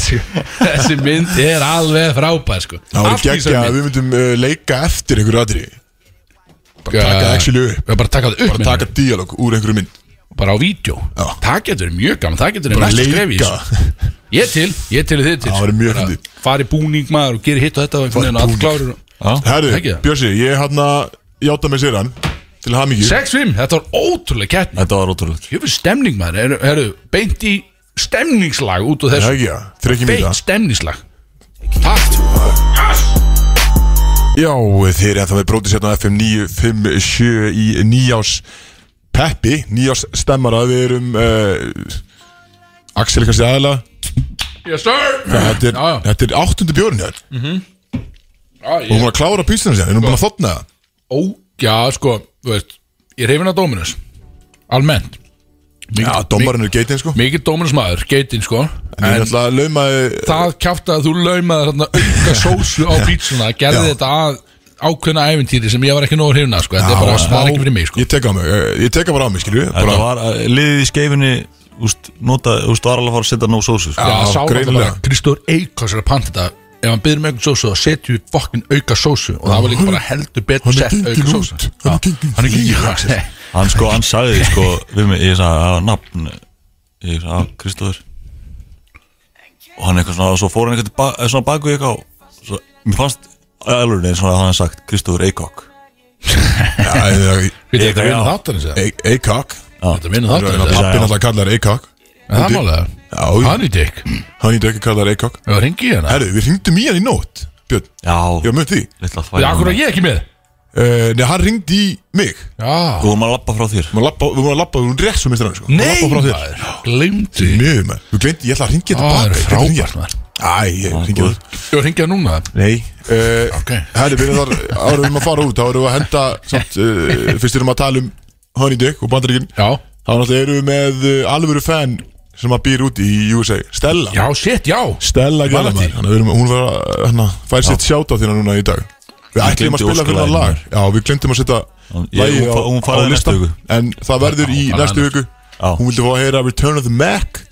Speaker 3: Þessi mynd er alveg frábær sko
Speaker 2: Það var
Speaker 3: Allt í þessari
Speaker 2: geggja að
Speaker 3: mynd.
Speaker 2: við myndum uh, leika eftir einhverju atri Bara taka það actually upp
Speaker 3: Já, bara taka það upp
Speaker 2: Bara taka díalóg úr einhverju mynd
Speaker 3: Bara á vídeo Það getur verið mjög gaman, það getur verið
Speaker 2: Bara
Speaker 3: næsta sko.
Speaker 2: leika.
Speaker 3: skref í þessu. Ég er til, ég er til og þið er til
Speaker 2: Það var mjög fyndið.
Speaker 3: Fari búning maður og gera hitt og þetta og einhvern veginn og allt klárir og- Ekki
Speaker 2: Herðu,
Speaker 3: það?
Speaker 2: Björsi, ég hann að játa með sér hann Til hamingju
Speaker 3: 6-5, þetta var ótrúlega kettni
Speaker 4: Þetta var ótrúlega
Speaker 3: Jöfnir stemning maður, Eru- herru, beint í stemningslag út úr þessu
Speaker 2: Já, já, þrykjum í það.
Speaker 3: Beint stemningslag
Speaker 2: Já, þeir er það með brótið sérna FM 957 í nýjás Peppi, nýjás stemmara Við erum uh, Axel kannski aðla
Speaker 3: Yes sir
Speaker 2: Þetta er, þetta er áttundu björn hér
Speaker 3: mm -hmm.
Speaker 2: Og hún var að klára písina sér, hún er búin að þotna það
Speaker 3: Ah, Ó, já, sko, þú veist Ég er hefinn að Dominus Almennt Mikið-
Speaker 2: Já, dómarinn er geitin sko
Speaker 3: Mikið Dominus maður, geitin sko
Speaker 2: En ég ætla að lauma eh,
Speaker 3: Það kjátt að þú laumaði þarna auka sósu á pítsuna Gerði
Speaker 2: Já.
Speaker 3: þetta að ákveðna æventýri sem ég var ekki nógu hrifin af sko Þetta er bara, það er ekki fyrir mig sko
Speaker 2: Ég tek á mig, eh, ég tek á bara á mig, skilju
Speaker 4: Þetta var eh, liðið í skeifinni Úst, nota, úst, var alveg að fara að setja nóg sósu sko.
Speaker 3: Já, já sá það bara Kristóður Eikos er að panta þetta Ef hann byrður með auka sósu þá setjum við fokkin auka sósu Og það var líka bara heldur betur
Speaker 2: Hann er
Speaker 3: sett auka
Speaker 2: genginn
Speaker 3: sósu
Speaker 2: út,
Speaker 3: Já, Hann er gengin út
Speaker 4: Hann sko, hann sagði sko við mig, ég sagði, það var nafn ég sagði, að Kristóður og hann eitthvað svona, og svo fór hann eitthvað ba eh, svona baku eitthvað á svo, mér fannst alveg neins svona að hann hafði sagt Kristóður Eikok
Speaker 3: Við þetta vinna þáttanins eða?
Speaker 2: Eikok
Speaker 3: Þetta vinna þáttanins eða?
Speaker 2: Pappi náttúrulega kallar Eikok
Speaker 3: Það er málega Hann í dykk
Speaker 2: Hann í dykk kallar Eikok
Speaker 3: Já, ringi hérna
Speaker 2: Herru, við ringdum í hann í nótt Björn
Speaker 4: Já
Speaker 2: Já, mött því
Speaker 4: Lilla
Speaker 3: Já, akkur er ég ekki með
Speaker 2: Uh, nei, hann ringdi í mig
Speaker 3: Já
Speaker 4: Þú vorum að lappa frá þér
Speaker 2: Við vorum að lappa, við vorum rétt svo mistur hann sko. Við vorum að labba
Speaker 3: Nei,
Speaker 2: frá þér.
Speaker 3: maður, glemdi
Speaker 2: Mjög maður, við glemdi, ég ætla að ringi
Speaker 3: Á,
Speaker 2: þetta
Speaker 3: það er
Speaker 2: baka
Speaker 3: frábært,
Speaker 2: maður Æ, ég ringi það
Speaker 3: Ég ringi það núna
Speaker 2: Nei uh, okay. Herri, við þar árum við erum að fara út Þá erum við að henda samt, uh, Fyrst erum við að tala um Honey Dick og bandaríkin
Speaker 3: Já
Speaker 2: Þá náttúrulega erum við með uh, alvöru fan Sem að býr úti í USA Stella
Speaker 3: Já, shit, já
Speaker 2: Stella gerða
Speaker 3: Valentí.
Speaker 2: maður Þannig að við erum, hún var, að, hérna, fær sitt sjátt á þína núna í dag Við
Speaker 4: Ég
Speaker 2: ætlum að
Speaker 4: gleymdi
Speaker 2: spila fyrir það
Speaker 4: Óskarlaginu.
Speaker 2: lag Já, við glemtum að setja
Speaker 4: Ég-
Speaker 2: lagið
Speaker 4: hún fa- hún
Speaker 2: á,
Speaker 4: faraði
Speaker 2: á
Speaker 4: næstu
Speaker 2: listan
Speaker 4: viku.
Speaker 2: En það verður í
Speaker 4: Já, hún
Speaker 2: næstu
Speaker 4: faraði
Speaker 2: viku
Speaker 4: Já.
Speaker 2: Hún vildi fá að heyra Return of the Mac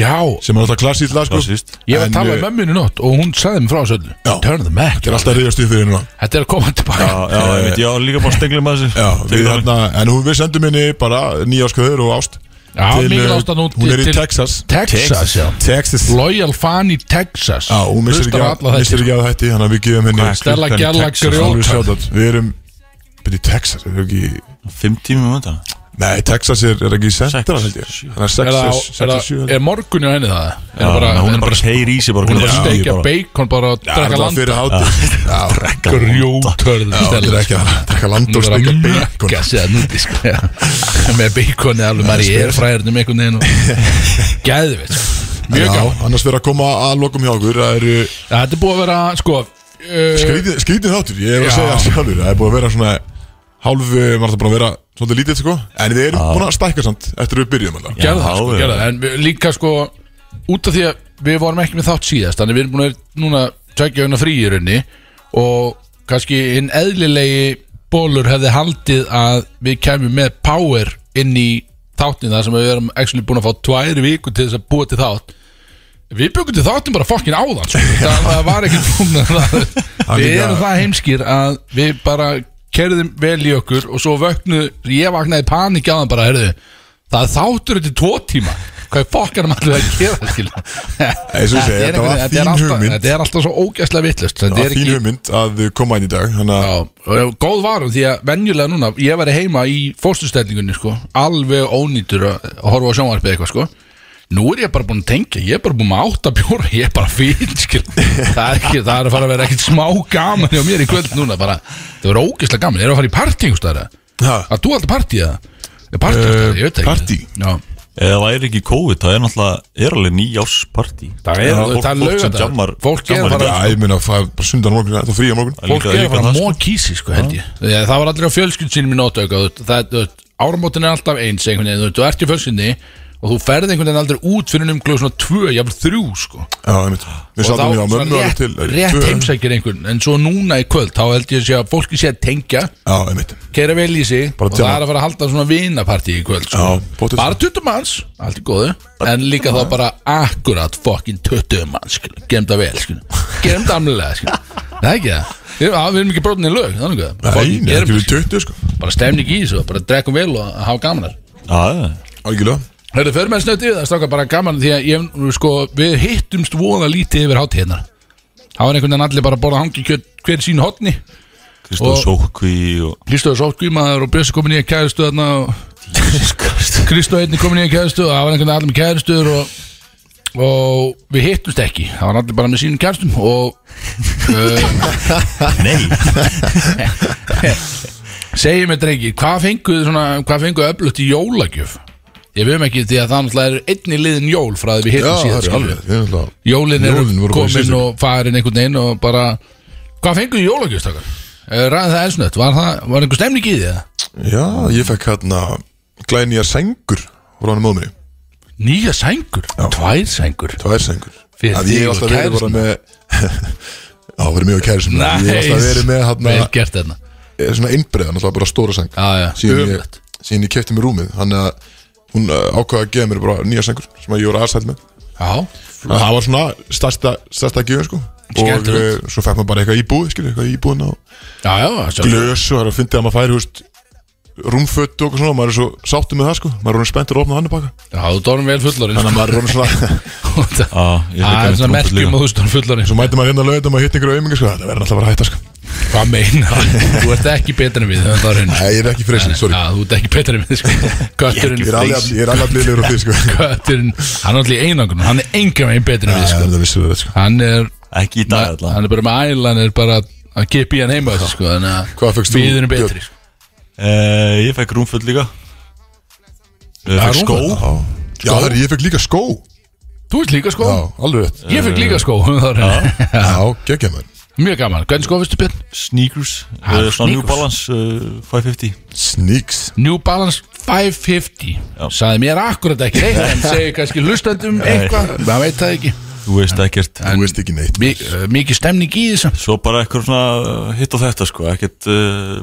Speaker 3: Já
Speaker 2: Sem er alltaf klassíkt lag sko
Speaker 4: Klassískt.
Speaker 3: Ég var að
Speaker 2: En,
Speaker 3: tala
Speaker 2: eh,
Speaker 3: um mömminu nótt og hún sagði mér frá þessu öllu Turn the Mac
Speaker 2: Þetta er alltaf að ríðast upp fyrir hérna. núna
Speaker 3: Þetta er að koma tilbaka
Speaker 4: Já, já, ég veit, ég á líka bara stenglið með þessu
Speaker 2: Eh, Já, við hérna, en hún við sendum henni bara nýjásköður og ást
Speaker 3: Já,
Speaker 2: Til,
Speaker 3: mikil
Speaker 2: uh,
Speaker 3: ástan út
Speaker 2: Hún er í Texas
Speaker 3: Texas, já
Speaker 2: Texas
Speaker 3: Loyal fan í Texas
Speaker 2: Já, hún missir ekki,
Speaker 3: Hlustar á
Speaker 2: af-
Speaker 3: alla sko.
Speaker 2: missir
Speaker 3: þetta
Speaker 2: ekki að hætti Þannig að við gefum henni
Speaker 3: Hvað er Stella klukkan í Gjalla Texas? grjótar.
Speaker 2: Alveg shoutout. Við erum, byrju, Texas, er ekki
Speaker 4: Fimm tími með þetta
Speaker 2: Nei, Texas er, er ekki í centra, held ég Þannig að
Speaker 3: Er, það-
Speaker 2: Texas,
Speaker 3: er,
Speaker 2: Texas,
Speaker 3: það- er morgun hjá henni það?
Speaker 4: Já,
Speaker 3: bara-
Speaker 4: hún er bara heyr í sig bara
Speaker 3: Hún er bara
Speaker 4: Já,
Speaker 3: að steikja
Speaker 4: bara-
Speaker 3: bacon bara að
Speaker 2: er
Speaker 3: drekka
Speaker 2: það
Speaker 3: landa
Speaker 2: fyrir hátíð. Já,
Speaker 3: Drekka Grjótörð
Speaker 2: Já,
Speaker 3: Stella,
Speaker 2: drekka-
Speaker 3: sko.
Speaker 2: drekka land og
Speaker 3: Hún er að
Speaker 2: steikja
Speaker 3: mökka sér núti sko. Já. Með bacon eða alveg
Speaker 2: Já,
Speaker 3: maður í
Speaker 2: spes.
Speaker 3: erfræðurnum einhvern veginn og sko. Gæðvitt Mjög
Speaker 2: Já,
Speaker 3: gaman
Speaker 2: annars fyrir að koma að lokum hjá okkur Það eru
Speaker 3: Já, Þetta er búið að vera sko uh,
Speaker 2: skrítið, skrítið þáttur, ég er að
Speaker 3: Já.
Speaker 2: segja það sjálfur Það er búið að vera svona hálf, eh, maður það búin að vera svolítið lítið, sko En við erum búin að stækka samt eftir við byrjum alltaf
Speaker 3: gerðu það sko,
Speaker 4: já.
Speaker 3: gerðu það En við, líka sko, út af því að við vorum ekki með þátt síðast Þannig við erum búin að vera núna tveggja hana frí í raunni Og kannski hinn eðlilegi bólur hefði haldið að við kæmum með power inn í þáttin þar sem við erum actually búin að fá tvær viku til þess að búa til þátt Við byggum til þáttin bara fokkin áðan sko. það, það var ekki búin að það Við
Speaker 2: líka-
Speaker 3: erum það heimskir að við bara kerðum vel í okkur og svo vöknu, ég vaknaði í panik á það bara, herðu, það er þáttur þetta er tvo tíma, hvað er fokkarum allir að gera skil
Speaker 2: Eins og ég segi, þetta var þín hugmynd.
Speaker 3: Þetta er alltaf svo ógæslega vittlust
Speaker 2: Það
Speaker 3: Þetta
Speaker 2: var
Speaker 3: er
Speaker 2: þín
Speaker 3: ekki
Speaker 2: hugmynd að koma inn í dag Þannig að
Speaker 3: Og Góð varum því að venjulega núna Ég væri heima í fórstustelningunni sko Alveg ónýtur að að horfa á sjónvarpið eitthvað sko Nú er ég bara búin að tengja Ég er bara búin með átta bjóra Ég er bara fín skil Það er, ekki, það er að fara að vera ekkit smá gaman Hjá mér í kvöld núna bara Það verður ógeðslega gaman Ég er að fara í partí einhvers staðar, eða?
Speaker 2: Ha.
Speaker 3: Að þú alltaf partí eða? Er partí einhvers staðar? Ég veit ekki
Speaker 2: partí?
Speaker 3: Já
Speaker 4: Eða væri ekki COVID, það er náttúrulega er alveg nýjársparti
Speaker 3: Það er- það er laugardagur. Fólk er bara-
Speaker 2: Já, ég meina, það er bara sundan morgun, það er frí á morgun
Speaker 3: Fólk er að fara að móa kísi sko held ég Þegar Það sko. var allir á fjölskyld sínum í nótauk Það, þú veist, áramótin er alltaf eins einhvern veginn Þú veist, þú ert í fjölskyldni og þú ferði einhvern veginn aldrei út fyrir um glöð svona tvö, jafnvel þrjú sko
Speaker 2: Já, einmitt Við
Speaker 3: Og
Speaker 2: sátum
Speaker 3: þá
Speaker 2: hjá
Speaker 3: svona
Speaker 2: mömmu alveg
Speaker 3: rétt,
Speaker 2: til
Speaker 3: rétt
Speaker 2: tvö.
Speaker 3: heimsækir einhvern en svo núna í kvöld þá held ég að sé að fólki sé að tengja
Speaker 2: já,
Speaker 3: keira vel í sig
Speaker 2: Bara
Speaker 3: og
Speaker 2: tjama.
Speaker 3: það er að fara að halda svona vinapartí í kvöld sko. já, bara 20 manns, allt í góðu en líka þá bara akkurat fokkin 20 manns, skilur. gerum það vel skilur. gerum það amlega skilur. það er ekki það Við já, við erum ekki brotin í lög, þannig að
Speaker 2: Nei,
Speaker 3: Fucking
Speaker 2: nei,
Speaker 3: gerum
Speaker 2: ekki
Speaker 3: það,
Speaker 2: við 20 sko
Speaker 3: Bara stemning í þessu, bara drekkum vel og hafa gaman þar
Speaker 2: Já, algjörlega
Speaker 3: Hörðu, förum við snögt yfir það, strákar, bara gaman því að ég, sko, við hittumst voða lítið yfir hátíðina Það var einhvern veginn allir bara að borða hangi kjöt hver í sínu hotni
Speaker 4: Kristóð Sókví og
Speaker 3: Kristóð Sótkví maður og Bjössi komin í að kæðustu þarna og Kristóð einni komin í að kæðustu og það var einhvern veginn allir með kæðustur og, og við hittumst ekki það var allir bara með sínum kæðustum og uh, Nei Segjum mér drengi, hvað fenguð svona, hvað fenguð öflugt í jólagjöf? Ég vefum ekki því að það náttúrulega er einni liðin jól frá því við
Speaker 2: Já,
Speaker 3: hittum
Speaker 2: það
Speaker 3: síðan
Speaker 2: er alveg
Speaker 3: skilur
Speaker 2: Ég er náttúrulega-
Speaker 3: Jólin eru
Speaker 2: Jólin voru bara í
Speaker 3: komin
Speaker 2: síðustu.
Speaker 3: og farin einhvern veginn og bara Hvað fenguð í jólagjöfstakar? Ræðið það elsnött, var, það- var einhver stemning í því það?
Speaker 2: Já, ég fekk hérna glænýja sengur frá hann móðminni
Speaker 3: Nýja sengur? Já. Tvær sengur?
Speaker 2: Tvær sengur
Speaker 3: Fyrir
Speaker 2: Að Ég
Speaker 3: þig
Speaker 2: hef
Speaker 3: og
Speaker 2: alltaf verið bara með
Speaker 3: kærustan.
Speaker 2: Já, verið mjög kæri sem Ég hef alltaf
Speaker 3: Nice.
Speaker 2: verið með hérna
Speaker 3: Vel gert þarna.
Speaker 2: eh, Svona einbreiðan, alltaf bara stóra seng Já, já, síðan ég, síðan ég kefti mér rúmið Þannig að hún uh, ákvaði að gefa mér bara nýja sengur sem að ég voru aðstætt með
Speaker 3: Já
Speaker 2: Það var svona stærsta, stærsta gjöfum sko Og uh,
Speaker 3: Skemmtilegt.
Speaker 2: svo fekk maður bara eitthvað íbúð, skilur, eitthvað íbúðin á
Speaker 3: Já, já, sjálfsagt.
Speaker 2: Glös og það er að fyndi að maður færi, húst rúmföt og eitthvað svona, maður er svo sáttu með það sko maður er orðinn spenntur að opna hann baka
Speaker 3: Já, þú dórum vel sko. fullorinn
Speaker 2: Þannig að maður er orðinn svona
Speaker 3: Já, það er svona merkjum að þú stór fullorinn
Speaker 2: Svo mæti maður hérna að lauta maður hitt einhverju auðmingi sko, þetta verður alltaf bara að hætta sko
Speaker 3: Hvað meina? þú ert ekki betur en við höfum það á hreinu.
Speaker 2: Nei, ég er ekki freysið, sorry
Speaker 3: Já, þú ert ekki betur en við sko. Kötturinn
Speaker 2: Ég er alveg- ég er alveg blíðlegur á því, sko.
Speaker 3: Kötturinn, hann er allir einangrun Hann er engan veginn betur en við sko.
Speaker 2: Það vissum við þetta sko
Speaker 3: Hann er
Speaker 4: Ekki í dag allan
Speaker 3: Hann er bara með æl, hann er bara að kippa í hann heima þessu, sko, Þannig að
Speaker 2: Hvað fékkst þú,
Speaker 3: Við erum
Speaker 2: Björn?
Speaker 3: betri sko.
Speaker 4: Eh, Ég fekk rúmfull líka Ég
Speaker 2: Já,
Speaker 4: fekk skó
Speaker 2: rúmföt, já. Já, herri, ég fekk líka skó
Speaker 3: Þú ert líka skó
Speaker 2: Já, alveg rétt
Speaker 3: Ég fekk líka skó höfum það á hreinu.
Speaker 2: Já, geggja maður
Speaker 3: Mjög gaman, hvernig sko fyrstu Björn?
Speaker 4: Sneakers,
Speaker 3: Ha,
Speaker 4: eh, svona New
Speaker 3: sneakers.
Speaker 4: Balance eh, 550
Speaker 2: Sneaks
Speaker 3: New Balance 550 Saði mér akkurat ekki neitt En segi kannski lustandum eitthvað Maður veit það ekki
Speaker 4: Þú veist ekkert eh,
Speaker 2: Þú veist ekki neitt
Speaker 3: Mik- uh, Mikið stemning í þessu
Speaker 4: Svo bara eitthvað svona hitt og þetta sko Ekkert uh,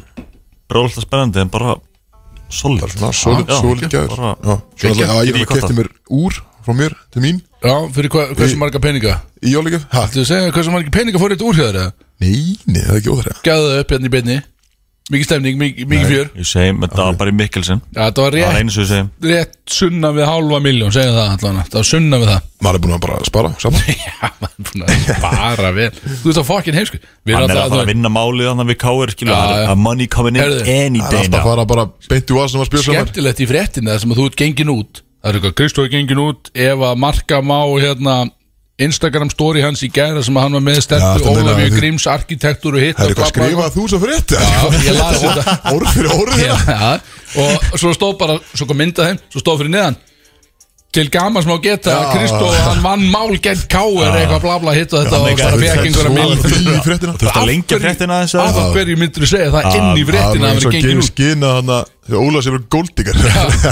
Speaker 4: bráðlega spennandi en bara solid Bara
Speaker 2: svona Solid, solid gæður Já, svo alltaf, já, ég kefti mér úr frá mér til mín
Speaker 3: Já, fyrir hva, hversu
Speaker 2: Í-
Speaker 3: marga peninga?
Speaker 2: Í jólíkjöf? Hæ?
Speaker 3: Þú segja hversu marga peninga fór eitt úrhjöður eða?
Speaker 2: Nei, nei, það er ekki óþæra
Speaker 3: Gæðu það upp hérna í beinni Mikið stemning, mikið, mikið fjör
Speaker 4: Ég segi, þetta var bara í Mikkelsen
Speaker 3: Já, þetta var rétt.
Speaker 4: Það er einu sem ég segi
Speaker 3: Rétt sunna við hálfa miljón, segja það allan Það var sunna við það
Speaker 2: Maður er búin að bara spara saman
Speaker 3: Já, maður er búin að spara vel Þú veist að fokkin heimsku Við
Speaker 4: Hann er að
Speaker 3: alltaf-
Speaker 4: fara að vinna málið Þannig við káir skilja
Speaker 3: Já, já.
Speaker 4: A money coming in
Speaker 3: Heyrðu,
Speaker 4: any
Speaker 2: Það er
Speaker 4: day
Speaker 2: alltaf að
Speaker 4: now
Speaker 2: fara bara beint í um vasan og spjósa saman
Speaker 3: skemmtilegt í fréttinni þar sem að þú ert gengin út það er eitthvað, Kristóð er gengin út ef að marka má hérna Instagram story hans í gæra sem að hann var með
Speaker 2: þetta
Speaker 3: stertu
Speaker 2: meina
Speaker 3: Ólafíu
Speaker 2: þið-
Speaker 3: Gríms arkitektur og hitt
Speaker 2: Það er eitthvað
Speaker 3: og bla, bla, bla.
Speaker 2: skrifað þú svo fyrir
Speaker 3: Já, ég las þetta.
Speaker 2: Orð fyrir orð hérna.
Speaker 3: Já, já. og svo stóð bara, svo kom myndað þeim svo stóð fyrir neðan til gamans má geta að Kristóð hann vann mál gegn káir eitthvað bla bla hitt og þetta og bara fekk einhverja
Speaker 2: Í
Speaker 3: mynd
Speaker 2: fréttina
Speaker 4: Þú veist að lengja fréttina þess
Speaker 3: af
Speaker 4: að
Speaker 3: hverju myndur þú segja það inn í fréttina að
Speaker 2: eins og
Speaker 3: vera gengin
Speaker 2: gefur
Speaker 3: út
Speaker 2: skina hann að þegar Óla sé verið góldingar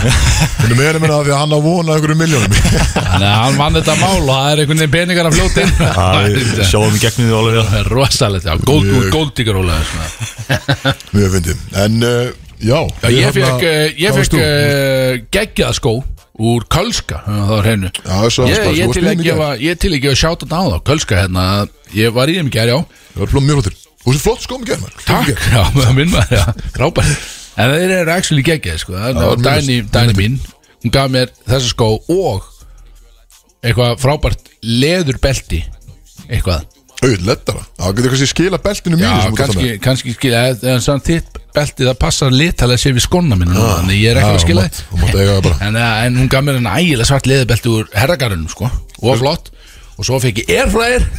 Speaker 2: Þannig meðan minna að því að hann á vona einhverju miljónum
Speaker 3: Þannig að hann vann þetta mál og það er einhvern veginn peningar að fljóta inn
Speaker 4: við sjáum í gegnum því Ólafía.
Speaker 3: Það er rosalegt, já, góld,
Speaker 2: Mjög.
Speaker 3: góldíkar Ólaður
Speaker 2: Mjög fyndið En uh, já,
Speaker 3: Já,
Speaker 2: við
Speaker 3: ég
Speaker 2: þarna-
Speaker 3: fekk, eh, ég
Speaker 2: hvað varst
Speaker 3: fekk
Speaker 2: þú?
Speaker 3: uh, geggjaða skó úr Kölska, eh, það var hennu
Speaker 2: Já, þessu
Speaker 3: Ég,
Speaker 2: hans bara,
Speaker 3: ég
Speaker 2: þú varst
Speaker 3: til
Speaker 2: með
Speaker 3: að
Speaker 2: mér í
Speaker 3: gefa, ég til að gefa sjátt á þá, Kölska hérna Ég var í þeim í gær, já
Speaker 2: Það var flott mjög flottir Þú sé flott skóm í gerð
Speaker 3: Takk, já, maður minn maður, já, frábær En þeir eru actually geggjað, sko Það
Speaker 2: það var
Speaker 3: var
Speaker 2: mjög
Speaker 3: Dæni, Dæni mín, hún gaf mér þessa skó og eitthvað frábært leðurbelti eitthvað
Speaker 2: Auð, lettara Það getur kannski skila beltinu mínu
Speaker 3: Já,
Speaker 2: sem þú ert að
Speaker 3: kannski, kannski skilja En samt þitt belti, það passar litalega sér við skóna mínu núna, Þannig ég
Speaker 2: Ah,
Speaker 3: er
Speaker 2: já,
Speaker 3: ekki að skilja
Speaker 2: þú mátt- þú mátt eiga það bara.
Speaker 3: en, eh, en hún gaf mér en ægilega svart leðubelti úr herragarunum sko Og flott Og svo fekk ég erfræðir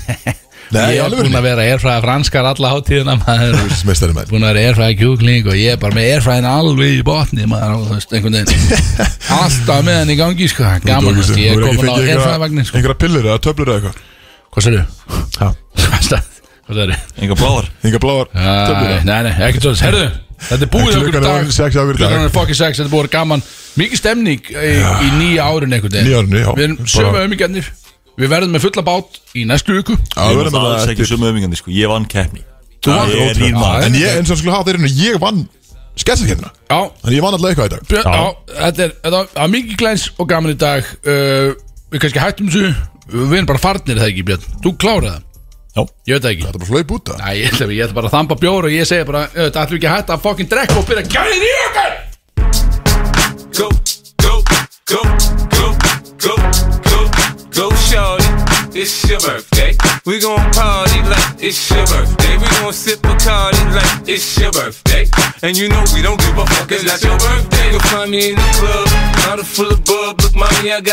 Speaker 2: Nei,
Speaker 3: Ég er
Speaker 2: alveg
Speaker 3: búin að vera erfræðir franskar alla hátíðina maður
Speaker 2: Þú veist meistari menn
Speaker 3: Búin að vera erfræðir kjúkling Og ég er bara með erfræðin alveg í botni maður og þú veist, einhvern veginn Alltaf með hann í gangi sko Gaman, þú veist, ég er komin á erfræðivagnin sko
Speaker 2: Einhverja pillur eða töflur eða eitthvað
Speaker 3: Hvað sér Hvað sér
Speaker 4: Enga bláar
Speaker 2: Enga bláðar töflur
Speaker 3: Æ,
Speaker 2: eða
Speaker 3: Nei, nei, ekki tóðis, herðu Þetta er búið okkur í
Speaker 2: Klukkan er
Speaker 3: dag
Speaker 2: orðin sex hjá okkur í dag.
Speaker 3: Klukkan er fucking sex Þetta er búið að vera gaman Mikið stemning í, í nýja árun einhvern veginn
Speaker 2: Nýja árinu, já.
Speaker 3: Við erum
Speaker 2: Bara-
Speaker 3: sömu ömingjarnir Við verðum með fulla bát í næstu viku
Speaker 4: Ég var það alls ekki sömu öfingandi sko, ég vann keppni
Speaker 3: Þú vann-
Speaker 4: Ég er nýr maður
Speaker 2: En ég, eins og hann skulle hafa þeirinu, ég vann sketsakefna
Speaker 3: Já
Speaker 2: Þannig ég vann alltaf eitthvað í dag
Speaker 3: Björn, já, þetta er, þetta var mikið glæns og gaman í dag uh, Við kannski hættum þessu Við erum bara farnir er það ekki Björn Þú kláraði það
Speaker 4: Já
Speaker 3: Ég veit það ekki Þetta
Speaker 2: er bara hlaup út það
Speaker 3: Næ, ég ætla, ég ætla bara að þamba bjór og ég segi bara Þetta ætlum við ekki að hætta að fucking drekka og byrja gæðið í okkar
Speaker 5: go, go, go, go, go, go, go, shorty. It's your birthday. We gon' party like it's your birthday. We gon' sip a party like it's your birthday. And you know we don't give a fuck, it's not your birthday. You'll find me in the club, bottle full of bub. Look, mommy, I got